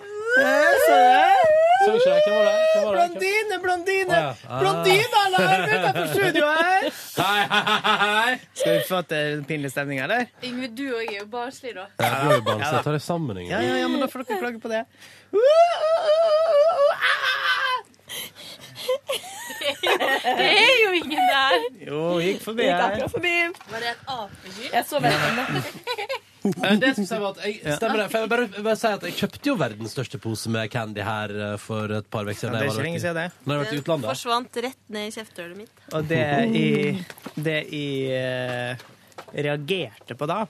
A: Eh, Så det?
B: Så ikke jeg, hvem var det? Hvem var det?
A: Blondine, blondine!
B: Å, ja. Ah.
A: Blondinene er utenfor studio her!
B: Hei, hei, hei!
A: Skal vi få til en pinlig stemning, eller?
R: Yngve, du òg er jo barnslig, da.
B: Ja, det var jo barnslig. Jeg tar det sammen, Ingrid.
A: Ja, ja, ja, men da
R: <laughs>
A: får dere klage på det.
R: Det er jo ingen der.
A: Jo, gikk forbi
R: Gikk
A: her.
R: akkurat Var det et apedyr?
S: Jeg så veldig
B: Eh, Det jeg skulle si var at jeg, stemmer det. For jeg vil bare, jeg vil bare si at jeg kjøpte jo verdens største pose med candy her eh, for et par uker siden.
A: Ja, det er
B: Jeg var
A: ikke lenge
B: i-
A: siden det.
B: Når jeg har vært i utlandet.
U: forsvant rett ned i kjeftehullet mitt.
A: Og det i, det i eh, reagerte på da,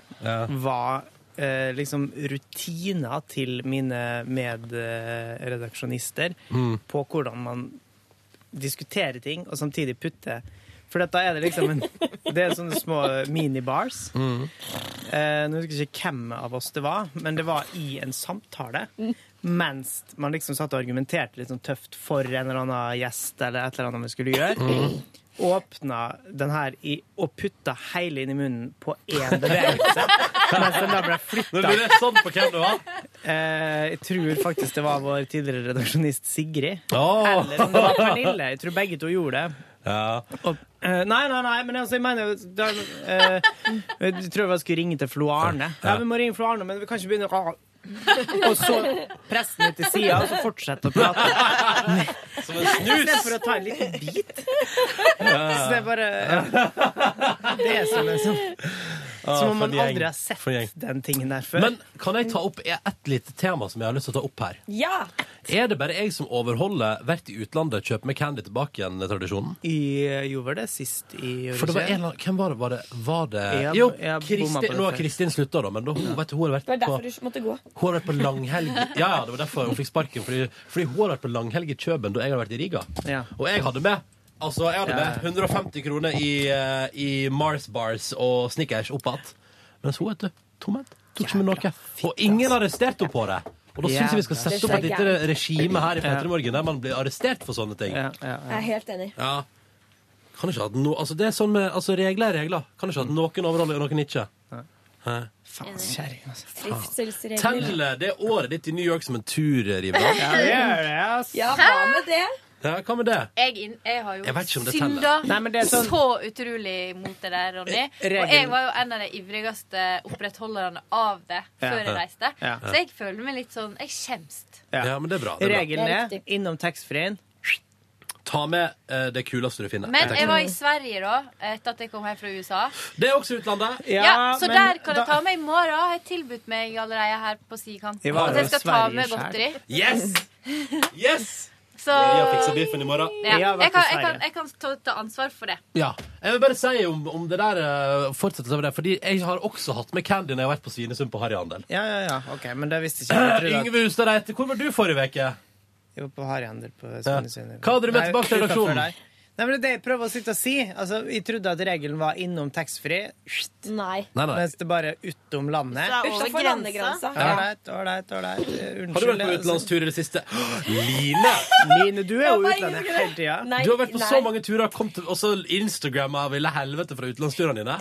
A: var eh, liksom rutiner til mine medredaksjonister
R: Mm.
A: på hvordan man diskuterer ting og samtidig putter. For da er det liksom en, det er sånne små minibars.
R: Mm.
A: Eh, nå husker jeg ikke hvem av oss det var, men det var i en samtale. Mens man liksom satt og argumenterte litt sånn tøft for en eller annen gjest eller et eller annet vi skulle gjøre.
R: Mm.
A: Åpna den her i, og putta hele inn i munnen på
R: <laughs>
A: én bevegelse. mens den altså, da ble
B: Nå
A: flytta.
B: blir det sånn på hvem det var.
A: Eh, jeg tror faktisk det var vår tidligere redaksjonist Sigrid.
B: Åh.
A: Eller om det var Pernille. Jeg tror begge to gjorde det. Og, eh, nei, nei, nei, men altså, jeg mener da, eh, Jeg tror jeg skulle ringe til Flo Arne. Ja, vi må ringe Flo Arne, men vi kan ikke begynne å Og så presse den ut til sida, og så fortsette å prate.
B: Som en snus.
A: Istedenfor å ta en liten bit.
B: Ja.
A: Så det er bare ja. Det er som en sånn
B: Ah,
A: Som om
B: for
A: man
B: en gjeng.
A: aldri har sett
B: For en gjeng.
A: den tingen der før.
B: Men kan jeg ta opp et lite tema som jeg har lyst til å ta opp her?
A: ja!
B: Er det bare jeg som overholder vært i utlandet, kjøp meg candy tilbake igjen-tradisjonen?
A: I, jo, var det sist i
B: For det var en eller annen Hvem var det? Var det, var det
A: Jeg-
B: Jo,
A: jeg bomma på
B: Kristin,
A: det
B: nå har
A: før.
B: Kristin slutta, da, men da, hun, vet, du, hun har vært
S: Det var derfor
B: på
S: du måtte gå.
B: Hun har vært på langhelg Ja, ja, det var derfor hun fikk sparken Fordi, fordi hun har vært på langhelg i Kjøben Da jeg har vært i Riga Og jeg hadde med Altså, jeg hadde
A: Ja.
B: med 150 kroner i, eh, i Mars Bars og Snickers opphatt Mens hun, vet du, tomhent Tok ikke med noe Og ingen
A: altså.
B: arresterte henne på det Og da synes jeg vi skal
A: Jævla
B: sette opp et
S: fitte.
B: lite regime her i
A: Ja.
B: Petremorgen Der man blir arrestert for sånne ting
S: Jeg er helt enig.
B: Ja. Kan ikke ha no, altså, det er sånn med altså, regler er regler Kan ikke ha noen overholder og noen ikke Hæ?
A: Faen, kjerring, altså.
S: Trivselsregler.
B: Teller det året ditt i New York som en tur,
R: <laughs>
B: Riva?
A: Ja, det gjør det, ass.
S: Ja, hva med det?
B: Ja, hva med det?
R: Jeg, inn, jeg har jo
B: Jeg vet ikke om det teller.
R: synda
A: Nei, men det er sånn-
R: så utrolig mot det der, Ronny.
A: Regel-
R: Og jeg var jo en av de ivrigste opprettholderne av det
A: Ja.
R: før jeg reiste.
A: Ja.
R: Så jeg føler meg litt sånn Jeg skjems.
A: Ja.
B: men det er bra. Det er bra.
A: Regelen er innom taxfree-en.
B: Ta med eh, det kuleste du finner.
R: Men jeg var i Sverige da, etter at jeg kom hjem fra USA.
B: Det er også utlandet.
R: Ja, Så der kan jeg ta med i morgen. Har jeg tilbudt meg allerede her på sidekanten.
B: Jeg var
R: At
B: jo
R: jeg skal ta
B: Sverige
R: med
B: selv.
R: godteri.
B: Yes! Yes!
R: <laughs> Så
B: Maria fikser biffen i morgen.
R: ja. jeg, kan, jeg, kan, jeg kan ta, ta ansvar for det.
B: Ja. Jeg vil bare si om, om det der eh, fortsettelse av det, fordi jeg har også hatt med candy når jeg har vært på Svinesund på harryhandel.
A: Ja, ja, ja. OK, men det visste ikke jeg. jeg.
B: <clears throat>
A: trodde at-
B: Yngve Hustad Reite, hvor var du forrige uke?
A: Jeg var på Harryhandel på Svinesund.
B: Hva hadde du med
A: Nei,
B: tilbake til
A: utenfor
B: redaksjonen?
A: der. Nei, men det er det jeg prøver å sitte og si. Altså, jeg trodde at regelen var innom taxfree,
D: Nei.
A: Nei, nei. mens det bare er utom landet.
D: Så det er over Utenfor grensa. landegrensa.
A: Ja. Ålreit, ålreit, ålreit. Eh,
B: Har du
A: Unnskyld. sånn-
B: vært på utenlandstur i det siste? <gasps> Line!
A: Line, du er jo i utlandet hele tida.
B: Du har vært på så mange turer, kom til, også Instagram av ville helvete fra utenlandsturene dine.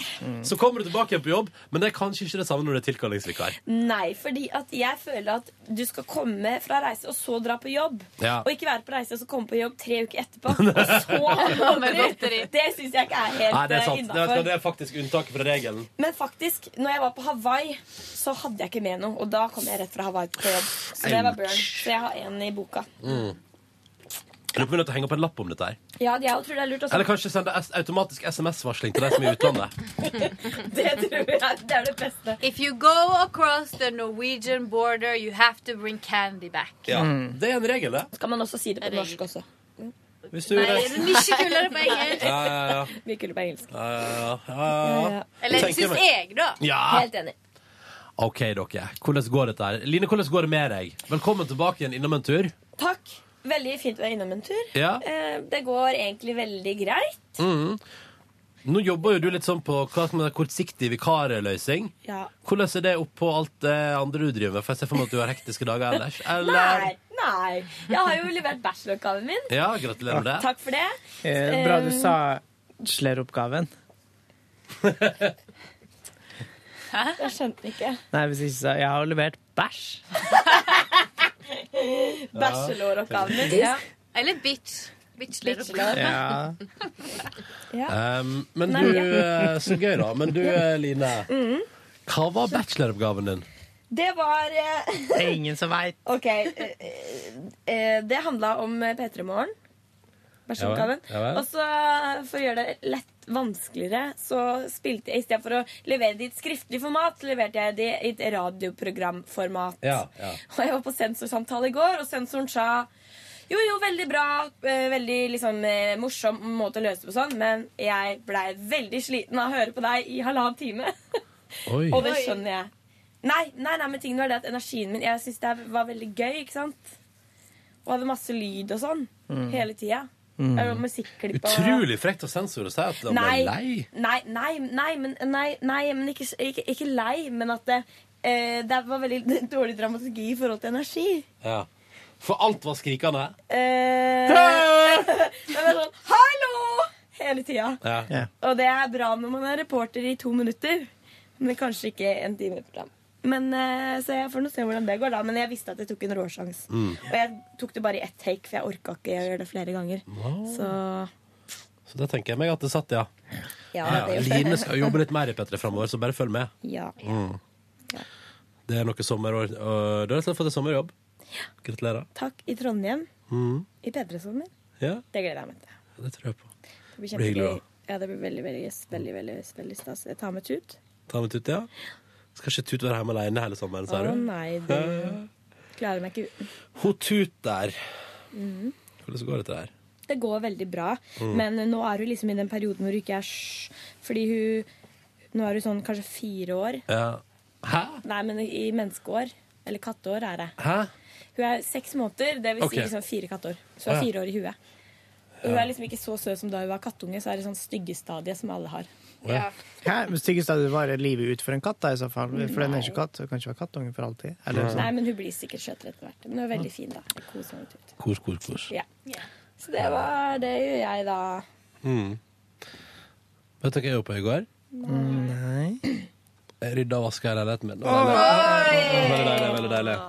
B: Så kommer du tilbake igjen på jobb, men det er kanskje ikke det samme når du er tilkallingsvikar.
D: Nei, fordi at jeg føler at du skal komme fra reise og så dra på jobb.
B: Ja.
D: Og ikke være på reise og så komme på jobb tre uker
B: <laughs>
D: etterpå. Og så
B: Med godteri.
D: Det syns jeg ikke er
B: Nei,
D: helt eh,
B: det er sant. Det, vet du hva,
D: innafor.
B: det er faktisk unntaket fra regelen.
D: Men faktisk, når jeg var på Hawaii, så hadde jeg ikke med noe. Og da kom jeg rett fra Hawaii på jobb. Så det var burn. Så jeg har en i boka.
B: Mm. Lurer på om vi er nødt til å henge opp en lapp om dette her.
D: Ja, jeg tror det er lurt også.
B: Eller kanskje sende S- automatisk SMS-varsling til de som er i utlandet.
D: Det tror jeg. <laughs> Det er det beste.
V: If you go across the Norwegian border, you have to bring candy back.
B: Ja. Det er en regel, det.
D: Skal man også si det på norsk også?
B: Hvis du
V: Nei, det er mye kulere på engelsk.
B: Ja, ja, ja.
D: <laughs> Mye kulere på engelsk.
B: Ja, ja, ja. ja.
V: Eller
B: Tenker
V: syns
B: meg-
V: jeg, da.
B: Ja. Helt
D: enig.
B: OK, dere. Hvordan går dette her? Line, hvordan går det med deg? Velkommen tilbake igjen innom en tur.
D: Takk. Veldig fint å være innom en tur.
B: Ja.
D: Eh, Det går egentlig veldig greit.
B: Mhm. Nå jobber jo du litt sånn på hva som er kortsiktig vikarløsning.
D: Ja.
B: Hvordan er det oppå alt det andre du driver med? For jeg ser for meg at du har hektiske dager ellers. Eller?
D: <laughs> Nei, nei. Jeg har jo levert bacheloroppgaven min.
B: Ja, gratulerer med det.
D: Takk for det.
A: Eh, bra du
D: Eh,
A: sa sleroppgaven.
D: Hæ? Jeg skjønte ikke.
A: Nei, hvis ikke sa jeg har levert bæsj.
D: Bacheloroppgaven min.
V: Ja. Eller bitch. Bitch-lærer.
B: Ja.
D: Ja.
B: Um, men
D: Nei,
B: du,
D: ja.
B: eh, så gøy da. Men du, eh, Line.
D: Mhm.
B: Hva var bacheloroppgaven din?
D: Det var eh,
A: Det er ingen som veit.
D: OK. eh, eh, Det handla om eh, P3 Morgen. Bacheloroppgaven.
A: Ja vel, ja vel.
D: Og så, for å gjøre det lett vanskeligere, så spilte jeg i stedet for å levere det i et skriftlig format, leverte jeg det i et radioprogramformat.
B: ja.
D: <laughs> Og jeg var på sensorsamtale i går, og sensoren sa jo, jo, veldig bra, eh, veldig liksom eh, morsom måte å løse det på sånn, men jeg blei veldig sliten av å høre på deg i halvannen time.
B: Oi.
D: og det skjønner jeg. Nei, nei, nei, men tingen var det at energien min Jeg syns det var veldig gøy, ikke sant? Og hadde masse lyd og sånn
B: Mm.
D: hele tida.
B: Mm.
D: Mm. Musikklipp og
B: Utrolig frekt av sensor å si at han ble
D: Nei,
B: lei.
D: Nei, nei, nei, men, nei, nei, men ikke, ikke, ikke lei, men at det, eh, det var veldig <laughs> dårlig dramaturgi i forhold til energi.
B: Ja. For alt var skrikende.
A: <laughs>
D: Eh, det var sånn 'hallo!' hele tida.
B: Ja.
D: Og det er bra når man er reporter i to minutter, men kanskje ikke en time i program. Men, eh, så jeg får nå se hvordan det går, da. Men jeg visste at jeg tok en råsjans.
B: Mm.
D: Og jeg tok det bare i ett take, for jeg orka ikke å gjøre det flere ganger.
B: Wow.
D: Så
B: Så det tenker jeg meg at det satt, ja.
D: ja,
B: Ja,
D: det gjorde jeg.
B: Line skal jobbe litt mer i P3 framover, så bare følg med.
D: Ja.
B: Mm. Det er noe sommerår og Du har rett og slett fått et sommerjobb. Gratulerer.
D: Takk i Trondheim.
B: Mm.
D: I P3-sommer.
B: Ja,
D: Det gleder jeg meg til.
B: det tror jeg på.
D: Det blir
B: Det blir hyggelig,
D: kjempegøy. Ja, det blir veldig, veldig, veldig, veldig, veldig stas. Jeg tar med tut.
B: Ta med tut, ja. Skal ikke Tut være hjemme alene hele
D: Å
B: sommeren, sa du?
D: nei, du klarer meg ikke uten.
B: Hun Tut der.
D: Mhm.
B: Hvordan går dette der?
D: Det går veldig bra,
B: Mm.
D: men nå er hun liksom i den perioden hvor hun ikke er sj... Fordi hun Nå er hun sånn kanskje fire år.
B: Ja. Hæ?
D: Nei, men i menneskeår. Eller katteår er det.
B: Hæ?
D: Hun er seks måneder, det vil
B: Ok.
D: si liksom fire katteår. Så hun er
B: Ah, ja.
D: fire år i huet. Og hun
A: Ja.
D: er liksom ikke så søt som da hun var kattunge, så er det sånn styggestadiet som alle har.
A: Ja. Hæ? Men styggest er det varer livet ut for en katt, da, i så fall. For den er ikke katt. Det kan ikke være kattunge for alltid. Eller
D: Nei,
A: sånn.
D: men hun blir sikkert skjøtere etter hvert. Men hun er veldig fin, da. Jeg Koser meg ut.
B: Kos, kos, kos.
D: Ja. Så det var det gjør jeg, da.
B: Mm. Vet dere hva jeg gjorde på i går? Nei.
A: sånn.
B: Jeg rydda og vaska i leiligheten min. Det var veldig- Veldig deilig. veldig deilig.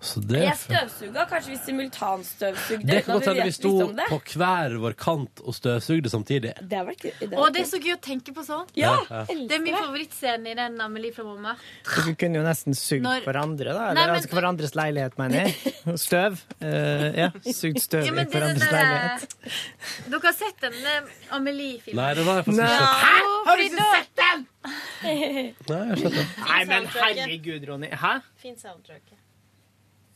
B: Så det
D: jeg støvsuga, kanskje vi simultanstøvsugde.
B: Det
D: uten at
B: kan godt hende vi
D: vet- visste
B: sto
D: om det.
B: på hver vår kant og støvsugde samtidig.
D: Det har vært gøy. det har
V: Å,
D: vært
V: det er
D: gøy.
V: så gøy å tenke på sånn.
B: Ja, Ja, ja.
V: Det er min favorittscene i den Amelie fra Mamma.
A: Dere kunne jo nesten sugd
V: Når-
A: hverandre, da.
V: Nei,
A: Eller
V: men-
A: altså hverandres leilighet, mener jeg. Støv. Eh, ja, sugd støv
V: Ja,
A: i
V: men det er den
A: hverandres
V: der-
A: leilighet.
V: Dere har sett den eh, Amelie-filmen?
B: Nei, det var jeg faktisk
A: Nei.
B: ikke.
A: Hæ?
V: Har du ikke sett den?!
B: Nei, jeg har ikke sett det.
A: Nei, men herregud, Ronny. Hæ?
D: Fint soundtrack.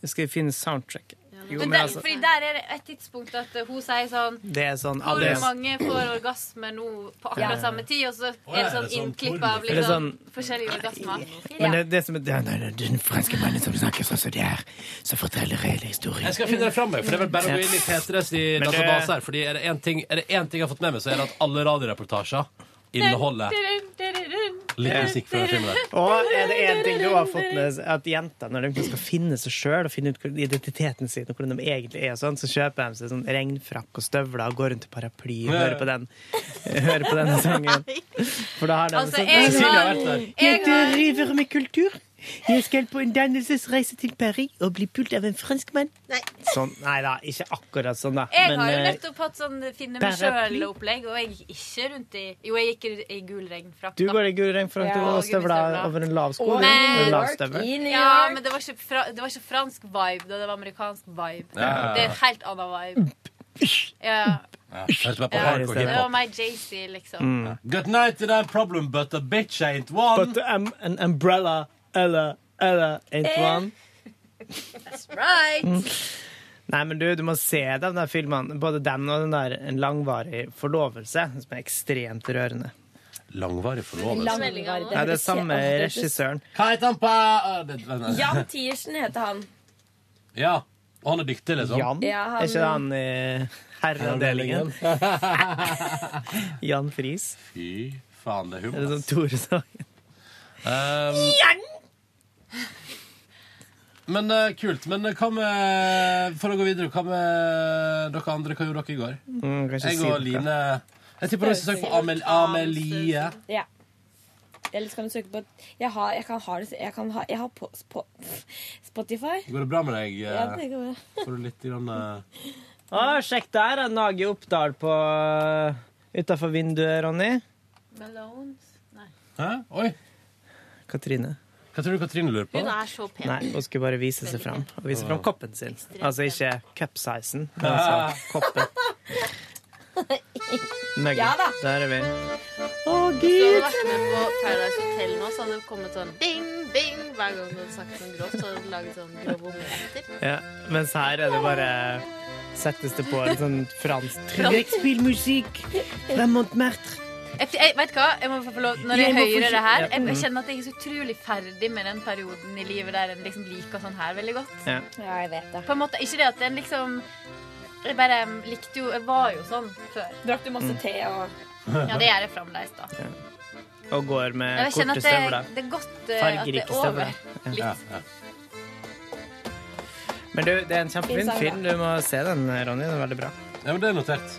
A: Jeg skal finne soundtracket. Jo, men
V: Men der,
A: altså,
V: fordi der er det et tidspunkt at eh, hun sier sånn
A: det er sånn
V: Hvor
A: alle-
B: <clears throat>
V: mange får orgasme nå på
A: Ja.
V: akkurat samme tid? Og så
A: ja,
V: er det sånn
A: det er sånn
V: innklipp av
A: porno. Er det
V: liksom,
A: sånn-
V: forskjellige orgasmer.
M: Men det, det som er det, det, det, Den franske mannen som snakker sånn som det her, som forteller reelle historier.
B: Jeg skal finne det fram, jeg, for det er vel bare å gå inn i P3s i
M: Men det-
B: database her. Fordi er det én ting, er det én ting jeg har fått med meg, så er det at alle radioreportasjer inneholder litt musikk fra den filmen der.
A: Og er det én ting du har fått med at jenter når de liksom skal finne seg sjøl og finne ut hvor- identiteten sin og hvordan de egentlig er, og sånn, så kjøper de seg sånn regnfrakk og støvler og går rundt i paraply og
M: Ja.
A: hører på den, <laughs> hører på denne sangen. For da har de
M: Altså,
A: sånn
M: jeg
A: Cecilie har
M: har-
A: vært der.
M: Jeg driver med kultur. Jeg skal på en dannelsesreise til Paris og bli pult av en franskmann.
A: Sånn, nei da, ikke akkurat sånn, da.
V: Jeg har jo
A: Men, eh,
V: nettopp hatt sånn finne meg
A: paraply.
V: sjøl-opplegg, og jeg gikk ikke rundt i Jo, jeg gikk i- i gul regnfrakk.
A: du
V: da.
A: går i gul regnfrakk
V: Ja,
A: og støvler
V: gummistøvler.
A: over en lav sko.
V: Og
A: eller En lav
V: York,
A: støvel.
V: Ja, men det var, ikke fra, det var ikke fransk vibe da, det var amerikansk vibe.
A: Ja, ja, ja.
V: Det er et helt annet vibe. Ja,
B: Ja, hørte meg på
V: ja
B: hardcore
V: det var
B: hiphop.
V: meg Jay-Z, liksom.
B: Mm. Good night to that problem, but the bitch ain't one.
A: But um, an umbrella eller eller ain't
V: Eh.
A: one.
V: That's
B: Mm.
V: right.
A: Nei, men du, du må se de der filmene. Både den og den der En langvarig forlovelse, som er ekstremt rørende.
B: Langvarig forlovelse.
D: Langvarig, det
A: Ja, det er
D: hørtes
A: samme
D: helt annerledes.
A: regissøren.
B: Hva heter han på øh,
D: Jan Tiersen heter han.
B: Ja. Og han er dyktig, liksom.
A: Jan?
D: Ja, han-
A: Er ikke det han i herreavdelingen? Jan Friis.
B: Fy faen, det er
A: Eller
B: humor.
A: som Tore sa.
B: Um, men eh, kult. Men eh, hva med For å gå videre, hva med dere andre? Hva gjorde dere i går?
A: Mm, kan ikke
B: jeg
A: si
B: og
A: noe.
B: Line Jeg tipper dere skal søke på Amel Amelie.
D: Ja. Eller så kan du søke på Jeg har, jeg kan ha, det- jeg kan ha, jeg har på, på Spotify.
B: Går det bra med deg? eh,
D: Ja, det går bra.
B: Får du litt grann, eh,
A: Å, sjekk der! er Nage Oppdal på utafor vinduet, Ronny.
V: Malones Nei.
B: Hæ? Oi!
A: Katrine.
B: Hva tror du Katrine lurer på?
V: Hun er så pen.
A: Nei, hun skulle bare vise seg fram. Og vise fram koppen sin. Altså ikke cupsizen, men
B: Ah.
A: altså koppen. Muggen.
V: Ja da.
A: Der er vi.
V: Å, Hvis du hadde vært med på Paradise Hotel nå, så hadde det kommet sånn ding, ding hver gang du hadde snakket sånn grovt. Så hadde du laget sånn grove omeletter.
A: Ja, mens her er det bare Settes det på en sånn fransk
M: Trekkspillmusikk fra Montmartre.
V: Jeg, jeg, vet du hva? Jeg må få lov, når jeg,
M: Jeg må få
V: hører
M: si-
V: det her,
M: ja.
V: jeg, jeg
M: Mhm.
V: kjenner at jeg er så utrolig ferdig med den perioden i livet der en liksom liker sånn her veldig godt.
A: Ja.
V: jeg vet det. På en måte, Ikke det at en liksom Jeg bare um, likte jo Jeg var jo sånn før.
D: Drakk du
B: Mm.
D: masse te og
V: Ja, det gjør jeg fremdeles, da.
A: Mm. og går med
V: Jeg kjenner
A: korte
V: at det,
A: støvler.
V: det er godt uh, at det
A: Fargerike
V: er over.
A: støvler. Ja. Men du, det er en kjempefin
D: Fin sang,
A: film. Du må se den, Ronny. Den er veldig bra.
B: Ja, men det er notert.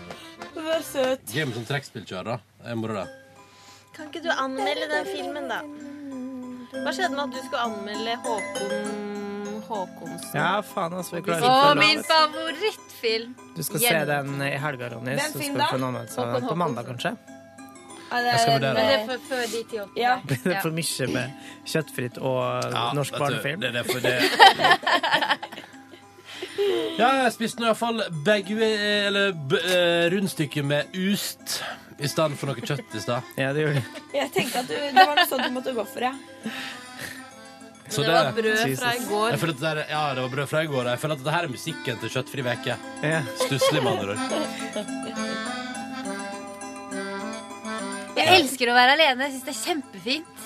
D: Vær søt.
B: Game som trekkspillkjører. Det er moro, det.
F: Kan ikke du anmelde den filmen, da? Hva skjedde med at du skulle anmelde Håkon Håkonsen?
A: Ja, faen, altså. Vi klarer
V: Å,
A: ikke å la
V: min
A: oss.
V: favorittfavorittfilm!
A: Du skal se den i helga, Ronny.
V: Hvem
A: Så
V: film
A: skal du
V: da?
A: få en anmeldelse
V: Håkon
A: på mandag, kanskje. <laughs>
V: Ja,
A: Jeg skal vurdere.
V: Men det er for- før de ti åttende.
A: Det er for mye med kjøttfritt og
B: Ja,
A: norsk
B: vet du,
A: barnefilm.
B: Det er derfor det <laughs> Ja, jeg spiste nå iallfall eller b eh, rundstykke med ost i stedet for noe kjøtt i stad.
A: Ja, det gjorde
D: Jeg tenkte at du, det var noe sånt du måtte gå for, ja.
B: Så
D: Det var brød fra Jesus. i går.
B: Jeg føler at det der, ja, det var brød fra i går. og Jeg føler at dette her er musikken til Kjøttfri veke.
A: Ja.
B: Stusslig, med andre ord.
V: Jeg elsker å være alene. Jeg syns det er kjempefint.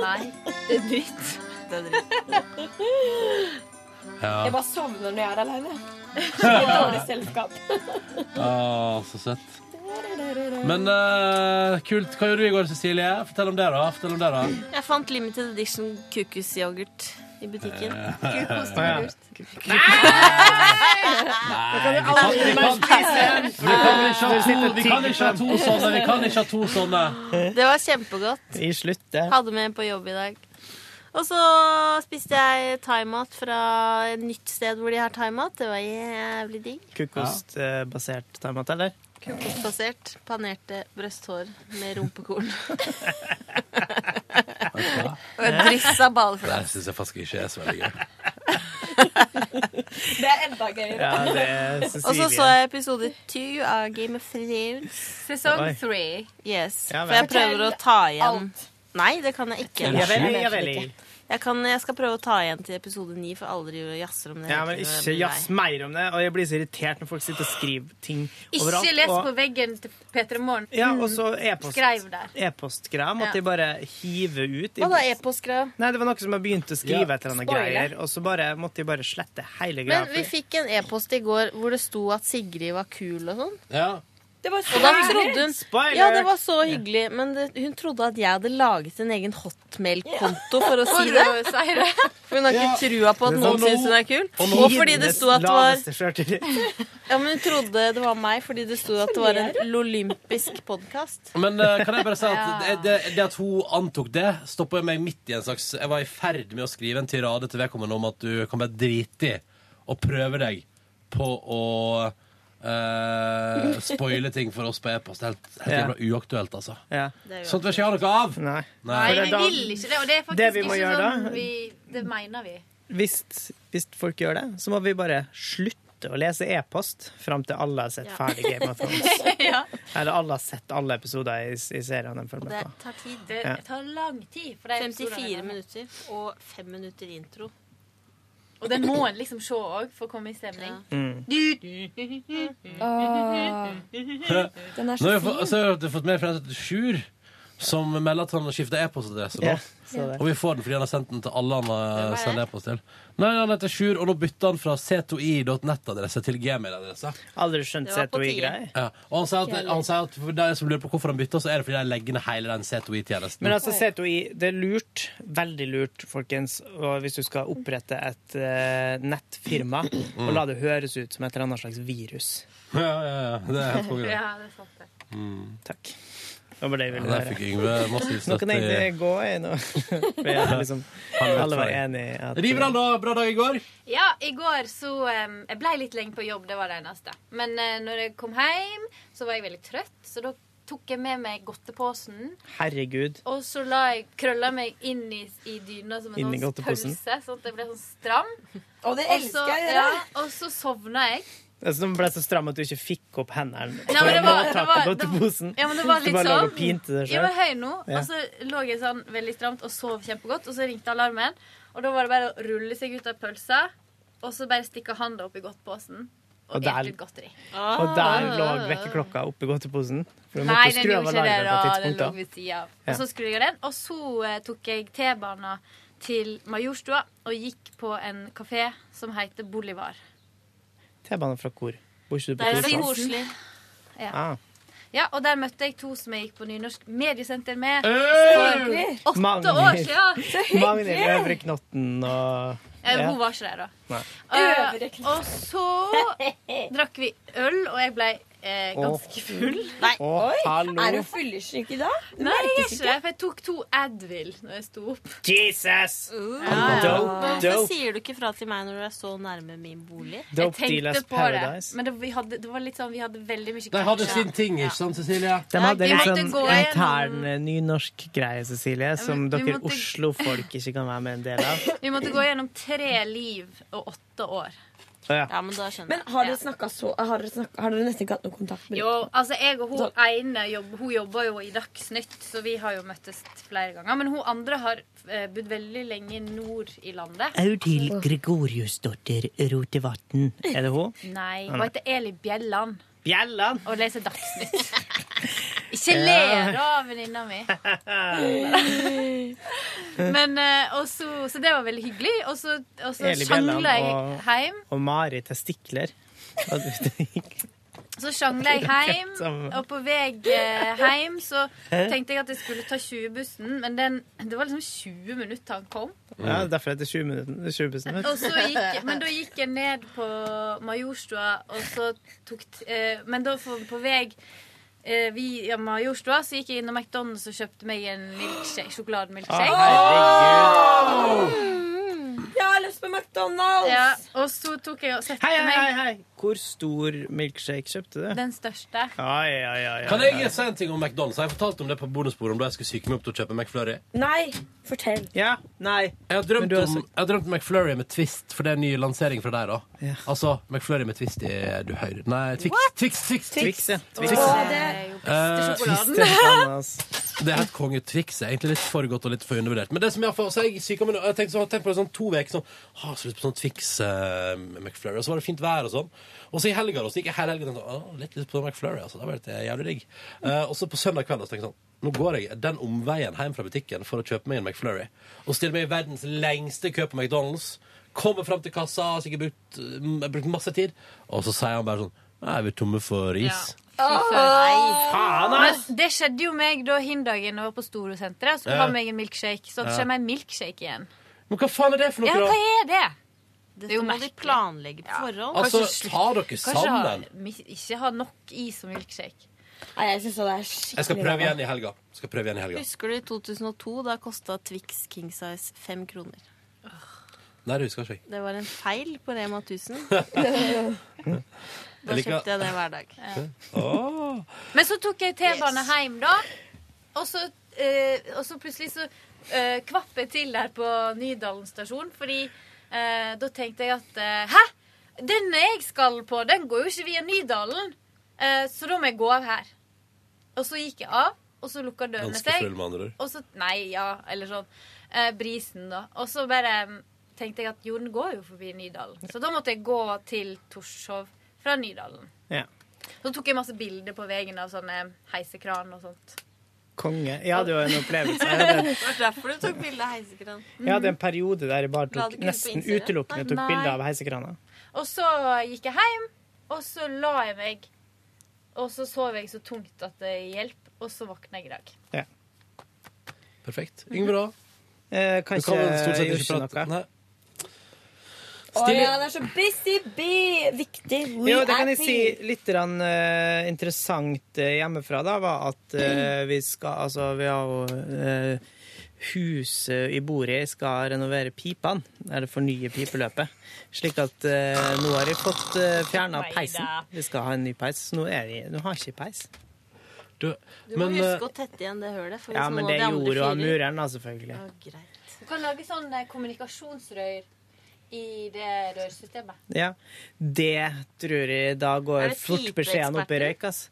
V: Nei, det er dritt. Det er dritt.
D: Jeg
B: Ja.
D: bare sovner når jeg er aleine. Skikkelig dårlig selskap.
B: Å, så søtt. Men eh, kult. Hva gjorde du i går, Cecilie? Fortell om det, da. Fortell om det, da.
F: Jeg fant limited edition kukusyoghurt i butikken.
B: Kukosyoghurt.
F: Nei!
B: Vi kan, vi kan ikke ha to, vi kan ikke ha to sånne. Vi kan ikke ha to sånne.
F: Det var kjempegodt.
A: I sluttet.
F: Hadde med på jobb i dag. Og så spiste jeg thaimat fra et nytt sted hvor de har thaimat. Det var jævlig digg.
A: Kukostbasert thaimat, eh, eller?
F: Kokosbasert, panerte brøsthår med rumpekorn. Og et dryss av
B: Det
F: ballflass.
B: syns jeg faktisk ikke er så veldig gøy.
D: Det er enda gøyere.
B: Ja, det
A: <laughs>
B: er
F: Og så
B: Cecilie.
F: så jeg episode two av Game of Thrones.
V: Sesong Oi. three.
F: Yes.
V: Ja vel.
F: For jeg prøver å ta igjen
V: Alt.
F: Nei, det kan jeg ikke.
V: Ja vel, ja vel.
F: Jeg, kan, jeg skal prøve å ta igjen til episode ni, for aldri jazzer om det.
A: Ja, men
F: Jeg
A: Ikke
F: blir
A: jazz
F: lei.
A: mer om det. Og jeg blir så irritert når folk sitter og skriver ting overalt.
V: Ikke les
A: og-
V: på veggen til Peter Morgen.
A: Ja, og så e-post.
V: Skreiv der.
A: E-postgreier måtte
V: Mm. Ja.
A: jeg bare hive ut.
V: Hva da,
F: e-postgreier?
A: Nei, det var noe som jeg begynte å skrive et eller annet
F: spoiler.
A: greier, og så bare, måtte jeg bare slette hele greia.
F: Men vi fikk en e-post i går hvor det sto at Sigrid var kul og sånn.
B: Ja.
F: Det
A: var
F: og da trodde hun
A: Spoiler!
F: Ja, det var så hyggelig, men det, hun trodde at jeg hadde laget en egen hotmail-konto for å
V: For
F: si
V: å
F: det.
V: si
F: <laughs>
V: det.
F: For hun har ikke trua på at
A: Men
F: noen
B: sånn
A: nå-
F: syns hun er kul.
A: og nå-
F: Og fordi det sto at det var
A: Laveste sjøltillit.
V: <laughs>
F: Ja, men hun trodde det var meg fordi det sto at det var en olympisk podkast.
B: Men eh, kan jeg bare
F: <laughs>
B: si at det, det, det at hun antok det, stoppa meg midt i en slags Jeg var i ferd med å skrive en tirade til vedkommende om at du kan bare drite i å prøve deg på å eh, spoile ting for oss på e-post. Helt, helt
A: Ja.
B: jævla uaktuelt, altså.
A: Ja.
B: Sånt vil ikke jeg ha noe av!
A: Nei.
V: Nei, vi vil ikke det. Og det er faktisk
A: Det vi må
V: ikke
A: gjøre
V: sånn
A: da-
V: vi Det mener vi.
A: Hvis, hvis folk gjør det, så må vi bare slutte å lese e-post fram til alle har sett
V: Ja.
A: ferdig Game
V: <laughs>
A: of Thrones.
V: ja.
A: Eller alle har sett alle episoder i, i serien de følger
F: Det
A: med på.
F: tar tid.
A: Det Ja.
V: tar lang tid. For det er
F: 54 minutter og 5 minutter intro.
V: Og det må en liksom se òg for å komme i stemning.
B: Mm.
V: Åh.
U: Den er
B: Nå har
U: så
B: vi fått,
U: fin.
B: så har vi fått med fra Sjur, som melder at han har skifta e-postadresse nå.
U: Ja, så det.
B: og vi får den fordi han har sendt den til alle han har sendt e-post til. Nei, han heter Sjur, og nå bytter han fra c2i.net-adresse til gmail-adresse.
A: Aldri skjønt E
B: Det var på
A: C2I-greier.
B: Ja. Og han sier at, han sier at for de som lurer på hvorfor han bytter, så er det fordi de legger ned hele den C2I-tjenesten.
A: Men altså, C2I, det er lurt, veldig lurt, folkens, og hvis du skal opprette et eh, nettfirma,
B: Mm.
A: og la det høres ut som et eller annet slags virus.
B: Ja, ja, ja. Det er helt konge. det. Mm.
A: Takk. Det var det jeg ville
B: Ja, der fikk Yngve massiv
A: Nå
B: støtte
A: kan jeg egentlig gå jeg nå. <laughs> For jeg er liksom,
B: Halvveis
A: alle var
B: ferdig.
A: enige i at
B: River han da, bra dag i går?
V: Ja, i går så um, Jeg ble litt lenge på jobb, det var det eneste. Men eh, når jeg kom hjem, så var jeg veldig trøtt, så da tok jeg med meg godteposen.
A: Herregud.
V: Og så la jeg krølla meg inn i, i dyna som en
A: Inn i
V: sånn
A: godteposen.
V: pølse, sånn at jeg ble sånn stram.
U: Og det
V: så-
U: elsker jeg, det
V: Ja,
U: der.
V: og så sovna jeg.
A: Altså, de ble så stramme at du ikke fikk opp hendene
V: Ja, men det var- det
A: tak
V: var-
A: på
V: det-
A: godteposen.
V: Ja, men det var
A: Du
V: litt
A: bare lå
V: sånn.
A: og pinte deg
V: Ja, men
A: selv.
V: høy nå.
A: Ja.
V: Og så lå jeg sånn veldig stramt og sov kjempegodt. Og så ringte alarmen, og da var det bare å rulle seg ut av pølsa, og så bare stikke handa opp i godtposen. Og,
A: Og
V: og
A: der-
V: litt godteri.
A: Og der lå vekkerklokka oppi godteposen. For du
V: Nei,
A: måtte
V: den
A: skru av
V: gjorde ikke det.
A: alarmen
V: da,
A: på
V: Den lå
A: tidspunktet.
V: ved siden av.
A: Ja.
V: Og så skrudde jeg den, og så eh, tok jeg T-banen til Majorstua og gikk på en kafé som heter Bolivar.
A: T-banen fra hvor? Bor ikke du på
V: Der er det
A: Torshov?
V: koselig. Ja.
A: Ah.
V: ja, og der møtte jeg to som jeg gikk på Nynorsk Mediesenter med for
A: Hey!
V: åtte år
A: Magnhild-
V: siden.
A: Magnhild Øvre Knotten og
V: Eh,
A: ja.
V: Hun var ikke der, da.
A: Nei.
V: Eh, og så drakk vi øl, og jeg ble eh, ganske full.
U: Nei,
A: Å,
U: oi!
A: hallo.
U: Er hun fyllesyk i dag? Det
V: Nei, jeg er
U: merkes
V: ikke det, for jeg tok to Advil når jeg sto opp.
A: Jesus! Dope,
F: Hvorfor
A: dope.
F: sier du ikke fra til meg når du er så nærme min bolig?
A: Dope
V: jeg tenkte
A: dealers
V: på
A: paradise.
V: det, men det, vi hadde, det var litt sånn, vi hadde veldig mye
B: De hadde
V: krasjer.
B: sin ting, ikke sant, Cecilie?
A: De hadde
V: vi
A: en
V: måtte
A: sånn
V: gå
A: intern eh, nynorsk greie, Cecilie, som
V: vi
A: dere
V: måtte-
A: Oslo-folk ikke kan være med en del
V: <laughs>
A: av.
V: Vi måtte gå gjennom tre liv og åtte år.
A: Å, ja.
V: men da skjønner
U: Men har dere snakka så Har dere, snakket, har dere nesten ikke hatt noe kontakt med
V: Jo, altså jeg og hun ene jobb, hun jobber jo i Dagsnytt, så vi har jo møttes flere ganger. Men hun andre har eh, bodd veldig lenge nord i landet.
E: Audhild Gregoriusdotter Rotevatn.
A: Er det hun?
V: Nei,
E: Å,
V: hun
E: nei.
V: heter Eli Bjelland
A: Bjelland?
V: og leser
A: <laughs>
V: Dagsnytt. Ikke
E: Ja.
V: le
A: Eh,
V: da, venninna <laughs> mi. Men, eh, og så- så det var veldig hyggelig. Og så, og så
A: Eli Bjelland
V: sjangla jeg
A: og-
V: hjem.
A: Og Mari Testikler. Og du-
V: Så sjangla <laughs> jeg hjem,
A: Samme.
V: og på vei eh, hjem så tenkte jeg at jeg skulle ta 20-bussen, men den, det var liksom 20 minutter til han kom.
A: Ja, derfor heter det 20 minutter. 20 bussen,
V: Og så gikk, men da gikk jeg ned på Majorstua, og så tok t- eh, Men da for, på vei eh, via Majorstua så gikk jeg innom McDonald's og kjøpte meg en milkshake, sjokolademilkshake.
A: Ah.
U: Å,
V: Jeg har lyst på McDonald's! Ja, og så tok jeg og sette
A: Hei, hei, hei,
V: meg
A: hei. Hvor stor milkshake kjøpte du?
V: den største.
A: Ai, ai, ai, ai,
B: Kan jeg si en ting om McDonald's? Jeg fortalte om det på bonusbordet om da jeg skulle psyke meg opp til å kjøpe McFlurry.
U: Nei, fortell.
A: Ja, nei.
B: Jeg har drømt om, jeg har drømt om McFlurry med twist, for det er en ny lansering fra deg, da. Altså McFlurry med twist i du høyre. Nei, Twix. Eh, Twix, Twix,
A: Twix, ja.
B: Twix.
A: Twix. Å, det er jo beste sjokoladen. Twix, det er faen,
B: Det er et kongetriks. Det er Egentlig litt for godt og litt for undervurdert. Men det som jeg har for, så er jeg syk om en- og jeg tenkte så, tenk på det sånn to uker sånn Har så lyst på sånn Twix eh, McFlurry. Og så var det fint vær og sånn. Og så i helga, da, så gikk jeg hele helgen og tenkte sånn, «Å, litt lyst på McFlurry. Altså, det var litt eh, jævlig digg. Eh, og så på søndag kveld da, så tenkte jeg sånn nå går jeg den omveien hjem fra butikken for å kjøpe meg en McFlurry. Og stiller meg i verdens lengste kø på McDonald's. Kommer fram til kassa, har sikkert brukt, mm, jeg har brukt masse tid. Og så sier han bare sånn Nei, vi er tomme for is. Faen,
V: Men
B: ass!
V: det skjedde jo meg da hindagen var på Storosenteret. Skulle
B: Ja.
V: ha meg en milkshake. Så
B: Ja.
V: skjer meg en milkshake igjen.
B: Men hva faen er det for noe,
V: Ja,
B: da?
V: hva er det?
F: Det
V: er jo
F: må de
V: merkelig.
F: planlegge på forhold.
B: Altså,
V: Kanskje slutt-
B: ta dere
V: Kanskje ha,
B: sammen.
V: mis- ikke ha nok is og milkshake.
U: Nei, jeg synes det er skikkelig
B: Jeg skal prøve
U: bra.
B: igjen i helga. Skal prøve igjen i helga.
F: Husker du i 2002? Da kosta Twix King Size fem kroner.
B: Nei, det husker jeg ikke.
F: Det var en feil på Rema
B: <laughs>
F: 1000.
B: Jeg
F: Da
B: liker-
F: kjøpte jeg det hver dag.
B: Åh.
V: Men så tok jeg T-bane hjem, da. Og så, eh, og så plutselig så eh, kvapp jeg til der på Nydalen stasjon, fordi eh, da tenkte jeg at eh, Hæ! Den jeg skal på, den går jo ikke via Nydalen. Eh, så da må jeg gå av her. Og så gikk jeg av, og så lukka dørene
B: Ganske
V: seg.
B: full, med andre ord.
V: Og så Nei, ja, eller sånn. Eh, brisen, da. Og så bare mm, tenkte jeg at jo, den går jo forbi Nydalen. Så da måtte jeg gå til Torshov fra Nydalen.
A: Ja.
V: Så tok jeg masse bilder på veien av sånne heisekran og sånt.
A: Konge. Jeg hadde jo en opplevelse. Jeg hadde,
F: derfor du tok bilde av heisekran.
A: jeg hadde en periode der jeg bare
V: La
A: tok
V: det ikke ut på
A: nesten
V: Instagram.
A: utelukkende tok
V: Nei.
A: bilder av heisekrana.
V: Og så gikk jeg hjem, og så la jeg meg. Og så sov jeg så tungt at det hjelp, og så våkna jeg i dag.
B: Perfekt. Yngve, da?
A: Eh,
B: Du
A: kanskje
B: kan vel stort sett
A: jeg
B: ikke
A: gjorde
B: prate.
A: ikke noe.
B: Nei.
U: Å ja, det er så busy bee! Viktig. We
A: Jo, det kan
U: are
A: jeg si
U: bee.
A: litt grann, eh, interessant eh, hjemmefra, da, var at eh,
F: Mm.
A: vi skal Altså, vi har jo eh, Huset i bordet skal renovere pipene, eller fornye pipeløpet. Slik at eh, nå har jeg fått uh, fjerna
F: Neida.
A: peisen. Vi skal ha en ny peis. så Nå, er jeg, nå har jeg ikke peis.
F: Du må huske å tette igjen det hølet. For
A: Ja,
F: hvis
A: men
F: noen
A: det
F: av de andre
A: gjorde jo
F: fyrer-
A: mureren, da, selvfølgelig.
V: Du kan lage sånn eh, kommunikasjonsrør i det rørsystemet.
A: Ja, Det tror jeg da
V: Er
A: går
V: det
A: fort beskjeden opp i
V: pipeeksperter?
A: røyk, ass.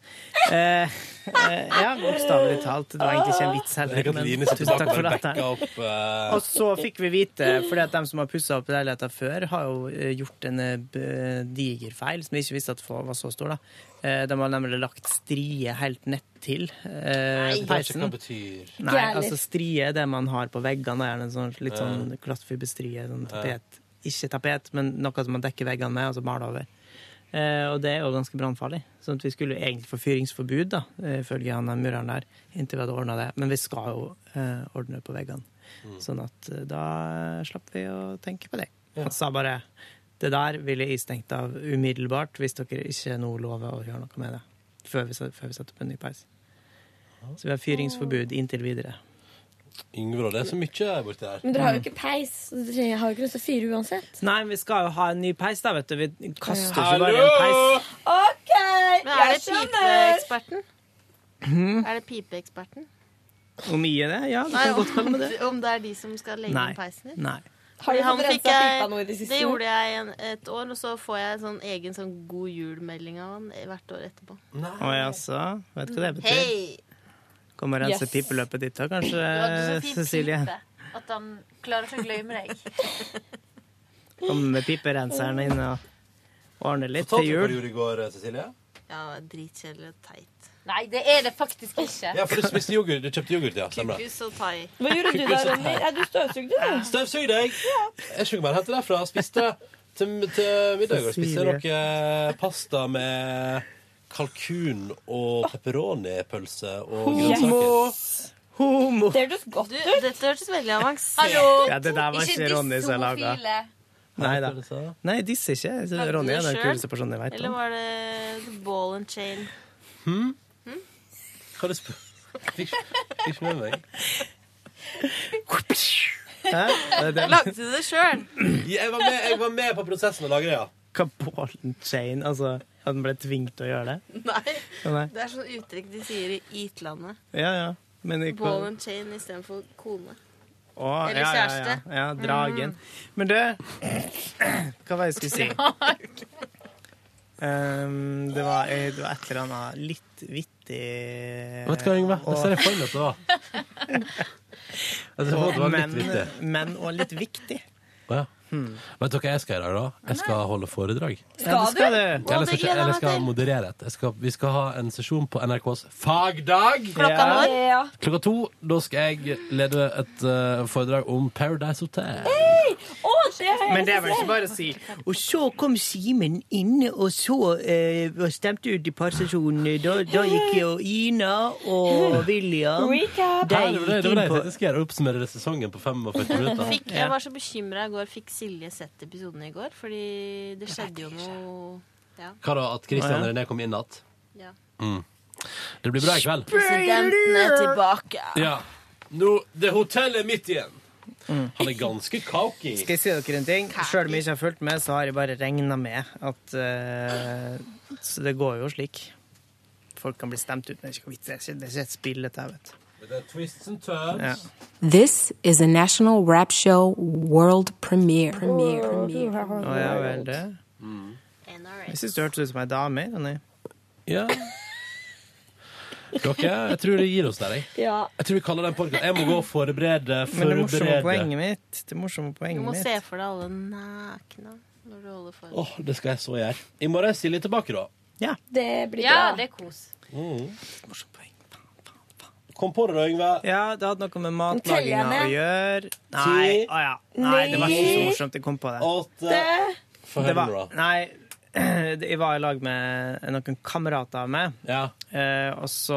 A: Eh, eh, ja, bokstavelig talt. Det var egentlig ikke en vits
B: eh, Jeg
A: heller,
B: liker at
A: men
B: Line sitter bak
A: tusen takk
B: og
A: for
B: backer
A: dette.
B: opp, eh.
A: Og så fikk vi vite, fordi at de som har pussa opp leiligheter før, har jo eh, gjort en eh, b- diger feil som vi ikke visste at var så stor, da. Eh, De har nemlig lagt strie helt nett til eh,
B: Jeg vet ikke
A: peisen.
B: hva det betyr.
A: Nei, altså strie er det man har på veggene. Gjerne sånn, litt sånn glattfiberstrie, sånn tapet. Ikke tapet, men noe som man dekker veggene med, og så maler over. Eh, og det er jo ganske brannfarlig. Sånn at vi skulle jo egentlig få fyringsforbud, da, eh, ifølge han der mureren der, inntil vi hadde ordna det. Men vi skal jo eh, ordne på veggene. Sånn at eh, da slapp vi å tenke på det. Han sa bare det der ville jeg stengt av umiddelbart hvis dere ikke nå lover å gjøre noe med det. Før vi, før vi setter opp en ny peis. Så vi har fyringsforbud inntil videre.
B: Yngve, da. Det er så mye borti der.
G: Men dere har jo ikke peis, så dere har jo ikke lyst til å fyre uansett.
A: Nei, men vi skal jo ha en ny peis, da, vet du. Vi kaster ikke
G: Hallo!
A: bare en peis.
U: OK,
F: Men er
U: jeg
F: det
U: skjønner!
F: pipeeksperten?
A: Hmm.
F: Er det pipeeksperten?
A: Hvor mye er det? Ja, det
F: Nei,
A: kan
F: om,
A: godt kalle det det.
F: om det er de som skal legge
A: Nei.
F: inn peisen din?
A: Nei.
U: Har du
F: Han
U: fått rensa
F: fikk jeg-
U: pipa noe i det siste?
F: Det gjorde jeg en, et år, og så får jeg en sånn egen sånn god jul-melding av han hvert år etterpå.
A: Å jaså. Vet du hva det betyr?
F: Hei!
A: Kom og rense
F: Yes.
A: pipeløpet ditt da, kanskje,
V: Du hadde så fin
A: Cecilie.
V: pipe at han klarer ikke å glemme deg.
A: Kom med piperenseren inn og ordne litt
B: Fortalte
A: til
B: du hva du
A: jul.
B: gjorde i går, Cecilie?
F: Ja, dritkjedelig og teit.
V: <laughs> Nei, det er det faktisk ikke.
B: Ja, for du spiste yoghurt. Du kjøpte yoghurt, ja. Stemmer det.
F: Kukus og thai.
U: Hva gjorde du da, Ronny? Ja, du støvsugde, du.
B: Støvsug deg. Jeg skjønner bare hente derfra. Spiste til, til middag og spiste
A: Cecilie.
B: noe pasta med kalkun og pepperoni-pølse og
A: Homo.
B: grønnsaker.
A: Homo!
U: Det hørtes godt
F: ut. Dette hørtes veldig avansert
V: Hallo!
A: Ja, det der var ikke Ronny som laga.
V: homofile.
A: Nei da. Nei, disse ikke. Ronny er den kuleste personen jeg veit
F: Eller
A: om.
F: var det ball and chain?
B: Hm? Hva er det spør... Fikk fikk ikke med meg.
A: Hæ? Er det den?
F: Lagde du det sjøl?
B: Jeg var med, jeg var med på prosessen å lage det, ja.
A: Hva ball and chain? Altså, at han ble tvunget til å gjøre det?
F: Nei.
A: Å, nei.
F: Det er sånn uttrykk de sier i Ytlandet.
A: Ja, ja. Men ikke
F: Ball and chain istedenfor kone.
A: Å,
F: Eller
A: ja, ja, ja.
F: kjæreste. Mm.
A: ja, dragen. Men du <clears throat> Hva var det jeg skulle Ehm, si? Um, det, var, eh, det var et eller annet litt vittig viktig.
B: Vet du hva, Yngve? Det ser jeg for meg at det var. Altså, Jeg ser for meg at det var litt
A: men, Hmm.
B: viktig.
A: men og litt viktig.
B: Å, ja. Vet dere hva jeg skal gjøre i dag? da? Jeg skal holde foredrag.
A: Ja, det skal du. du.
B: Eller skal,
A: Å, det gleder jeg
B: eller
A: meg
B: skal
A: til.
B: moderere et. Jeg skal, vi skal ha en sesjon på NRKs fagdag.
U: Klokka når? Ja.
B: Klokka to. Da skal jeg lede et eh, foredrag om Paradise Hotel.
E: Men det er vel ikke bare å si Og så kom Simen inn, og så eh, og stemte ut i parsesjonen. Da, da gikk jo Ina og
F: <laughs>
E: William
B: Ja,
E: de
B: det var det, det, var
E: gikk
B: det
E: inn
B: jeg
E: på
B: tenkte jeg skulle gjøre. Oppsummere sesongen på 45 minutter.
F: Fikk, jeg var så bekymra i går. Fikk Silje sett episoden i går? Fordi det skjedde jo noe ja.
B: Hva da? At Christian
F: Å, ja.
B: René kom inn igjen?
F: Ja.
B: Mm. Det blir bra i kveld.
U: Presidenten er tilbake.
B: Ja. Nå, det hotellet er mitt igjen. Han er ganske cocky.
A: Skal jeg si dere en ting? Sjøl om jeg ikke har fulgt med, så har jeg bare regna med at eh, Så det går jo slik. Folk kan bli stemt ut, men det er ikke noe vits. Det er ikke- det er ikke et spill, dette her, vet du.
B: Det er twists and turns.
A: Ja.
K: This is a national rap show world premiere. Premiere. Premiere.
A: Å ja vel, det. Jeg syns du hørtes ut som ei dame. Ronny.
B: Ja. Dere, jeg tror det gir oss der, jeg.
A: Ja.
B: Jeg tror vi kaller den podkasten Jeg må gå og forberede,
A: Men det morsomme
B: forberede.
A: poenget mitt Det morsomme
F: Du
A: poenget
F: må se
A: mitt
F: for deg alle nakne når du holder for
B: Åh, det skal jeg så gjøre. I morgen er Silje tilbake, da.
U: Det blir
F: Ja,
U: bra.
F: det er kos.
B: Kom på det, da, Yngve.
A: Ja, det hadde noe med
U: Teller jeg
A: matlaginga å
U: ned?
A: gjøre. Nei,
B: Ti,
A: å ja. nei, det var ikke så
B: ni,
A: morsomt. Jeg kom på det.
B: åtte. Få høre
A: Det var,
B: nå, da.
A: nei, <clears throat> det- jeg var i lag med noen kamerater av meg. Eh, og så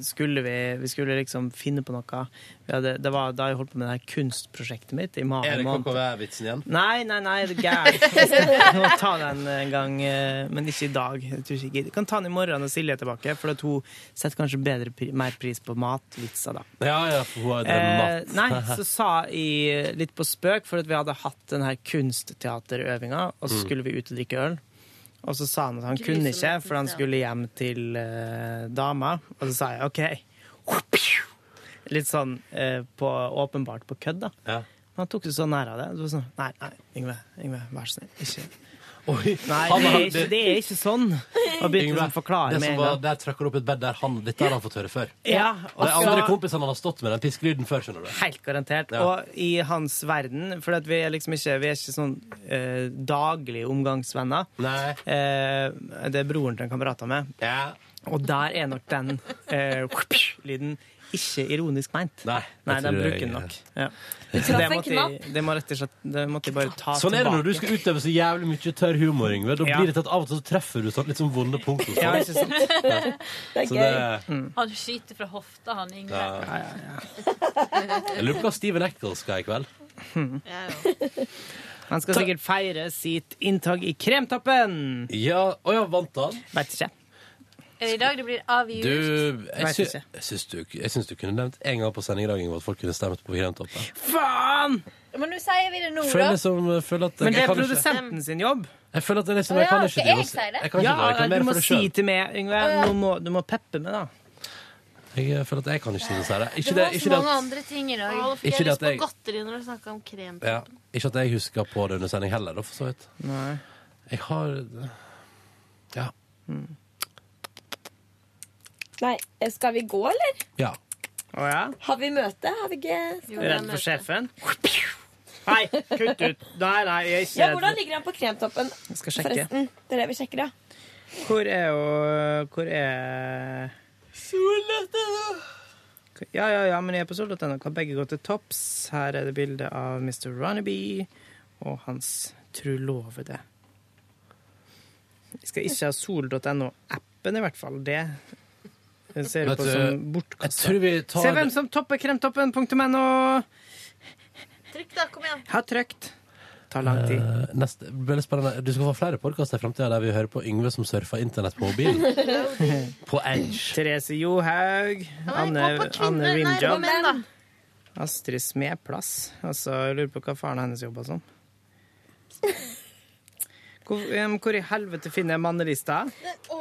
A: skulle vi Vi skulle liksom finne på noe. Vi hadde, det var da jeg holdt på med det her kunstprosjektet mitt i mai
B: Er det
A: måned.
B: KKV-vitsen igjen?
A: Nei, nei, nei, det er gærent. Må ta den en gang, eh, men ikke i dag. Jeg tror ikke jeg gidder. kan ta den i morgen når Silje er tilbake, for at hun setter kanskje bedre, pri- mer pris på matvitser da.
B: Ja, ja, for hun har drømt
A: Eh, nei,
B: <laughs>
A: så sa jeg litt på spøk, for at vi hadde hatt den her kunstteaterøvinga, og så
B: Mm.
A: skulle vi ut og drikke øl. Og så sa han at han
E: Grisematen,
A: kunne ikke, for han
E: ja.
A: skulle hjem til eh, dama. Og så sa jeg OK. <laughs> Litt sånn eh, på, åpenbart på kødd, da. Men han tok det så nær av det. Det var sånn, nei, nei, Yngve, Yngve, vær så snill. Ikke Nei,
B: han
A: det er
B: har-
A: ikke, det er ikke sånn. Og begynte liksom å forklare
B: det
A: med
B: som
A: en
B: var,
A: gang.
B: der trakk han opp et bed der han Dette har han fått høre før.
A: Ja, og
B: de andre
A: så-
B: kompisene han har stått med den piskelyden før, skjønner du.
A: Helt garantert.
B: Ja.
A: Og i hans verden, for at vi er liksom ikke, vi er ikke sånn eh, daglige omgangsvenner. Eh, det er broren til en kamerat av meg. Og der er nok den eh, lyden ikke ironisk meint. Nei, den
B: tror jeg-
A: bruker den nok. Ja.
B: Du
A: Så
B: traff
A: det
B: en
A: måtte jeg- Det må rett og slett det måtte jeg bare ta
B: Sånn er det når du
A: tilbake.
B: skal utøve så jævlig mye tørr humor, Yngve. Da
A: Ja.
B: blir det til at av og til så treffer du sånn litt sånn vonde punkt. hos
A: Ja,
B: folk.
A: ikke sant?
B: Ja.
A: Det er
B: Så
A: gøy. Mm.
B: det-
V: Han skyter fra hofta, han Yngve.
B: Ja. Jeg lurer på hva Steven Eccles skal i kveld.
A: Han skal sikkert feire sitt inntak i Kremtoppen!
B: Ja, Å ja, vant han?
A: Veit ikke.
V: Er det i dag det blir avgjort?
B: Du, jeg,
A: Vet
B: sy
A: ikke.
B: jeg, syns du, jeg syns du kunne nevnt en gang på sending i dag Yngve, at folk kunne stemt på Kremtoppen.
A: Faen!
V: Men nå sier vi det nå,
B: Føler
V: da.
B: liksom, jeg føler at jeg
A: Men det er
B: kan ikke-
A: produsenten sin jobb.
B: Jeg føler at det er liksom,
V: Å
B: jeg
V: ja,
B: kan
V: skal
B: ikke
V: jeg
B: drive og-
V: si det?
B: Jeg kan ikke
A: ja,
B: drive og reklamere
A: du må
B: for det
A: si
B: sjøl.
A: til meg, Yngve.
V: Å, ja.
A: Nå må, du må peppe meg, da.
B: Jeg føler at jeg kan ikke si det. Sara. Ikke
V: Det
B: det,
V: var
B: ikke
V: så
B: det
V: mange
B: at,
V: andre ting i dag.
F: Å, nå fikk
B: Ikke
F: jeg
B: det
F: lyst
B: at
F: på
B: jeg-
F: godteri når du snakka om krem.
B: ja, ikke at jeg husker på det under sending heller, da, for så vidt.
A: Nei.
B: Jeg har Ja.
U: Nei, eh, skal vi gå, eller?
B: ja.
A: Å ja?
U: Har vi møte? Har vi ikke skal vi-
A: Redd for sjefen? Nei, kutt ut. Nei, nei, jeg er ikke
U: Ja, hvordan ligger han på kremtoppen?
A: Jeg skal sjekke.
U: Forresten, det er det vi sjekker, ja.
A: Hvor er jo Hvor er Ja, ja, ja, men jeg er på sol.no. Kan begge gå til topps. Her er det bilde av Mr. Runaby og hans trulovede. Jeg skal ikke ha sol.no-appen, i hvert fall. Det ser
B: Vet
A: ut på
B: du,
A: som
B: jeg
A: bortkasta.
B: tror vi tar
A: Se hvem som topper kremtoppen.no!
F: Trykk, da. Kom igjen.
A: Har trykt. Tar lang tid.
B: neste, det blir litt spennende. Du skal få flere podkaster i framtida der vi hører på Yngve som surfer internett på mobilen.
A: <laughs>
B: På Edge.
A: Therese Johaug. Anne, Anne Windjob. Astrid Smeplass. Altså, jeg lurer på hva faren hennes
F: <laughs>
A: jobba som. Hvor, em, hvor i helvete finner jeg mannelista?
F: Gå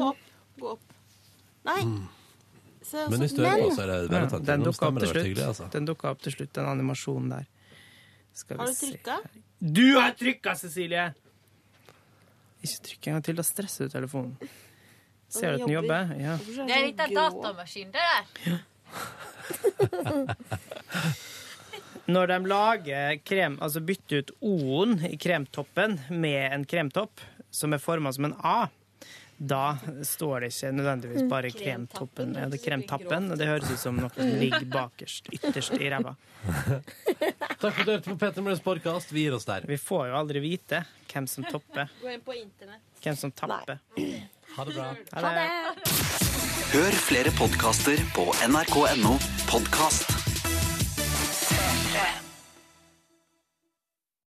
F: opp. Gå opp. Nei. Se,
B: Men
F: så-
B: i større grad så er det
A: Ja,
B: bare å ta
A: den
B: Nå
A: dukka opp
B: stemmer
A: til
B: det
A: slutt.
B: veldig hyggelig, altså.
A: Den dukka opp til slutt, den animasjonen der. Skal
F: Har
A: vi
F: du
A: se
F: trykka?
A: Du har trykka, Cecilie! Ikke trykk en gang til, da stresser du telefonen. Ser du at den jobber? Ja.
V: Det er litt av datamaskin, det der.
A: Når de lager krem, altså bytter ut O-en i kremtoppen med en kremtopp som er forma som en A, da står det ikke nødvendigvis bare
E: Mm.
A: kremtoppen. Ja, det er kremtappen, og det høres ut som noe som ligger bakerst, ytterst i ræva.
B: Takk for at du hørte på Petter Møllers podkast. Vi gir oss der.
A: Vi får jo aldri vite hvem som topper,
V: Gå inn på internett.
A: hvem som tapper.
B: Ha det bra.
V: Ha det.
C: Hør flere podkaster på nrk.no podkast.